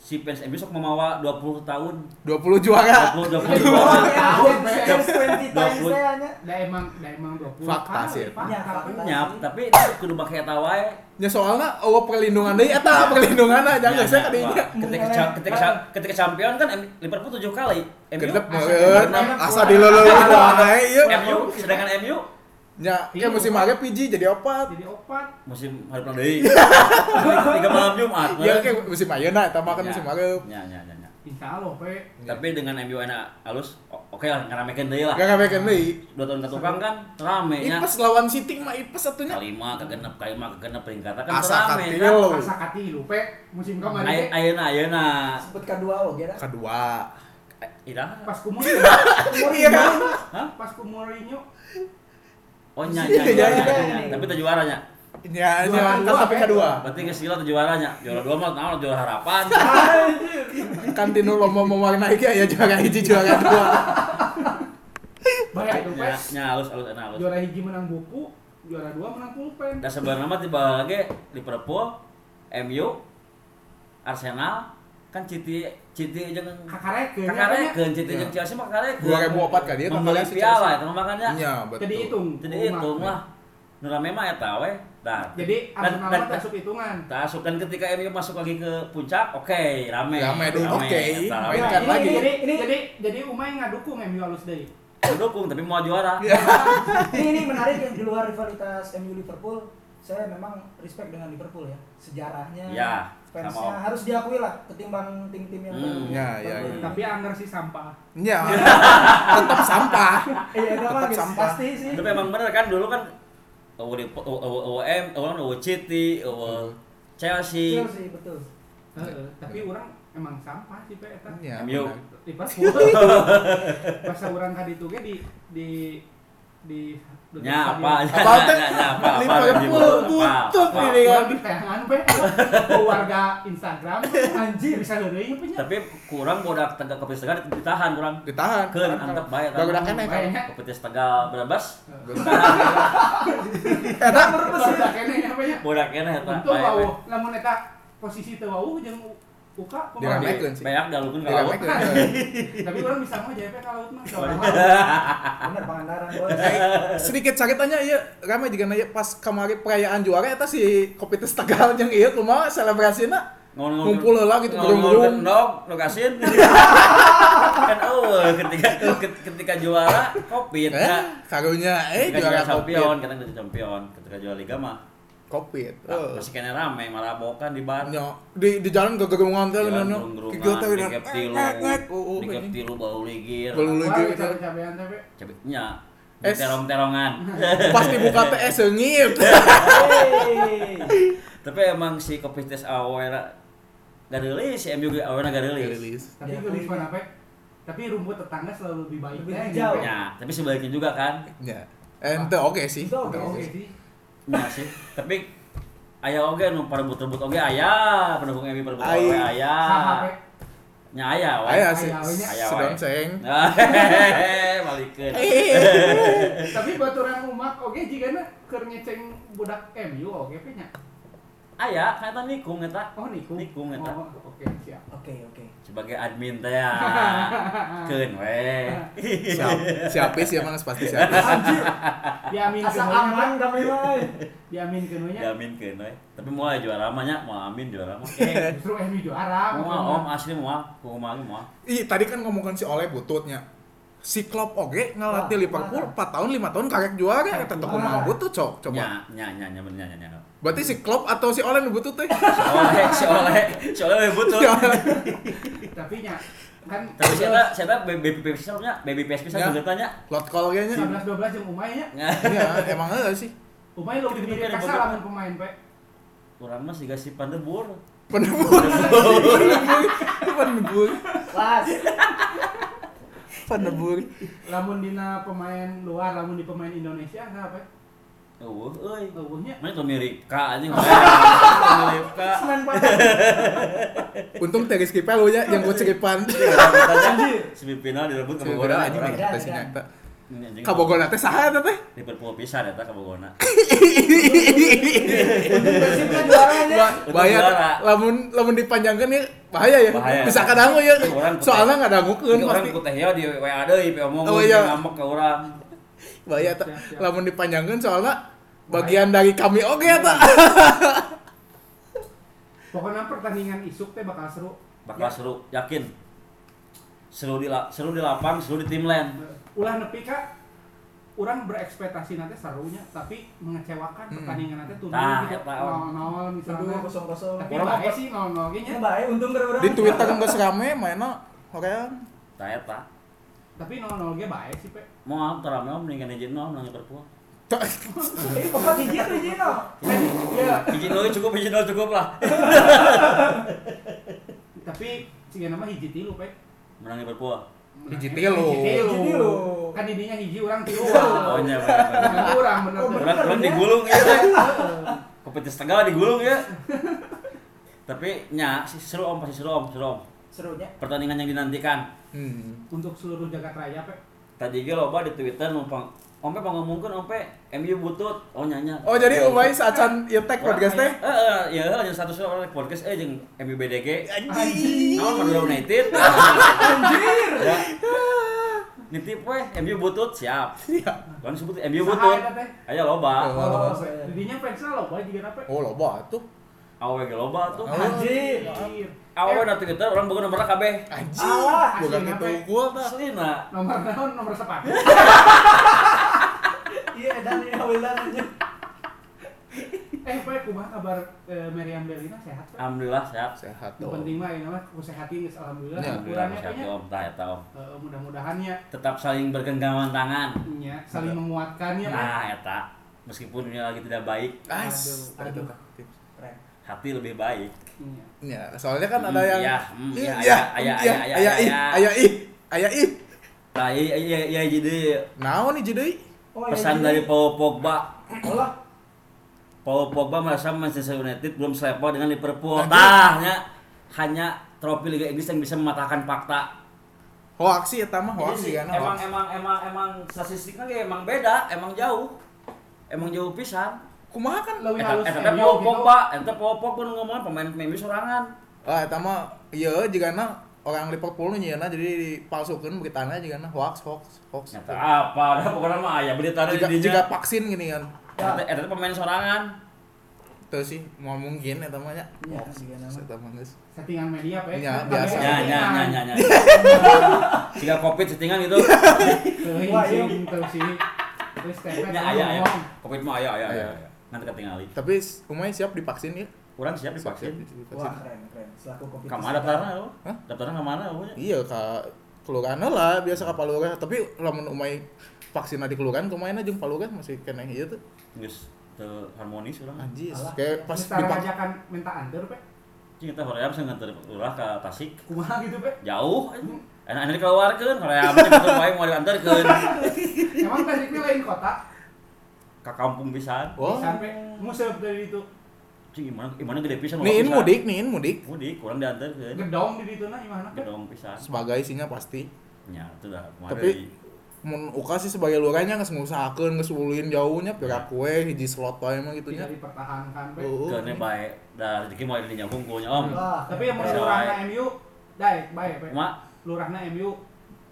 [SPEAKER 5] si fans MU sok memawa 20 tahun
[SPEAKER 1] 20 juara.
[SPEAKER 5] 20 20
[SPEAKER 3] Oh,
[SPEAKER 5] juara.
[SPEAKER 3] ya,
[SPEAKER 2] Tahun,
[SPEAKER 3] times 20 times
[SPEAKER 5] Dapur.
[SPEAKER 3] saya hanya.
[SPEAKER 2] dah emang dah emang dua puluh
[SPEAKER 1] Fakta sih.
[SPEAKER 3] Ya,
[SPEAKER 2] fakta
[SPEAKER 3] fakta.
[SPEAKER 5] Nyap, tapi itu kudu pakai eta wae.
[SPEAKER 1] Ya soalnya eueuh perlindungan deui eta perlindungan
[SPEAKER 2] Iya,
[SPEAKER 1] jangan saya
[SPEAKER 5] Wah,
[SPEAKER 1] kadinya.
[SPEAKER 5] Ketika ca- ketika ca- ketika champion kan M- Liverpool 7 kali.
[SPEAKER 2] Iya,
[SPEAKER 5] MU
[SPEAKER 1] Kedep
[SPEAKER 2] asa
[SPEAKER 1] meureun
[SPEAKER 2] dileleuh.
[SPEAKER 1] asa dileleuh
[SPEAKER 2] Iya,
[SPEAKER 1] wae ieu.
[SPEAKER 5] MU sedangkan MU
[SPEAKER 1] Nya ya musim hari PG jadi opat.
[SPEAKER 2] jadi opat
[SPEAKER 5] musim hari pulang
[SPEAKER 1] [laughs]
[SPEAKER 5] deui. Tiga malam Jumat.
[SPEAKER 1] Ya
[SPEAKER 2] Iya.
[SPEAKER 1] oke musim ayeuna eta mah kan musim hareup.
[SPEAKER 5] Ya, ya, ya, ya.
[SPEAKER 2] insya allah pak
[SPEAKER 1] Iya.
[SPEAKER 5] Tapi dengan MU enak halus, o- oke lah ngeramekeun deui lah.
[SPEAKER 1] Gak kabekeun deui.
[SPEAKER 5] Dua tahun ke tukang kan rame
[SPEAKER 2] Iya.
[SPEAKER 5] nya.
[SPEAKER 1] Ipes lawan City mah ipes atunya.
[SPEAKER 5] Kalima kegenep, kalima kegenep peringkat kan
[SPEAKER 1] Asa
[SPEAKER 5] rame kan.
[SPEAKER 1] katil.
[SPEAKER 2] asa kati lu pak musim
[SPEAKER 5] Ay-
[SPEAKER 2] kemarin Pe.
[SPEAKER 5] Ayeuna ayeuna.
[SPEAKER 3] Sebut kedua oh, oke dah.
[SPEAKER 1] Kedua.
[SPEAKER 5] Ira.
[SPEAKER 2] pas kumur Mourinho
[SPEAKER 5] Hah?
[SPEAKER 2] pas kumur Mourinho
[SPEAKER 5] Oh nya nya.
[SPEAKER 1] Iya,
[SPEAKER 5] nya,
[SPEAKER 1] iya,
[SPEAKER 5] nya,
[SPEAKER 3] iya.
[SPEAKER 5] nya. Tapi itu juaranya.
[SPEAKER 1] Ya,
[SPEAKER 2] Juara
[SPEAKER 1] ya, kan
[SPEAKER 2] dua,
[SPEAKER 1] tapi
[SPEAKER 2] eh.
[SPEAKER 1] kedua.
[SPEAKER 5] Berarti geus gila tuh juaranya. Juara dua mah tahu juara
[SPEAKER 1] [laughs]
[SPEAKER 5] harapan.
[SPEAKER 1] Iya. Kan tinu lomba mewarnai ge ya juara hiji juara
[SPEAKER 2] [laughs]
[SPEAKER 1] dua.
[SPEAKER 2] bayar itu
[SPEAKER 5] Nya
[SPEAKER 2] pak
[SPEAKER 5] nya Ya, halus halus enak halus.
[SPEAKER 2] juara hiji menang buku juara dua menang pulpen
[SPEAKER 5] Dan sebenarnya mah tiba lagi Liverpool, MU, Arsenal kan Citi Citi jeung
[SPEAKER 2] kakareke
[SPEAKER 5] kakarekeun Citi
[SPEAKER 1] Iya.
[SPEAKER 5] jeung Chelsea mah kakarekeun.
[SPEAKER 1] 2004 kan dia
[SPEAKER 5] membeli
[SPEAKER 1] kakaknya si
[SPEAKER 5] piala
[SPEAKER 1] Chelsea.
[SPEAKER 5] eta mah kan ya. makanya.
[SPEAKER 1] Iya, betul.
[SPEAKER 2] jadi hitung
[SPEAKER 5] Jadi
[SPEAKER 2] Umat.
[SPEAKER 5] hitung lah. Nu rame mah eta we. Nah,
[SPEAKER 2] jadi
[SPEAKER 5] dan,
[SPEAKER 2] Arsenal
[SPEAKER 5] dan,
[SPEAKER 2] mah masuk hitungan
[SPEAKER 5] Kita masukkan ketika MU masuk lagi ke puncak, oke, rame.
[SPEAKER 1] Rame dulu, oke.
[SPEAKER 5] Eta
[SPEAKER 1] Main
[SPEAKER 5] rame.
[SPEAKER 1] Mainkan kan.
[SPEAKER 2] Nah,
[SPEAKER 1] lagi.
[SPEAKER 2] ini- Jadi, ini, jadi, jadi Umay nggak dukung MU halus deh.
[SPEAKER 5] Mendukung, tapi mau juara.
[SPEAKER 1] Iya.
[SPEAKER 3] ini ini menarik yang di luar rivalitas MU Liverpool saya memang respect dengan Liverpool ya sejarahnya
[SPEAKER 5] Ya,
[SPEAKER 3] fansnya
[SPEAKER 5] sama.
[SPEAKER 3] harus diakui lah ketimbang tim-tim yang
[SPEAKER 5] Hmm,
[SPEAKER 3] baru-
[SPEAKER 1] ya, ya,
[SPEAKER 3] baru.
[SPEAKER 1] ya.
[SPEAKER 2] Tapi anggar sih sampah.
[SPEAKER 1] Iya.
[SPEAKER 3] [laughs]
[SPEAKER 1] Tetap sampah.
[SPEAKER 3] iya itu mah
[SPEAKER 1] Tetap sampah.
[SPEAKER 3] pasti sih
[SPEAKER 5] Tapi emang bener kan dulu kan Owo Depo- Owo- Owo Owo M, Owo Owo City,
[SPEAKER 1] Hmm.
[SPEAKER 5] Owo Chelsea,
[SPEAKER 3] Chelsea betul
[SPEAKER 2] Heeh, tapi orang emang sampah sih Pak eta.
[SPEAKER 1] Iya.
[SPEAKER 5] MU.
[SPEAKER 1] benar.
[SPEAKER 2] Liverpool.
[SPEAKER 5] [laughs]
[SPEAKER 2] Bahasa orang tadi itu di di di
[SPEAKER 5] nya Ya, apa, nya
[SPEAKER 1] Apa teh?
[SPEAKER 5] nya, nya apa, apa,
[SPEAKER 1] Liverpool
[SPEAKER 5] apa,
[SPEAKER 1] butuh
[SPEAKER 5] apa.
[SPEAKER 1] ini kan.
[SPEAKER 2] di tayangan Pak. Keluarga Instagram anjir bisa leureung punya.
[SPEAKER 5] Tapi kurang bodak tegak kepetis tegal ditahan kurang.
[SPEAKER 1] Ditahan.
[SPEAKER 5] Keun antep bae eta.
[SPEAKER 1] Baru udah kene kan.
[SPEAKER 3] [laughs]
[SPEAKER 2] Bayangnya
[SPEAKER 5] Kepetis tegal berabas.
[SPEAKER 2] Keluarga kene ya Pak ya.
[SPEAKER 5] Bodak kene eta.
[SPEAKER 2] Untung
[SPEAKER 5] bae,
[SPEAKER 2] wau lamun eta posisi teu wau jeung uka
[SPEAKER 5] bae.
[SPEAKER 2] kumaha.
[SPEAKER 1] Diramekeun. Baik, sih.
[SPEAKER 5] Bayak dalukun ka laut.
[SPEAKER 1] Direwek, eh.
[SPEAKER 2] Tapi orang bisa mah JP kalau
[SPEAKER 5] [laughs]
[SPEAKER 2] mah seorang
[SPEAKER 3] benar Pangandaran bos
[SPEAKER 1] [laughs] Sedikit ceritanya iya ramai juga nanya pas kemarin perayaan juara eta si kopi tes Tegal jeung ieu kumaha selebrasina
[SPEAKER 5] Ngomong-ngomong-
[SPEAKER 1] Ngumpul heula gitu, gerung-gerung.
[SPEAKER 5] Ngomong-ngomong dog, dog asin. [laughs] kan oh ketika ketika juara covid
[SPEAKER 1] eh
[SPEAKER 5] nah,
[SPEAKER 1] karunya eh
[SPEAKER 5] ketika juara
[SPEAKER 1] juara kopi
[SPEAKER 5] champion kadang jadi champion ketika juara liga mah
[SPEAKER 1] kopi
[SPEAKER 5] nah, masih kena rame malah bokan di bar
[SPEAKER 1] Nya, di di jalan ke gerungan teh
[SPEAKER 5] Jalan
[SPEAKER 1] nyonya
[SPEAKER 5] gerung-gerungan,
[SPEAKER 1] kieu teh udah Eh,
[SPEAKER 5] digap tilu,
[SPEAKER 1] uh, Oh,
[SPEAKER 5] digap tilu bau ligir
[SPEAKER 1] Bau ligir.
[SPEAKER 2] Wah, cabe-cabean teh, Pe.
[SPEAKER 5] cabenya
[SPEAKER 1] Es. [laughs]
[SPEAKER 5] terong-terongan
[SPEAKER 1] pas dibuka teh eh, seungit
[SPEAKER 3] Hey.
[SPEAKER 5] tapi emang si covid tes awalnya gak rilis si MU awalnya gak [laughs] rilis
[SPEAKER 1] rilis
[SPEAKER 2] Tapi
[SPEAKER 3] Ya,
[SPEAKER 2] gue
[SPEAKER 3] kulit.
[SPEAKER 2] lupa apa? Tapi rumput tetangga selalu lebih baik.
[SPEAKER 3] Lebih
[SPEAKER 2] deh,
[SPEAKER 3] hijau.
[SPEAKER 2] gitu.
[SPEAKER 5] ya tapi sebaliknya juga kan
[SPEAKER 1] nya Iya. ente oke sih
[SPEAKER 3] Itu oke,
[SPEAKER 1] Ente
[SPEAKER 2] Oke
[SPEAKER 1] oke sih.
[SPEAKER 2] sih.
[SPEAKER 5] Iya sih. Tapi ayah oge nu perebut-rebut oge ayah, pendukung MU perebut
[SPEAKER 1] Ai.
[SPEAKER 5] oge
[SPEAKER 2] Saha
[SPEAKER 5] ayah.
[SPEAKER 2] pe?
[SPEAKER 5] Nya ayah we.
[SPEAKER 1] Aya sih,
[SPEAKER 2] Aya, aya.
[SPEAKER 5] Aya,
[SPEAKER 1] sedang
[SPEAKER 5] aya.
[SPEAKER 1] seng.
[SPEAKER 5] Hehehe, Balikeun.
[SPEAKER 2] Eh, Tapi buat orang umat oke jika na keur ngeceng budak MU oke pe nya.
[SPEAKER 5] Ayah, kan eta nikung eta.
[SPEAKER 2] Oh niku.
[SPEAKER 5] Niku, eta.
[SPEAKER 2] Oh, oke siap.
[SPEAKER 3] oke oke
[SPEAKER 5] Sebagai admin teh ya. Keun we.
[SPEAKER 1] Siap, siapis ya Mas pasti siapis.
[SPEAKER 2] Diamin
[SPEAKER 3] asal aman kami mah
[SPEAKER 2] Diamin kenunya.
[SPEAKER 5] Jamin keun we. Tapi moal juara mah nya, moal amin juara mah.
[SPEAKER 2] Justru MU juara.
[SPEAKER 5] Moal om asli moal, kumaha ge moal.
[SPEAKER 1] Ih, tadi kan ngomongkan si Ole bututnya. Si Klopp oge ngelatih
[SPEAKER 3] Wah,
[SPEAKER 1] Liverpool 4
[SPEAKER 3] parah.
[SPEAKER 1] tahun 5 tahun karek juara eta
[SPEAKER 3] Karek
[SPEAKER 1] teu
[SPEAKER 3] juara.
[SPEAKER 1] kumaha butut cok coba.
[SPEAKER 5] Nya nya nya nya bener nya nya. nya.
[SPEAKER 1] Berarti si Klopp atau si eh? Ole nu butut teh?
[SPEAKER 5] Si Oleh, si oleh, si oleh we butuh.
[SPEAKER 1] Si Ole.
[SPEAKER 2] Tapi nya kan
[SPEAKER 5] Tapi saya saya baby baby pisan nya, baby PS pisan
[SPEAKER 1] Ya.
[SPEAKER 5] geus tanya.
[SPEAKER 1] Lot call kayaknya.
[SPEAKER 2] 11 12 jeung Umay nya.
[SPEAKER 1] Iya, emang heeh sih.
[SPEAKER 2] Umay lebih
[SPEAKER 5] Tapi
[SPEAKER 2] mirip
[SPEAKER 5] kan
[SPEAKER 2] kasar
[SPEAKER 5] ada-
[SPEAKER 2] lamun pemain pe.
[SPEAKER 5] Kurang mah sih si pandebur.
[SPEAKER 1] Penebur. Penebur.
[SPEAKER 3] las
[SPEAKER 1] Penebur.
[SPEAKER 2] Lamun dina pemain luar, lamun di pemain Indonesia enggak pe.
[SPEAKER 5] Eueuh euy.
[SPEAKER 2] Eueuhnya
[SPEAKER 5] Mana tuh Amerika
[SPEAKER 1] [laughs]
[SPEAKER 5] anjing. Amerika.
[SPEAKER 3] semen patah
[SPEAKER 1] Untung teh Rizky Pelu nya ya yang gua ceripan.
[SPEAKER 5] Si Pipinal direbut ke
[SPEAKER 1] Sebenarnya
[SPEAKER 5] Bogor.
[SPEAKER 1] anjing
[SPEAKER 5] orang.
[SPEAKER 1] mah eta sih nyata.
[SPEAKER 5] Ini anjing.
[SPEAKER 1] Kabogona teh saha eta
[SPEAKER 5] [laughs]
[SPEAKER 1] teh?
[SPEAKER 5] Liverpool pisan eta kabogona.
[SPEAKER 3] Persibnya juara aja.
[SPEAKER 5] Untung
[SPEAKER 1] Bahaya.
[SPEAKER 5] juara.
[SPEAKER 1] Lamun lamun dipanjangkan ya bahaya ya.
[SPEAKER 5] Bahaya.
[SPEAKER 1] Bisa kadangu ya.
[SPEAKER 5] Orang putih.
[SPEAKER 1] Soalnya nggak dangukeun
[SPEAKER 5] Ini orang
[SPEAKER 1] pasti.
[SPEAKER 5] ku teh ya di WA deui pe omong
[SPEAKER 1] Oh,
[SPEAKER 5] oh,
[SPEAKER 1] iya.
[SPEAKER 5] ngamuk ke orang.
[SPEAKER 1] Bahaya ta.
[SPEAKER 2] Siap, siap.
[SPEAKER 1] Lamun dipanjangkan soalnya bagian dari kami oke ya, eta.
[SPEAKER 2] Pokoknya pertandingan isuk teh bakal seru.
[SPEAKER 5] Bakal seru, yakin. Seru di la- seru di lapang, seru di tim lain.
[SPEAKER 2] Ulah nepi ka orang berekspektasi nanti serunya tapi mengecewakan
[SPEAKER 1] Hmm.
[SPEAKER 2] pertandingan nanti tuh
[SPEAKER 5] Nah,
[SPEAKER 2] gitu
[SPEAKER 5] eta, Om.
[SPEAKER 2] 0-0 misalnya.
[SPEAKER 3] Aduh, kosong kosong.
[SPEAKER 2] Tapi
[SPEAKER 5] Orang
[SPEAKER 2] bae
[SPEAKER 5] apa-
[SPEAKER 2] sih 0-0 ge nya.
[SPEAKER 3] Ini baik, untung gara
[SPEAKER 1] Di Twitter geus rame mainnya ya. hoream.
[SPEAKER 5] Tah eta.
[SPEAKER 2] Tapi 0-0 ge bae sih pe.
[SPEAKER 5] Mau apa rame om mendingan izin nol nang Liverpool.
[SPEAKER 3] Ini pokok hiji tuh hiji no.
[SPEAKER 5] Izin nol cukup, izin nol cukup lah.
[SPEAKER 2] Tapi sehingga nama hiji tilu pe.
[SPEAKER 5] Menang Liverpool.
[SPEAKER 1] Hiji tilu.
[SPEAKER 2] Hiji
[SPEAKER 3] Hiji
[SPEAKER 2] tilu.
[SPEAKER 3] tilu.
[SPEAKER 2] Kan didinya hiji orang tilu.
[SPEAKER 5] Oh iya bener.
[SPEAKER 2] Nah, Urang bener.
[SPEAKER 3] Oh,
[SPEAKER 5] Orang orang digulung ya. teh. Kompetisi tengah digulung ya. Tapi nya si- seru om pasti seru om, seru om.
[SPEAKER 3] Serunya.
[SPEAKER 5] Pertandingan yang dinantikan.
[SPEAKER 1] Hmm.
[SPEAKER 2] Untuk seluruh jagat raya pe.
[SPEAKER 5] Tadi ge loba di Twitter numpang Ompe pangomongkeun ompe MU butut. Oh nyanya.
[SPEAKER 1] Oh jadi Umay sacan ieu tag podcast teh.
[SPEAKER 5] Eh, eh, ya lanjut satu surat orang podcast eh jeung MU BDG.
[SPEAKER 1] Anjing.
[SPEAKER 5] Naon Madura United. Anjir. Ya. Nitip weh MU butut siap.
[SPEAKER 1] Iya.
[SPEAKER 5] Kan sebut
[SPEAKER 2] Saha
[SPEAKER 5] MU butut.
[SPEAKER 2] eta teh?
[SPEAKER 5] Ayo loba.
[SPEAKER 1] Oh.
[SPEAKER 3] Oh,
[SPEAKER 2] Didinya fansnya loba juga apa?
[SPEAKER 1] Oh loba tuh.
[SPEAKER 5] Awe ge loba tuh.
[SPEAKER 1] Oh.
[SPEAKER 3] Anjir.
[SPEAKER 5] Awe na Twitter orang boga nomor kabeh.
[SPEAKER 1] Anjing.
[SPEAKER 3] Alah.
[SPEAKER 1] Bukan
[SPEAKER 2] asli,
[SPEAKER 1] itu
[SPEAKER 2] kenapa?
[SPEAKER 1] gua tah.
[SPEAKER 5] Aslina.
[SPEAKER 2] Nomor naon nomor sepatu.
[SPEAKER 3] Iya, dan ini awilan aja.
[SPEAKER 2] Eh, Pak, kumaha kabar eh, Meriam Berlina sehat? Pak?
[SPEAKER 5] Alhamdulillah sehat.
[SPEAKER 1] Sehat
[SPEAKER 2] Yang
[SPEAKER 1] tuh.
[SPEAKER 2] penting mah ini mah kusehatin geus alhamdulillah.
[SPEAKER 1] Ya,
[SPEAKER 5] Iya, Alhamdulillah
[SPEAKER 2] Kurangnya
[SPEAKER 5] sehat
[SPEAKER 2] kayaknya
[SPEAKER 5] om, ya, tah eta om.
[SPEAKER 2] eh, mudah-mudahannya
[SPEAKER 5] Tetap saling bergenggaman tangan.
[SPEAKER 2] ya, saling menguatkannya. Pak.
[SPEAKER 5] Nah, eta. Meskipun dunia lagi tidak baik,
[SPEAKER 1] Ais.
[SPEAKER 2] Aduh, aduh.
[SPEAKER 3] Keren.
[SPEAKER 5] hati lebih baik.
[SPEAKER 2] Iya.
[SPEAKER 1] Ya, soalnya kan
[SPEAKER 5] Hmm,
[SPEAKER 1] ada yang
[SPEAKER 5] iya, hmm,
[SPEAKER 1] iya,
[SPEAKER 5] iya, iya,
[SPEAKER 1] iya, iya,
[SPEAKER 5] iya, iya,
[SPEAKER 1] iya,
[SPEAKER 5] iya.
[SPEAKER 1] iya, ih, iya, ih.
[SPEAKER 5] Nah, iya iya iya jadi
[SPEAKER 1] Naon nih jadi?
[SPEAKER 3] Oh, iya,
[SPEAKER 5] pesan
[SPEAKER 3] jadi-
[SPEAKER 5] dari Paul Pogba.
[SPEAKER 3] Olah.
[SPEAKER 5] Paul Pogba merasa Manchester United belum selevel dengan Liverpool.
[SPEAKER 1] Lanjut.
[SPEAKER 5] Nah, hanya, hanya trofi Liga Inggris yang bisa mematahkan fakta.
[SPEAKER 1] Hoax sih eta mah
[SPEAKER 5] Jadi
[SPEAKER 1] hoax
[SPEAKER 5] sih,
[SPEAKER 1] sih kan.
[SPEAKER 5] Iya, emang,
[SPEAKER 1] hoax.
[SPEAKER 5] emang emang emang statistiknya kayak emang beda, emang jauh. Emang jauh pisan.
[SPEAKER 1] Kumaha kan?
[SPEAKER 2] Leuwih
[SPEAKER 5] Eta
[SPEAKER 2] halus
[SPEAKER 5] eta teh
[SPEAKER 2] MU
[SPEAKER 5] Paul
[SPEAKER 2] gitu.
[SPEAKER 5] Pogba, eta Paul Pogba nu ngomong pemain pemain sorangan.
[SPEAKER 1] Ah eta mah ieu jigana orang Liverpool nya nyeuna jadi dipalsukeun beritana jigana hoax hoax hoax.
[SPEAKER 5] Nyata apa? Ada pokoknya mah aya berita
[SPEAKER 1] Jika,
[SPEAKER 5] di
[SPEAKER 1] jika vaksin gini kan.
[SPEAKER 5] Eta Ya, teh- eta teh pemain sorangan.
[SPEAKER 1] Tuh sih, mau mungkin eta mah nya.
[SPEAKER 3] Iya,
[SPEAKER 1] Hoax.
[SPEAKER 3] jigana mah.
[SPEAKER 1] Eta mah geus.
[SPEAKER 2] Settingan media, Pak.
[SPEAKER 1] Iya,
[SPEAKER 2] Kan
[SPEAKER 1] biasa.
[SPEAKER 2] ada
[SPEAKER 5] Ya ya
[SPEAKER 2] settingan.
[SPEAKER 5] ya ya. ya. Jika Covid settingan gitu.
[SPEAKER 2] Teuing,
[SPEAKER 3] Wah, iya.
[SPEAKER 2] sing, teu sini. Terus
[SPEAKER 1] Iya.
[SPEAKER 2] tetet
[SPEAKER 5] Ya aya aya.
[SPEAKER 2] ngomong.
[SPEAKER 5] Covid mah aya aya aya.
[SPEAKER 1] Aya.
[SPEAKER 5] Nanti ketinggalan.
[SPEAKER 1] Tapi umay siap divaksin ya?
[SPEAKER 5] Kurang siap divaksin.
[SPEAKER 1] Siap divaksin.
[SPEAKER 3] Wah, keren, keren. Selaku kopi.
[SPEAKER 5] Kamana daftarna lo?
[SPEAKER 1] Hah?
[SPEAKER 5] Daftarna kamana lo?
[SPEAKER 1] Iya ka kelurahan lah biasa ka palurah tapi lamun umay vaksin di kelurahan kemainnya jeung palurah masih kena ieu tuh
[SPEAKER 5] Geus teu harmonis urang.
[SPEAKER 1] anjis
[SPEAKER 3] Alah,
[SPEAKER 1] kayak Eh, pas
[SPEAKER 2] Terus
[SPEAKER 1] dipak
[SPEAKER 2] tarajakan minta anter, Pak.
[SPEAKER 5] Cing eta hoream sing nganter ulah ka Tasik.
[SPEAKER 2] Kumaha gitu, Pak?
[SPEAKER 5] Jauh. Enak-enak dikeluarkeun hoream teh betul bae mau diantarkeun
[SPEAKER 2] Emang tasiknya lain kota?
[SPEAKER 5] ka kampung pisan.
[SPEAKER 1] oh
[SPEAKER 2] Sampai musuh dari itu
[SPEAKER 5] Cing gimana gimana gede pisan.
[SPEAKER 1] niin
[SPEAKER 5] pisan.
[SPEAKER 1] mudik niin mudik
[SPEAKER 5] Mudik kurang diantarkeun.
[SPEAKER 2] gedong di itu nah gimana? Pak?
[SPEAKER 5] Gedong pisan.
[SPEAKER 1] sebagai isinya pasti
[SPEAKER 5] Ya, itu dah. kemarin
[SPEAKER 1] Tapi-
[SPEAKER 5] di-
[SPEAKER 1] mun uka sih sebagai lurahnya nggak ngusahakeun geus uluin jauhnya pira kue hiji slot wae mah gitu
[SPEAKER 2] Tidak
[SPEAKER 1] nya
[SPEAKER 2] dipertahankan, Pak.
[SPEAKER 1] Heeh.
[SPEAKER 5] Kene baik dah rezeki mau di nyambung ku om.
[SPEAKER 3] Wah,
[SPEAKER 2] Tapi yang
[SPEAKER 3] keren.
[SPEAKER 2] mau
[SPEAKER 5] Bisa
[SPEAKER 2] lurahna MU, daek bae, Pak.
[SPEAKER 5] Mak
[SPEAKER 2] Lurahna MU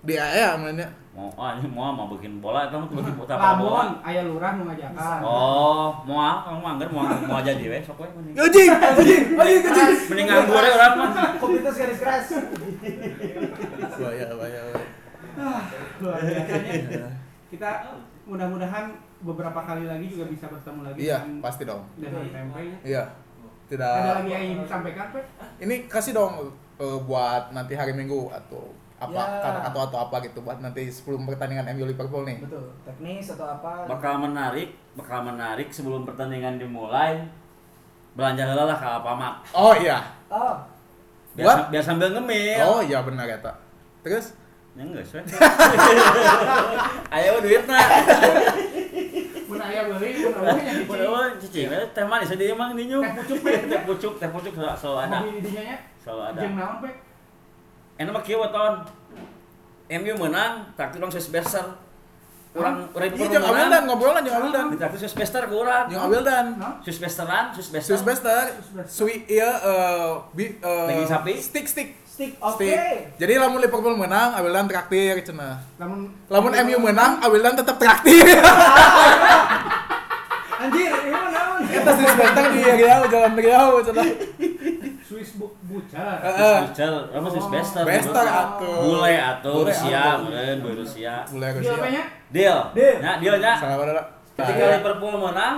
[SPEAKER 1] dia ya mainnya
[SPEAKER 5] mau ah ini mau mau bikin bola itu mau bikin bola apa bola.
[SPEAKER 2] Lamun aya lurah nu ngajakan.
[SPEAKER 5] Oh, mau ah kamu anggar mau mau aja di weh sok weh mending.
[SPEAKER 1] anjing anjing anjing anjing
[SPEAKER 5] Mending nganggur ya orang mah.
[SPEAKER 3] Kopi itu garis keras.
[SPEAKER 1] bahaya bahaya bahaya.
[SPEAKER 2] Ah, Luar biasanya.
[SPEAKER 1] Iya.
[SPEAKER 2] Kita mudah-mudahan beberapa kali lagi juga bisa bertemu lagi
[SPEAKER 1] iya
[SPEAKER 2] dengan-
[SPEAKER 1] pasti dong
[SPEAKER 2] dengan tempe.
[SPEAKER 1] iya
[SPEAKER 2] Ada
[SPEAKER 1] tidak
[SPEAKER 2] lagi yang ingin disampaikan, Pak?
[SPEAKER 1] ini kasih dong eh, buat nanti hari Minggu atau apa
[SPEAKER 3] Ya.
[SPEAKER 1] kata-kata atau apa gitu buat nanti sebelum pertandingan MU Liverpool nih.
[SPEAKER 3] Betul. Teknis atau apa?
[SPEAKER 5] Bakal menarik, bakal menarik sebelum pertandingan dimulai. Belanja heula lah ka Pamak.
[SPEAKER 1] Oh iya.
[SPEAKER 3] Oh,
[SPEAKER 5] Biar,
[SPEAKER 1] What?
[SPEAKER 5] sam- biar sambil ngemil.
[SPEAKER 1] Oh iya benar kata. Terus
[SPEAKER 5] Ya enggak sih. [laughs] Ayo duitna.
[SPEAKER 2] Mun aya beli, mun eueuh nya dicuci.
[SPEAKER 5] Padahal cicing eh, teh manis di emang ninyu.
[SPEAKER 2] Teh pucuk, Pak.
[SPEAKER 5] Teh pucuk, teh pucuk selalu- selalu ada.
[SPEAKER 2] Mobil didinya nya.
[SPEAKER 5] Selalu ada.
[SPEAKER 2] Jeung naon, Pak?
[SPEAKER 5] Enak mah kieu weton. MU menang, tapi orang sesbeser. Orang orang
[SPEAKER 1] Iya, jeung Wildan ngobrolan jeung Wildan.
[SPEAKER 5] Ditraktir sus pester ke orang.
[SPEAKER 1] Jeung Wildan.
[SPEAKER 2] Nah,
[SPEAKER 5] Sus pesteran, sus pester.
[SPEAKER 1] Swiss Bester, Swi iya eh bi eh,
[SPEAKER 5] Daging sapi?
[SPEAKER 1] Stick stick.
[SPEAKER 3] Stick oke.
[SPEAKER 1] Stick. Jadi lamun Liverpool menang, Wildan traktir cenah.
[SPEAKER 2] lamun
[SPEAKER 1] Lamun MU menang, Wildan tetap traktir. [laughs]
[SPEAKER 3] Anjir, ini mah naon?
[SPEAKER 1] Kita Swiss Bester di Riau, jalan Eh, Riau cenah.
[SPEAKER 2] Swiss bu bucar.
[SPEAKER 1] Heeh.
[SPEAKER 5] Bester, eh, apa sus pester?
[SPEAKER 1] Bester atuh.
[SPEAKER 5] Bule atuh
[SPEAKER 1] Bule
[SPEAKER 5] Rusia,
[SPEAKER 1] atuh.
[SPEAKER 5] meureun bule Rusia.
[SPEAKER 1] Bule
[SPEAKER 2] Dia
[SPEAKER 1] Rusia.
[SPEAKER 2] apanya?
[SPEAKER 5] Deal.
[SPEAKER 3] Deal.
[SPEAKER 5] Nah, deal nya.
[SPEAKER 1] Salah pada. Iya.
[SPEAKER 5] Ketika Liverpool menang,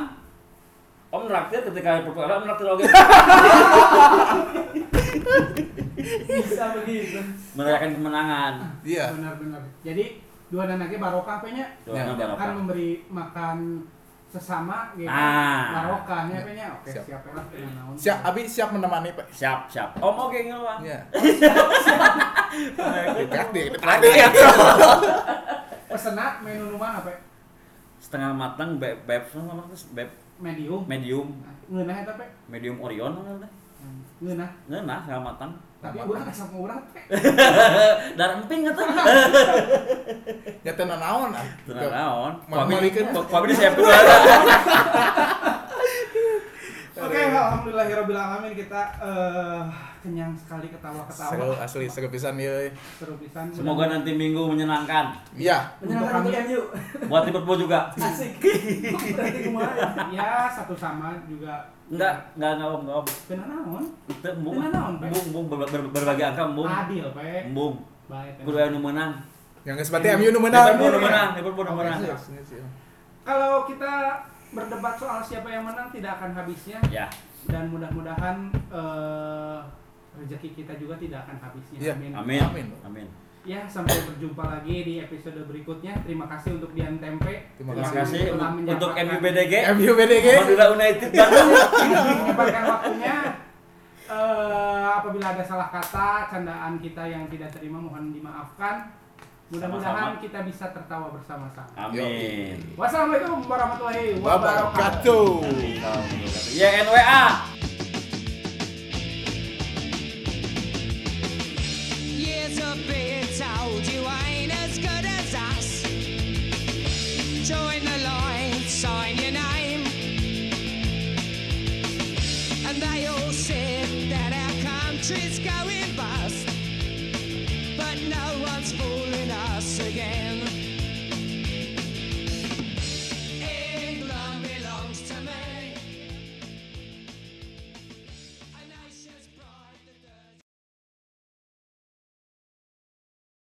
[SPEAKER 5] Om traktir ketika Liverpool kalah, Om traktir
[SPEAKER 1] [laughs]
[SPEAKER 5] oke.
[SPEAKER 3] Bisa begitu.
[SPEAKER 5] Merayakan kemenangan.
[SPEAKER 1] Iya.
[SPEAKER 2] Benar-benar. Jadi dua danake barokah apanya?
[SPEAKER 5] Doanya
[SPEAKER 1] Ya.
[SPEAKER 2] Kan
[SPEAKER 5] berapa?
[SPEAKER 2] memberi makan sesama gitu.
[SPEAKER 5] Ah.
[SPEAKER 2] Barokahnya apanya? Oke,
[SPEAKER 1] Nah. Siap.
[SPEAKER 2] siap lah. ya, naon.
[SPEAKER 1] Siap, Abi siap menemani, Pak.
[SPEAKER 5] Siap, siap. Om oke ngeluar.
[SPEAKER 1] Iya.
[SPEAKER 5] Merayakan
[SPEAKER 1] Traktir,
[SPEAKER 5] Traktir.
[SPEAKER 2] Pesena menu numan apa?
[SPEAKER 5] Setengah matang beb beb apa namanya? beb
[SPEAKER 2] Medium.
[SPEAKER 5] medium
[SPEAKER 2] Ngeunah eta pe.
[SPEAKER 5] medium Orion namanya. nah,
[SPEAKER 2] Ngeunah.
[SPEAKER 5] Ngeunah setengah matang.
[SPEAKER 2] Tapi
[SPEAKER 1] Matang.
[SPEAKER 2] urang asa urang
[SPEAKER 5] [laughs]
[SPEAKER 2] pe.
[SPEAKER 5] Dar emping eta.
[SPEAKER 1] Ya teu naon ah.
[SPEAKER 5] Tenang naon.
[SPEAKER 1] Mau malikeun.
[SPEAKER 5] Kuami di siap dua.
[SPEAKER 2] Oke, alhamdulillahirabbil alamin kita eh, kenyang sekali
[SPEAKER 1] Seru
[SPEAKER 2] ketawa-ketawa.
[SPEAKER 1] asli seru pisan ieu.
[SPEAKER 2] Seru pisan.
[SPEAKER 5] Semoga nanti minggu menyenangkan.
[SPEAKER 1] Iya.
[SPEAKER 3] Menyenangkan
[SPEAKER 2] Untuk
[SPEAKER 3] untuk
[SPEAKER 2] [laughs]
[SPEAKER 3] MU.
[SPEAKER 5] Buat Liverpool juga.
[SPEAKER 3] Asik. Berarti kemarin.
[SPEAKER 2] ya satu sama juga
[SPEAKER 5] Enggak, enggak enggak om, enggak om.
[SPEAKER 2] kena naon
[SPEAKER 5] Itu embung.
[SPEAKER 2] Tenang naon, Pak?
[SPEAKER 5] Embung, embung ber- ber- berbagai angka embung.
[SPEAKER 2] adil pe
[SPEAKER 5] Embung.
[SPEAKER 2] baik
[SPEAKER 5] Kudu anu aya nu meunang.
[SPEAKER 1] Yang geus berarti MU nu menang.
[SPEAKER 5] Liverpool nu menang, Liverpool nu menang.
[SPEAKER 1] Iya, iya, iya.
[SPEAKER 2] kalau kita berdebat soal siapa yang menang tidak akan habisnya
[SPEAKER 5] Ya.
[SPEAKER 2] dan mudah-mudahan eh, rezeki kita juga tidak akan habisnya
[SPEAKER 1] Iya,
[SPEAKER 5] Amin.
[SPEAKER 1] Amin.
[SPEAKER 5] Amin.
[SPEAKER 2] ya sampai berjumpa lagi di episode berikutnya terima kasih untuk Dian Tempe
[SPEAKER 1] Terima
[SPEAKER 5] Terima
[SPEAKER 1] Terima
[SPEAKER 5] kasih
[SPEAKER 2] telah
[SPEAKER 5] untuk- untuk
[SPEAKER 2] menyempatkan-
[SPEAKER 5] MUBDG.
[SPEAKER 1] MU BDG.
[SPEAKER 5] Madura United Bandung.
[SPEAKER 2] menyempatkan waktunya Eh, apabila ada salah kata candaan kita yang tidak terima mohon dimaafkan mudah-mudahan
[SPEAKER 5] Sama-sama.
[SPEAKER 2] kita bisa tertawa bersama-sama
[SPEAKER 5] Amin.
[SPEAKER 2] Wassalamualaikum warahmatullahi wabarakatuh.
[SPEAKER 1] Wabarakatuh.
[SPEAKER 5] Ya NWA.